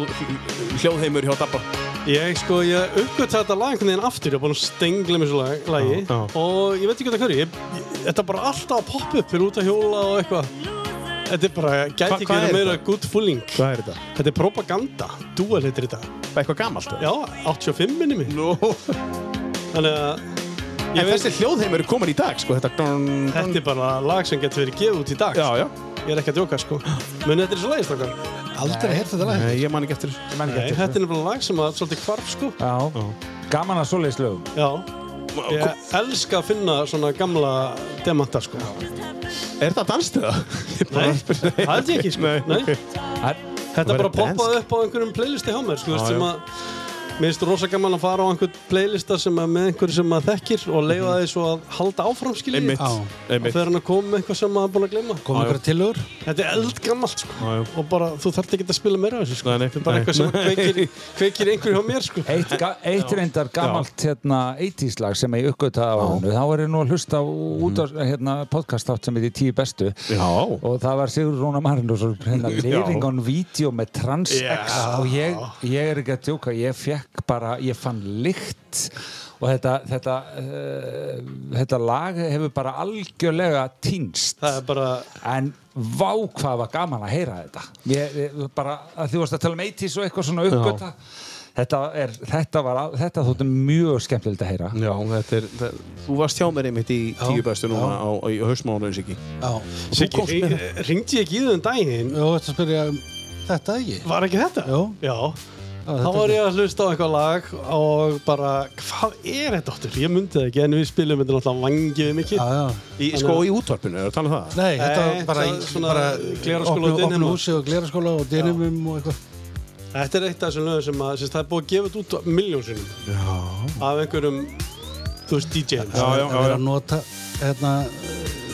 Speaker 2: hljóðheimur hjá Dabba.
Speaker 1: Ég sko, ég uppgötta þetta lag einhvern veginn aftur, ég er búin að stengla með þessu lag, lagi
Speaker 2: Já, já.
Speaker 1: og ég veit ekki hvað það hverju, ég, ég, þetta er bara alltaf að poppa upp fyrir út að hjóla og eitthvað. Þetta er bara,
Speaker 2: Hva-
Speaker 1: gæti ekki
Speaker 2: hvað er
Speaker 1: verið meira
Speaker 2: þetta?
Speaker 1: good fooling.
Speaker 2: Hvað er þetta?
Speaker 1: Þetta er propaganda, dual heitir þetta.
Speaker 2: Bara eitthvað gamalt? eða?
Speaker 1: Já, 85 minni minn.
Speaker 2: Nú.
Speaker 1: Þannig að,
Speaker 2: En þessi hljóðheimur er komin í dag, sko, þetta... Dun, dun,
Speaker 1: þetta er bara lag sem getur verið gefið út í dag.
Speaker 2: Já, já.
Speaker 1: Ég er ekki að djóka, sko. Muni þetta er svo lagist okkar.
Speaker 4: Aldrei heyrt þetta lag.
Speaker 2: Nei, ég man ekki eftir þessu.
Speaker 3: Man
Speaker 1: Nei,
Speaker 3: ekki
Speaker 1: þetta
Speaker 3: eftir
Speaker 1: er nefnilega lag sem að svolítið hvarf, sko.
Speaker 3: Já. Gaman að svoleiðis lögum
Speaker 1: Já. Ég elska að finna svona gamla demanta, sko.
Speaker 2: Er þetta danstuð það?
Speaker 1: Nei, það held ég ekki, sko.
Speaker 2: Nei,
Speaker 1: Nei.
Speaker 2: ok.
Speaker 1: Þetta
Speaker 2: Verður
Speaker 1: bara poppaði
Speaker 2: dansk?
Speaker 1: upp á einhverjum playlisti hjá mér, sko,
Speaker 2: Já,
Speaker 1: veist, sem
Speaker 2: já.
Speaker 1: að Mér finnst rosa gaman að fara á einhvern playlista sem er með einhverju sem maður þekkir og leifa því svo að halda áfram, skiljið.
Speaker 2: Mhm. Einmitt,
Speaker 4: Já.
Speaker 1: Og
Speaker 2: einmitt.
Speaker 1: þegar hann að koma með eitthvað sem maður er búin að gleyma.
Speaker 4: Komum ykkur tilugur.
Speaker 1: Þetta er eldgammalt, sko.
Speaker 2: Já, já.
Speaker 1: Og bara, þú þarft ekki að spila meira af þessu, sko.
Speaker 2: Nei, nei,
Speaker 1: Þetta er bara
Speaker 2: nei.
Speaker 1: eitthvað sem kveikir, kveikir einhverju hjá mér, sko.
Speaker 3: Eitt, ga eitt reyndar gamalt hérna, 80s lag sem ég uppgötaði á hannu þá er ég nú að hlusta á út á hérna, podcast átt sem heitir Tíu bestu
Speaker 2: Já.
Speaker 3: og það var Sigur Rónar Marinus hérna,
Speaker 2: Já.
Speaker 3: Living on Video með Trans-X og ég, ég er ekki að djóka ég fekk bara, ég fann lykt og þetta þetta, uh, þetta lag hefur bara algjörlega týnst
Speaker 1: Það er bara,
Speaker 3: en vá hvað var gaman að heyra þetta ég, ég, bara að því varst að tala um 80s og eitthvað svona uppgöta þetta, er, þetta, var, al- þetta þótti mjög skemmtilegt að heyra
Speaker 2: Já, þetta er, það, þú varst hjá mér einmitt í tíu bestu núna á, á, á hausmánu, Siggi. eh,
Speaker 4: Já.
Speaker 1: Siggi, ringdi ég ekki í þau um daginn?
Speaker 4: Jó, þetta spyrja um þetta ekki.
Speaker 1: Var ekki þetta?
Speaker 4: Jú.
Speaker 1: Já.
Speaker 4: þetta
Speaker 1: Þá var ég að hlusta á eitthvað lag og bara, hvað er þetta áttur? Ég myndi það ekki, en við spilum þetta náttúrulega vangið mikið.
Speaker 4: Já, já.
Speaker 2: Í, sko, í útvarpinu, er það að tala um það?
Speaker 4: Nei, þetta var
Speaker 1: Nei,
Speaker 4: bara
Speaker 1: það
Speaker 4: í
Speaker 1: er svona gleraskóla og
Speaker 4: opnu, opnu
Speaker 1: dynamó.
Speaker 4: húsi og gleraskóla og dynamum og eitthvað.
Speaker 1: Þetta er eitt af þessum lögum sem að, sérst, það er búið að gefa þetta út miljónsinnum. Já. Af einhverjum, þú veist, DJ-um.
Speaker 2: Já,
Speaker 4: að
Speaker 2: já, já,
Speaker 4: vera
Speaker 2: já.
Speaker 4: að nota hérna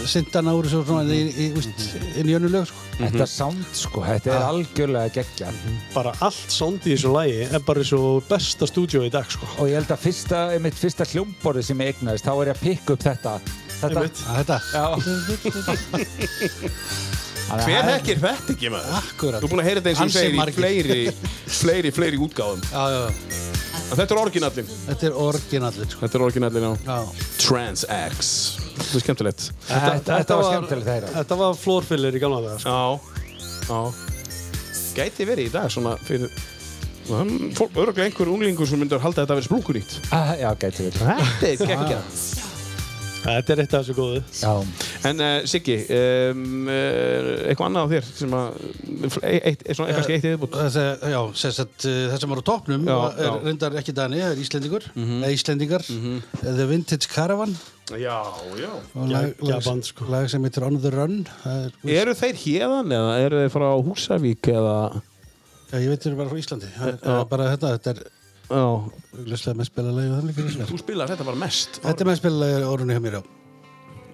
Speaker 4: syndana úr þessu svona í, í, úst,
Speaker 2: Mhm.
Speaker 4: inn í önnu lög sko. Mhm.
Speaker 3: þetta sound sko, þetta er algjörlega geggja
Speaker 1: Bara allt sound í þessu lagi er bara eins og besta stúdíó í dag, sko.
Speaker 3: og ég held að fyrsta, mitt fyrsta hljómborði sem ég eignaðist, þá er ég að pikka upp þetta þetta
Speaker 1: Einmitt.
Speaker 4: að þetta,
Speaker 3: Já. Þannig
Speaker 2: Hver
Speaker 3: að-
Speaker 2: hekkir þetta ekki, maður?
Speaker 4: akkurat
Speaker 2: Þú er búin að heyra þetta eins og
Speaker 4: Ansi
Speaker 2: þú segir í
Speaker 4: margir.
Speaker 2: fleiri, fleiri, fleiri útgáðum.
Speaker 4: já, já, já.
Speaker 2: En þetta er orginallin.
Speaker 4: þetta er orginallin sko.
Speaker 2: Þetta er orginallin á
Speaker 4: já,
Speaker 2: Trans-X. Þetta er skemmtilegt.
Speaker 3: þetta, þetta, var skemmtilegt að heyra
Speaker 1: Þetta var flórfyllir í gamla daga, sko.
Speaker 2: Já, já. Gæti verið í dag svona fyrir... Um, fólk, örgulega einhver unglingur sem myndar halda að þetta að vera splunkunýtt.
Speaker 3: Ah, já, gæti við
Speaker 2: Þetta er geggjað.
Speaker 1: Þetta er eitt af þessu góðu.
Speaker 3: já.
Speaker 2: En uh, Siggi, um, uh, eitthvað annað á þér sem að, e- eitt, eitt, svona,
Speaker 4: Eh,
Speaker 2: kannski eitt í viðbútt?
Speaker 4: Þessi, já, sem sagt, eh, það sem var á topnum
Speaker 2: Já,
Speaker 4: var- er
Speaker 2: já. Mhm.
Speaker 4: reyndar ekki dani, það er Íslendingur eða Íslendingar, The Vintage Caravan
Speaker 2: Já, já.
Speaker 4: og lag,
Speaker 1: Geggjað
Speaker 4: lag,
Speaker 1: band, sko.
Speaker 4: lag sem heitir On the Run það er, úst,
Speaker 2: Eru þeir hérðan eða eru þeir frá Húsavík eða,
Speaker 4: já, ég veit þeir eru bara frá Íslandi það er, það er bara þetta, þetta er
Speaker 2: Eh, já,
Speaker 4: löslega með spilalagi og þannig
Speaker 2: þú spilar þetta bara mest.
Speaker 4: þetta er með spilalagi orðinu hjá mér já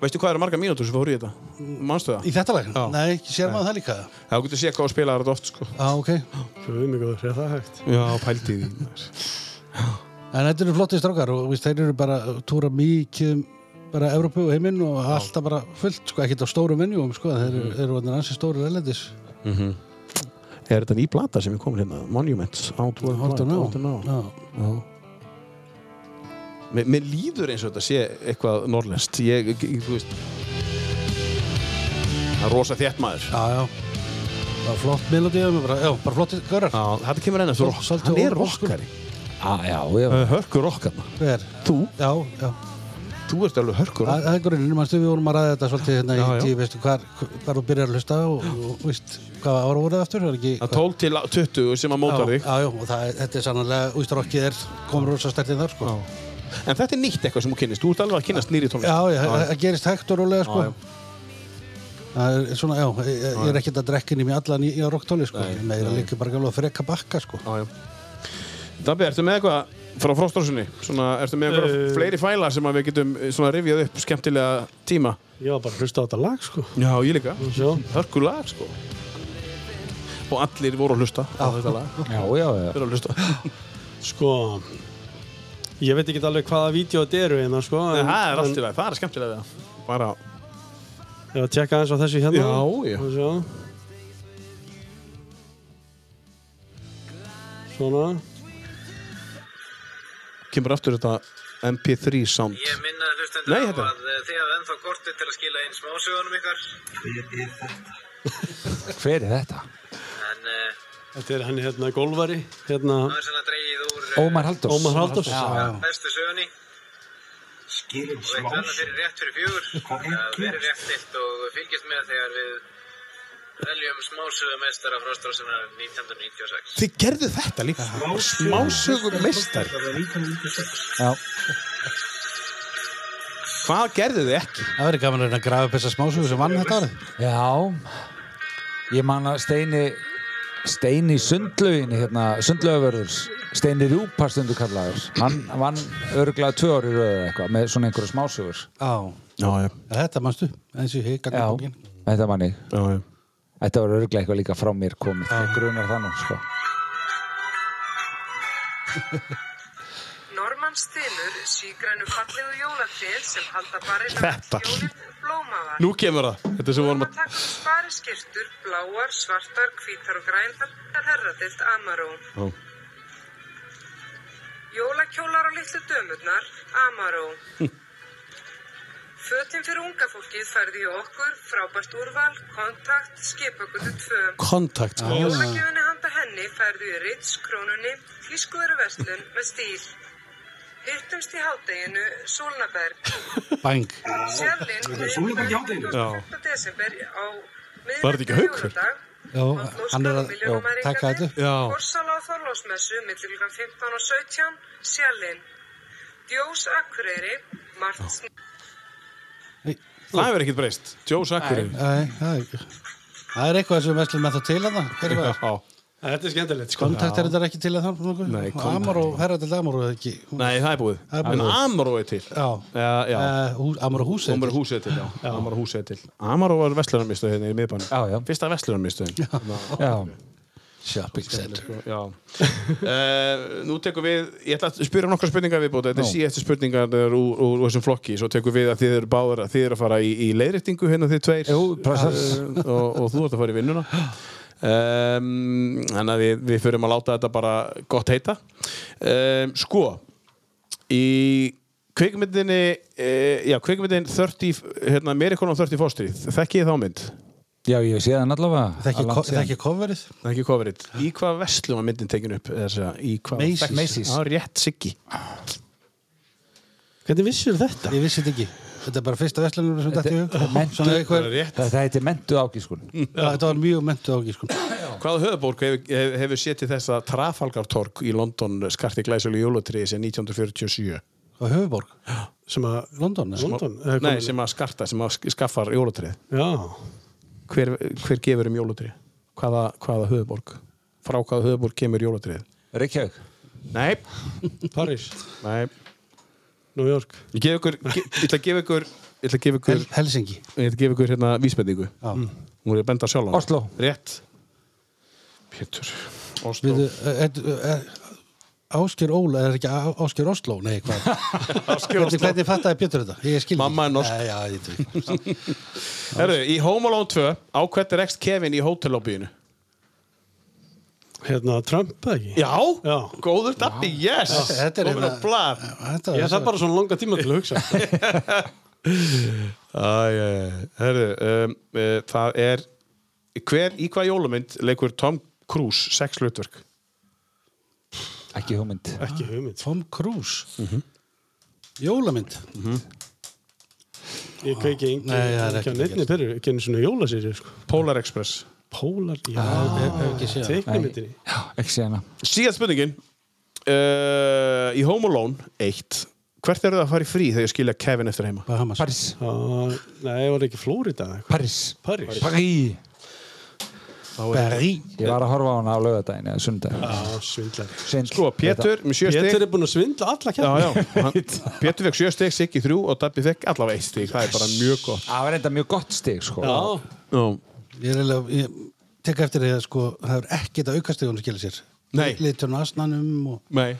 Speaker 2: Veistu hvað eru marga mínútur sem fóru í þetta? Manstu það?
Speaker 4: Mm, Í þetta lag?
Speaker 2: Já.
Speaker 4: Nei, ekki sér maður það líka
Speaker 2: Það getur séð hvað að spila þetta oft sko.
Speaker 4: Já, Ah, ok
Speaker 1: Guð mig góður, er það hægt?
Speaker 2: Já, pældi í því maður.
Speaker 4: En þetta eru flotti strákar og víst, þeir eru bara túra mikið um bara Evrópu og heiminn og alltaf bara fullt sko, ekkert á stórum venjum sko, þeir eru, þeir eru orðnir ansi stóru erlendis
Speaker 2: Mhm. Er þetta ný blata sem er komin hérna? Monuments Out World
Speaker 4: Hort og
Speaker 2: Wide, Out and Out.
Speaker 4: ná
Speaker 2: Já. Mér, mér líður eins og þetta sé eitthvað norrlenskt. Ég, ég, ég- þú veist... Það er rosa þétt maður.
Speaker 4: Já, já Bara flott melodíu, bara, já, bara flotti görar
Speaker 2: Já, þetta kemur ennast rock.
Speaker 4: Svolítið
Speaker 2: Hann er
Speaker 4: old school.
Speaker 2: rockari.
Speaker 3: ah, já, já,
Speaker 2: Hörkur rockarna.
Speaker 4: Hver?
Speaker 2: Þú?
Speaker 4: Já, já
Speaker 2: Þú ert alveg hörkur
Speaker 4: Það
Speaker 2: rockari.
Speaker 4: það er grunninn, mannstu við vorum að ræða þetta svolítið hérna í
Speaker 2: Já, já.
Speaker 4: tíu, veistu, hvar, hvar þú byrjar að hlusta og, og veist, hvað ára voruð það aftur, það er ekki...
Speaker 2: Það er 12 til 20 sem að mótar
Speaker 4: Já,
Speaker 2: þig.
Speaker 4: Já, já, og það, er- þetta er sannlega, ústarokkið er, komur rosa stertið þar, sko.
Speaker 2: En þetta er nýtt eitthvað sem þú kynnist. Þú ert alveg að kynnast nýri tónlist.
Speaker 4: Já, já, það það gerist hægt og rólega, sko.
Speaker 2: Já, já.
Speaker 4: Það er svona, já, ég, ég er ekkert að drekka inn í mig allan í, í rocktóli, sko. Nei, Meira nei. líka bara gamlega að freka bakka, sko.
Speaker 2: Já, já. Dabbi, ertu með eitthvað frá Frostrossunni? Svona, ertu með eitthvað
Speaker 1: Eh.
Speaker 2: fleiri fæla sem að við getum eh, svona rifjað upp skemmtilega tíma?
Speaker 1: Ég var bara að hlusta á þetta lag, sko.
Speaker 2: Já, ég líka.
Speaker 1: Sjá.
Speaker 2: Hörku lag, sko. Og allir voru að hlusta á þetta lag.
Speaker 3: já, já, já.
Speaker 2: Þeir eru að hlusta.
Speaker 1: Sko, ég veit ekki alveg hvaða vídeo þetta eru hérna, sko.
Speaker 2: En
Speaker 1: en-
Speaker 2: það er
Speaker 1: en-
Speaker 2: allt í lagi, það er skemmtilega við það. Bara,
Speaker 1: Ég var að tjekka aðeins á þessu hérna.
Speaker 2: Já, já.
Speaker 1: Og sjá. Svona.
Speaker 2: kemur aftur þetta MP3 sound.
Speaker 13: Ég minna hlustendur
Speaker 2: Nei, hérna.
Speaker 13: á
Speaker 2: þetta.
Speaker 13: að eh, þið hafið ennþá kortið til að skila inn smásögunum ykkar
Speaker 3: hver er þetta?
Speaker 13: en uh,
Speaker 1: Þetta er hann hérna golvari, hérna
Speaker 13: það er svona dreigið úr eh,
Speaker 3: Ómar Halldórs
Speaker 1: Ómar Halldórs.
Speaker 13: bestu sögunni Skilin smásögun Og eitt annað fyrir rétt fyrir fjögur að vera rétt eitt og fylgjast með þegar við veljum smásögumestara fróstrósina 1996
Speaker 2: Þið gerðu þetta líka. Smásögum meistar.
Speaker 3: Já.
Speaker 2: Hvað gerðu þið ekki?
Speaker 4: Það verður gaman að reyna að grafa upp þessa smásögu sem vann þetta árið.
Speaker 3: Já, ég man að Steini Steini Sundlauginni hérna, Sundlaugavörðurs Steini Rjúpa stundu kallaður hann vann örgulega tvö ári röðu eitthvað með svona einhverju smásögur
Speaker 4: Já.
Speaker 2: Já, já.
Speaker 4: Þetta mannstu, eins og ég gangi bókin.
Speaker 3: þetta manni
Speaker 2: Já, já.
Speaker 3: Þetta var örgulega eitthvað líka frá mér komið ég grunar það nú sko
Speaker 14: Normann stilur sígrænu fallegu jólatrið sem halda barinn
Speaker 2: Þetta.
Speaker 14: blómaða.
Speaker 2: Nú kemur það. Þetta sem við vorum að...
Speaker 14: Takk spari skirtur, bláar, svartar, hvítar og grændar er herradilt Amarón.
Speaker 2: Já.
Speaker 14: Jólakjólar og litlu dömurnar, Amarón. Fötin fyrir unga fólkið færði í okkur, frábært úrval, kontakt, skipökundu tvö.
Speaker 2: Kontakt.
Speaker 14: Ah. Jólagjöfunni handa henni færðu í Ritz, Krónunni, Þískuður og Vestlun með stíl. Hittumst í hádeginu, Sólnaberg.
Speaker 4: Bang.
Speaker 14: Sérlinn
Speaker 10: Sólnaberg í hádeginu?
Speaker 14: Já. desember á miðvikudag
Speaker 2: Var þetta ekki Haukur?
Speaker 14: jóladag.
Speaker 4: Já, hann er að já, taka þetta upp.
Speaker 2: Já.
Speaker 14: Forsala á Þorlásmessu millir klukkan 15 og 17, Sérlinn. Djós Akureyri, Marts
Speaker 2: Það hefur ekkert breyst. Jós Akkurinn.
Speaker 4: Nei, það er ekki. Það er eitthvað sem vestlum með þá til að það.
Speaker 2: Já.
Speaker 1: Þetta er skemmtilegt, sko.
Speaker 4: Kontakt er þetta ekki til að það.
Speaker 2: Nei, kontakt.
Speaker 4: Amaró, herra til Amaró eða ekki. Hún-
Speaker 2: Nei, það er búið.
Speaker 4: Það er
Speaker 2: En
Speaker 4: búið.
Speaker 2: Amaró er til.
Speaker 4: Já.
Speaker 2: Já, já.
Speaker 4: Eh, hú- Amaró húsið.
Speaker 2: Amaró húsið er til, já. Amaró húsið er til. Amaró var vestlunarmistuð hérna í miðbænum.
Speaker 3: Já, já.
Speaker 2: Fyrsta Hérna. vestlunarmistuðin.
Speaker 3: Já,
Speaker 4: Shopping center.
Speaker 2: sko, Já. Eh, nú tekum við, ég ætla að spyrja nokkra spurningar viðbúta. Þetta er síðastu spurningar úr, úr, úr þessum flokki. Svo tekum við að þið eru báður að þið eru að fara í, í leiðriktingu hérna þið tveir.
Speaker 3: Jú, pressas.
Speaker 2: Eh, og, og þú ert að fara í vinnuna. Um, þannig að við, við förum að láta þetta bara gott heita. Um, sko, í kvikmyndinni e, já, kvikmyndin 30, hérna, Amerikanum 30 Fostrið, þekki ég þá mynd
Speaker 3: já ég sé það allavega
Speaker 4: Það
Speaker 3: að langt
Speaker 4: er
Speaker 3: síðan.
Speaker 4: ekki coverið.
Speaker 2: það er ekki coverið, í hvað vestlum var myndin tekin upp, eða þess að, í hvað
Speaker 4: Macy's.
Speaker 3: Macy's.
Speaker 2: á rétt siggi
Speaker 1: Hvernig vissur þetta?
Speaker 4: Ég vissi þetta ekki. Þetta er bara fyrsta vestlunum sem þetta
Speaker 3: Þetta-
Speaker 4: hefur.
Speaker 3: mentu-
Speaker 4: Svona eitthvað,
Speaker 2: rétt.
Speaker 3: Þetta heiti mentu ágískun
Speaker 4: þetta var mjög mentu ágið sko.
Speaker 2: hvaða höfuborg hefur hef, hef setið þessa Trafalgartorg í London skarti glæsölu jólutriði sem 1947
Speaker 4: Og höfuborg,
Speaker 1: Sem að...
Speaker 4: London. eða?
Speaker 1: London? eða
Speaker 2: nei,
Speaker 1: komin-
Speaker 2: sem að skarta, sem að sk- skaffar jólutrið
Speaker 1: Já.
Speaker 2: hver, hver gefur um jólutrið hvaða, hvaða höfuborg frá hvaða höfuborg kemur jólutrið
Speaker 3: Reykjavík
Speaker 2: nei,
Speaker 1: Paris.
Speaker 2: nei
Speaker 1: New York.
Speaker 2: Ég gef ykkur, ge- ég ætla að gefa ykkur ég ætla að gefa ykkur
Speaker 4: Helsingi
Speaker 2: Ég ætla að gefa ykkur hérna vísbendingu
Speaker 4: mm.
Speaker 2: Hún er að benda sjálf
Speaker 4: Osló.
Speaker 2: Rétt Pétur Osló
Speaker 4: Við, eh, eh, eh, Ásker Óla er ekki Á- Ásker Osló, nei hvað
Speaker 2: Ásker
Speaker 4: Hvernig, hvernig fattaði Pétur þetta? Ég skil Mamma
Speaker 2: er norsk
Speaker 4: Æ, já, ég veit ekki.
Speaker 2: Herru, í Home Alone 2 á hvernig rekst Kevin í hótellobbyinu?
Speaker 1: Hérna, Trump, eða ekki?
Speaker 2: Já, já. góður dabbi, yes
Speaker 1: Þetta- þetta er
Speaker 2: Komin á
Speaker 1: hérna-
Speaker 2: blað
Speaker 1: Þetta, ég þarf bara svona langa tíma til að hugsa
Speaker 2: Æ, herru, um, uh, það er hver, í hvað jólumynd leikur Tom Cruise sex hlutverk?
Speaker 3: Ekki hugmynd Mhm.
Speaker 1: Ekki hugmynd
Speaker 4: Tom Cruise Jólamynd
Speaker 1: Ég kveiki engin,
Speaker 4: Nei, það er
Speaker 1: ekki
Speaker 4: ekki
Speaker 1: á neittni perur, ekki einu svona jólasýri sko.
Speaker 2: Polar Express
Speaker 1: Pólar, já,
Speaker 3: Ah,
Speaker 1: hef- hef ekki séð. teiknimyndinni.
Speaker 3: Nei. Já, ekki séð hana
Speaker 2: Síðan spurningin uh, Í Home Alone 1 Hvert eru það að fara í frí þegar ég skilja Kevin eftir heima?
Speaker 4: Bahamas
Speaker 3: Paris
Speaker 1: Ah, Nei, var ekki Flórida eða eitthvað?
Speaker 3: Paris
Speaker 1: París.
Speaker 3: Paris
Speaker 4: Berri
Speaker 3: Ég var að horfa á hana á laugardaginn eða sundag
Speaker 1: Já, svindlar
Speaker 2: Sko, Pétur með sjö stig
Speaker 1: Pétur er búinn að svindla
Speaker 2: Já,
Speaker 1: alla kemna
Speaker 2: já, hann, Pétur fekk sjö stig, Siggi þrjú og Dabbi fekk allavega eitt stig, það er bara mjög gott
Speaker 3: Það var enda mjög gott stig sko
Speaker 2: Já,
Speaker 4: Ég er eiginlega, ég tek eftir því að sko, það er ekkert að aukast þegar hún skilja sér.
Speaker 2: Nei.
Speaker 4: Liturinn á asnanum og...
Speaker 2: nei,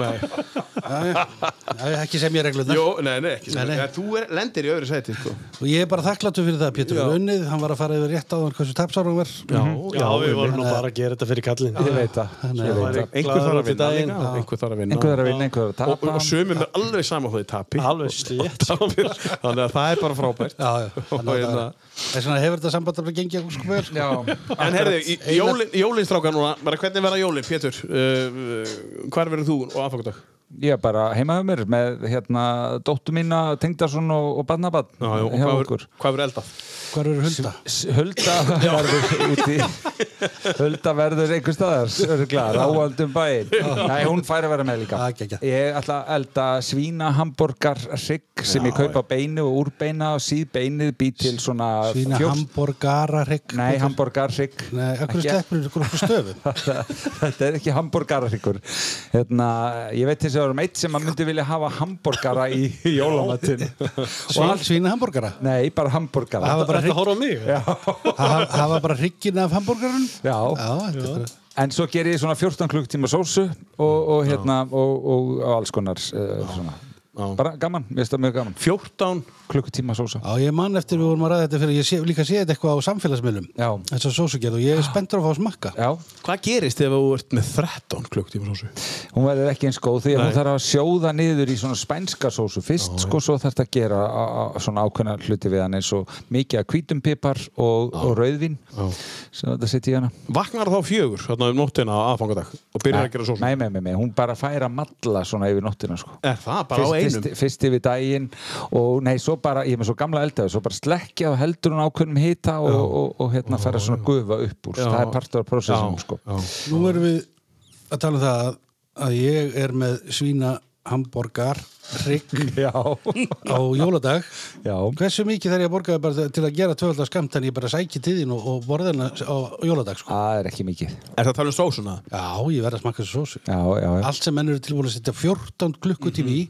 Speaker 2: nei
Speaker 4: Já, já. Já, já, ekki sem ég reglurnar.
Speaker 2: Jó, nei, nei, ekki sem
Speaker 4: Nei, nei.
Speaker 2: ja, Þú er, lendir í öðru sæti, sko
Speaker 4: Og ég er bara þakkláttur fyrir það, Pétur var unnið, hann var að fara yfir rétt áðan hversu tapsára hann var. Mhm.
Speaker 2: Já,
Speaker 1: Já, við vorum nú bara að gera þetta fyrir kallin
Speaker 3: Ég veit það
Speaker 4: Þannig
Speaker 3: Ég
Speaker 4: að-
Speaker 3: veit það
Speaker 2: Einhver þarf að vinna líka, einhver þarf að vinna
Speaker 3: Einhver er að vinna, einhver er að
Speaker 2: Og,
Speaker 3: tapa
Speaker 2: og sömum er alveg sama hvað þið tapi
Speaker 1: Alveg slétt
Speaker 2: Tapir. Þannig að það er bara frábært
Speaker 4: Já, já. Þannig að
Speaker 2: hérna-
Speaker 4: það- Þess vegna hefur þetta samband að gengið okkur sko vel.
Speaker 3: Já
Speaker 2: En herðu, jólin, jólinstráka núna bara hvernig verða jólin, Pétur uh, uh, hvar verður þú og aðfangadag?
Speaker 3: Ég er bara heima um mér með hérna dóttu mína, Tengdason og, og Badnabann
Speaker 2: og
Speaker 3: hjá
Speaker 2: hvað
Speaker 3: okkur.
Speaker 2: verður- hvað verður eldað?
Speaker 4: Hvar eru hulda?
Speaker 3: S- Hulda verður úti Hulda verður einhver staðar örgla, ráaldum bæinn Nei, hún fær að vera með líka
Speaker 4: Já, Ah, geggjað.
Speaker 3: Ég ætla að elda svínahambúrgar hrygg sem ég kaupa beinu og úrbeina og síð beinið bý til svona
Speaker 4: Svína
Speaker 3: fjórs-
Speaker 4: hamburgararygg.
Speaker 3: Nei, hambúrgar hrygg
Speaker 4: Nei, okkur
Speaker 3: Ekki-
Speaker 4: sleppur okkur okkur stöfum.
Speaker 3: Þetta er ekki hambúrgararyggur hérna, Ég veit þess að það erum eitt sem að myndi vilja hafa hambúrgara í í jólamatinn Og
Speaker 4: Svín,
Speaker 3: alls
Speaker 4: svína hamburgara.
Speaker 3: Nei, bara hambúrgara
Speaker 4: Það var bara
Speaker 1: Þetta horfa á mig
Speaker 3: Já,
Speaker 4: Það var bara ryggin af hamburgarun.
Speaker 3: já.
Speaker 4: Já, þetta er bara...
Speaker 3: En svo ger ég svona 14 klukktíma sósu og, og hérna og, og, og alls konar uh, svona Bara gaman, mér finnst það mjög gaman
Speaker 2: 14
Speaker 3: Klukkutíma sósa
Speaker 4: Já, ég man eftir við vorum að ræða þetta fyrir, ég sé, líka sé þetta eitthvað á samfélagsmiðlum,
Speaker 3: Já.
Speaker 4: þess að sósugerð og ég er spenntur að fá að smakka.
Speaker 3: Já,
Speaker 2: Hvað gerist ef þú ert með 13 klukktíma sósu?
Speaker 3: hún verður ekki eins góð því að hún þarf að sjóða niður í svona spænska sósu fyrst sko, svo þarf þetta að gera a- a- svona ákveðna hluti við hann eins og mikið að hvítum pipar og, og rauðvin sem þetta setja í hana
Speaker 2: Vaknar þá fjögur, þarna um nóttina á aðfangadag og byrjar að gera sósu?
Speaker 3: Nei, nei, nei, nei, hún bara fær að matla svona yfir nóttina sko
Speaker 2: Er það Ah, bara á
Speaker 3: fyrst,
Speaker 2: einum?
Speaker 3: fyrst, fyrst yfir daginn og nei, svo bara, ég er með svo gamla eldaðu svo bara slekkja og heldur hún ákveðnum hita og, og, og, hérna fara svona gufa upp úr
Speaker 2: Já.
Speaker 3: það er partur af prósessum
Speaker 2: Já,
Speaker 3: sko.
Speaker 2: já.
Speaker 4: Nú erum við að tala um það að- að ég er með svína hamburgar hrygg
Speaker 3: já,
Speaker 4: á jóladag.
Speaker 3: já,
Speaker 4: Hversu mikið þarf ég að borga bara til að gera tvöfaldar skamt en ég bara sæki til þín og, og borða hérna á jóladag sko.
Speaker 3: það er ekki mikið
Speaker 2: Er það að tala um sósuna?
Speaker 4: Já, ég verð að smakka þessu sósu.
Speaker 3: já, já, Mm-hmm, já.
Speaker 4: Allt sem menn eru tilbúin að setja 14 klukkutími í,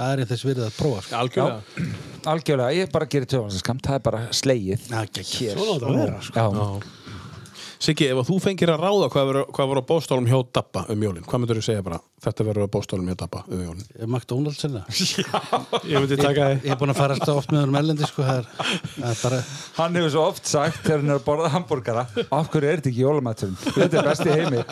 Speaker 4: það er í þess verið að prófa sko.
Speaker 2: Algjörlega
Speaker 3: algjörlega, ég bara gerir töfansaskam það er bara slegið
Speaker 4: Já, ekki,
Speaker 1: Svona á þetta að vera
Speaker 4: sko.
Speaker 3: já,
Speaker 2: Siggi, ef að þú fengir að ráða hvað verður- hvað voru á bóstálum hjá Dabba um jólin hvað myndur þú segja bara? Þetta verður á bóstálum hjá Dabba um jólin
Speaker 4: McDonalds hérna.
Speaker 1: Ég myndi taka
Speaker 4: Ég er búin að fara alltaf oft með honum ellendi sko, það er, það er bara...
Speaker 3: hann hefur svo oft sagt þegar hann er að borða hambúrgara af hverju er þetta ekki jólamaturinn þetta er besti heimi,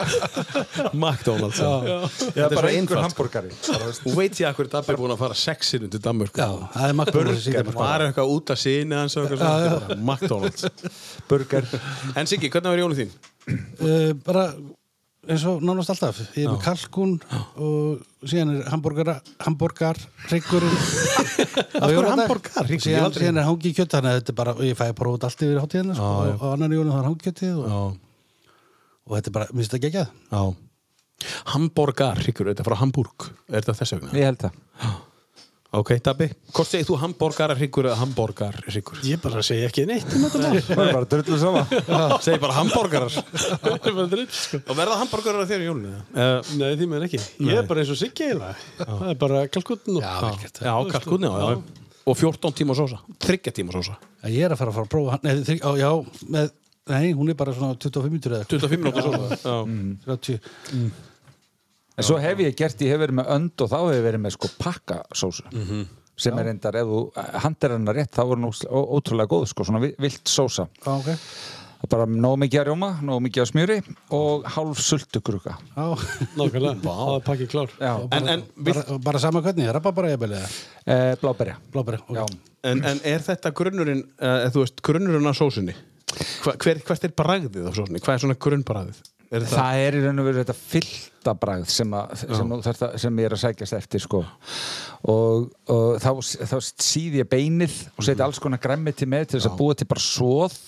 Speaker 2: McDonalds
Speaker 3: það
Speaker 2: Þetta
Speaker 3: er
Speaker 2: er svo
Speaker 3: bara einhver
Speaker 2: einfalt
Speaker 3: hambúrgari
Speaker 2: Þú veit ég að hverju Dabba er búin að fara sexinu til Danmörk
Speaker 4: Já, það er McDonalds í
Speaker 2: Burger,
Speaker 4: þetta
Speaker 2: bara eitthvað út að sinni hans og eitthvað svona, þetta er bara McDonalds
Speaker 3: burger,
Speaker 2: En Siggi, hvernig verður jólin þín?
Speaker 4: Eh, bara eins og nánast alltaf ég er með kalkun og síðan er hambúrgar hambúrgar hryggurinn á
Speaker 2: hverju
Speaker 4: jóladag.
Speaker 2: hambúrgarhryggur? Ég hef
Speaker 4: síðan,
Speaker 2: aldrei-
Speaker 4: síðan er hangi kjöt þannig að þetta er bara og ég fæ að prófa þetta allt yfir hátíðina sko, og á annan jólum það er hangi kjötið og, og þetta er bara, minnst þetta geggjað
Speaker 2: Já Hamburgar, hryggur, þetta er frá Hamburg Er þetta þess vegna?
Speaker 3: ég held það
Speaker 2: Ok, Dabbi Hvort segir þú hamburgara hryggur eða hamburgar hryggur?
Speaker 1: Ég bara segi ekki neitt um þetta mál
Speaker 3: það er bara drullu sama
Speaker 2: Segir bara hamburgarar
Speaker 1: Það er bara dritt, sko.
Speaker 2: Og verða hamburgarar þér í jólinu? Uh,
Speaker 1: Nei, því meður ekki Ég er bara eins og Siggi eiginlega Það er bara kalkutn og
Speaker 2: já, kalkunni, já, já og 14 tíma sósa, 30 tíma sósa
Speaker 4: að ég er að fara að fara að prófa hann eða, þrjá, á, já, með, nei, hún er bara svona 25 mínútur eða
Speaker 2: 25 mínútur sósa, já.
Speaker 4: 30
Speaker 3: Mm. En svo hef ég gert, ég hef verið með önd og þá hef ég verið með sko pakkasósu
Speaker 2: Mhm.
Speaker 3: sem er endar, ef þú eh, handir hennar rétt þá voru nú ótrúlega góð, sko, svona vi- villt sósa
Speaker 4: Já, ok.
Speaker 3: Það er bara nóg mikið að rjóma, nóg mikið að smjöri og hálf sultukruka
Speaker 4: Já,
Speaker 1: nákvæmlega, það er pakkið klár
Speaker 3: Já,
Speaker 4: en, en, bara, bara, sama hvernig, rabba bara jafnvel eða
Speaker 3: eh, Bláberja
Speaker 4: Bláberja, ok
Speaker 2: en, en er þetta grunnurinn eh, þú veist, grunnurinn að sósunni Hva, hver, hvert er bragðið á sósunni hvað er svona grunnbragðið er
Speaker 3: það, er í raun og veru þetta fylltabræð sem, að- sem, þú þarft að- sem ég er að sækjast eftir sko. og, og þá, þá síð ég beinið og setja alls konar græmmiti með til þess að búa til bara svoð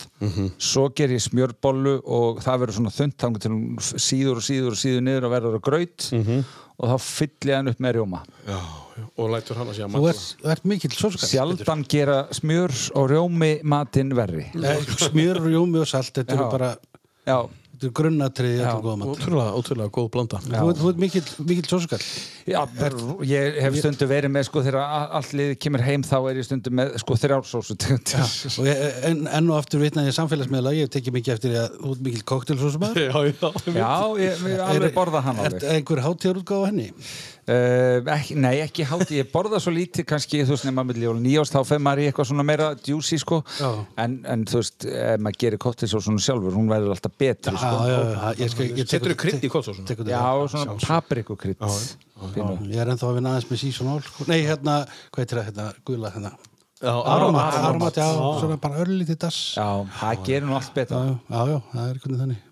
Speaker 3: svo ger ég smjörbollu og það verður svona þund þangur til hún f- síður og síður og síður niður og verður að graut og þá fyll ég hann upp með rjóma
Speaker 2: já, já, og lætur hann að sé að
Speaker 4: Þú
Speaker 2: matla
Speaker 4: ert, þú ert mikill sóskall
Speaker 3: sjaldan gera smjör og rjómi matinn verri
Speaker 4: Smjör, rjómi og salt, þetta
Speaker 3: Já.
Speaker 4: eru bara
Speaker 3: Já,
Speaker 4: Þetta er grunnatriði í
Speaker 3: Já.
Speaker 4: öllum góða mat
Speaker 2: ótrúlega, ótrúlega góð blanda
Speaker 4: Þú ert- Þú ert mikill, mikill sóskall
Speaker 3: Já, bara- ég hef stundu verið með sko þegar a- allt liðið kemur heim þá er ég stundu með sko þrjársósu
Speaker 4: og ég, en, enn og aftur vitnaði ég samfélagsmiðla ég hef tekið mikið eftir því að þú ert mikill koktelsósumar
Speaker 1: Já, já,
Speaker 3: Já, ég ég hef alveg borðað hann
Speaker 4: Er
Speaker 3: alveg
Speaker 4: einhver hátíðarútgáð á henni?
Speaker 3: uh, ekki, Nei, ekki háti, ég borða svo lítið kannski, þú veist, nema milli og nýjást þá fer maður í eitthvað svona meira djúsi sko
Speaker 4: Já.
Speaker 3: en, en þú veist, ef maður gerir kottisósunum sjálfur, hún verður alltaf betri
Speaker 4: Já,
Speaker 3: sko.
Speaker 4: já, já, ég skal ég tek-
Speaker 2: setur þú krydd í kótsósunni
Speaker 4: tekur
Speaker 3: Já,
Speaker 4: þetta.
Speaker 3: svona paprikukrydd Pínu.
Speaker 4: Ég er ennþá að vinna aðeins með season all sko. Nei, hérna, hvað heitir það, hérna, guðla hérna
Speaker 2: aromat.
Speaker 4: Aromat, aromat, já, svona bara örlítið dass Já,
Speaker 3: Já, það gerir nú allt betra
Speaker 4: já, já, það er hvernig þannig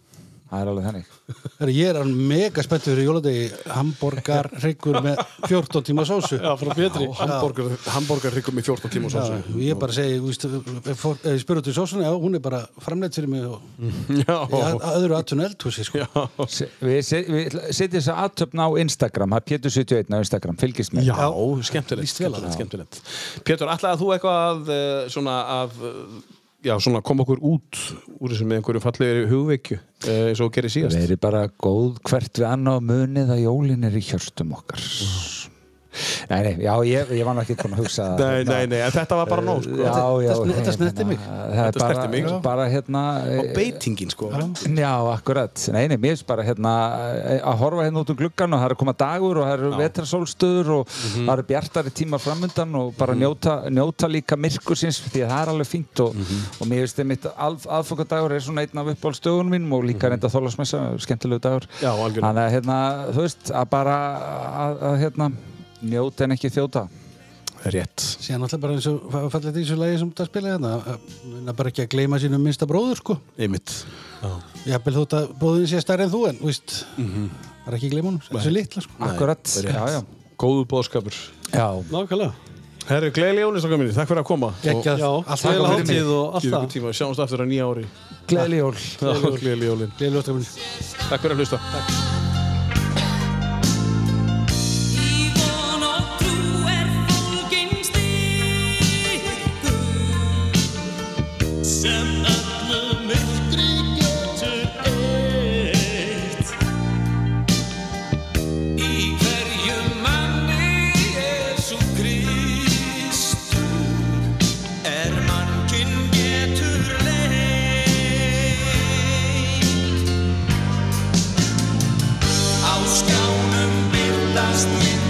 Speaker 3: Það er alveg þannig
Speaker 4: Herra, Ég er hann mega spenntur fyrir jóladegi Hamborgar hryggur með 14 tíma sósu
Speaker 1: Já, frá Pétri
Speaker 2: hamborgar, hamborgar ryggum í 14 tíma
Speaker 4: Já,
Speaker 2: sósu
Speaker 4: ég bara segi, þú veist, ef fór- ef ég spyrir út í sósuna, já, hún er bara framleitt fyrir mig og
Speaker 2: já,
Speaker 4: í að- að öðru aðtun eldhúsi, sko.
Speaker 3: Se- Við se- við setjum þess að aðtöfn á Instagram, það er Pétur71 á Instagram, fylgist með
Speaker 2: Já, skemmtilegt,
Speaker 4: líst vel á
Speaker 2: skemmtilegt,
Speaker 4: það.
Speaker 2: skemmtilegt. Pétur, ætlaði þú eitthvað eh, svona af eh, já, svona koma okkur út úr þessu með einhverjum fallegri hugveikju eh, eins og þú gerir síðast
Speaker 3: Verið bara góð hvert við annað og munið að jólin er í hjörstum okkar. Nei, nei, já, ég, ég var nú ekki búin að hugsa það.
Speaker 2: Nei, nei, nei, en þetta var bara nóg sko.
Speaker 3: Hérna. Já, hérna. já.
Speaker 4: þetta- þetta snerti mig.
Speaker 3: Það er
Speaker 2: Þetta
Speaker 3: bara,
Speaker 2: snerti mig.
Speaker 3: bara hérna...
Speaker 2: og beitingin sko
Speaker 3: Já, akkurat. Nei, nei, mér finnst bara hérna eh, að horfa hérna út um gluggan og það er að koma dagur og það eru vetrasólstöður og
Speaker 2: Mhm.
Speaker 3: það eru bjartari tímar framundan og bara njóta, njóta líka myrkursins því að það er alveg fínt og,
Speaker 2: Mhm.
Speaker 3: og mér finnst einmitt aðfokadagur er svona einn af uppáhaldstöðunum mínum og líka reynda þólasmessa, skemmtilegu dagur.
Speaker 2: Já, Mhm. algjörlega.
Speaker 3: Þannig að hérna, þú veist, að bara að, að hérna njóta en ekki þjóta.
Speaker 2: Rétt
Speaker 4: Síðan náttúrulega bara eins og fallið í þessu lagi sem það spilaði hérna, að- að bara ekki að gleyma sínum minnsta bróður, sko.
Speaker 2: Einmitt
Speaker 4: Ég hafði þótt að bróðin sé stærri en þú, en, þú veist,
Speaker 2: Mhm.
Speaker 4: bara ekki að gleyma honum, þessu litla, sko.
Speaker 3: Akkurat, já, já.
Speaker 2: Góðu bóðskapur
Speaker 3: Já,
Speaker 1: nákvæmlega
Speaker 2: Herru, gleðilega jólinstakar minni, takk fyrir að koma
Speaker 4: Geggjað.
Speaker 1: Já,
Speaker 4: Allt
Speaker 1: gleðilega
Speaker 4: fyrir mig.
Speaker 1: hátíð og allt
Speaker 2: Gjöfum
Speaker 1: það
Speaker 2: tíma, sjáumst aftur á nýja ári
Speaker 3: gleðli jól.
Speaker 2: Gleðilega jólin
Speaker 4: Gleðilega óskaminn.
Speaker 2: Takk fyrir að hlusta
Speaker 12: Í von og trú er fólkin styrkur sem öllu myrkri getur eitt. Í hverjum manni Jesú Kristur er mannkinn getur leitt. Á skjánum bildast minn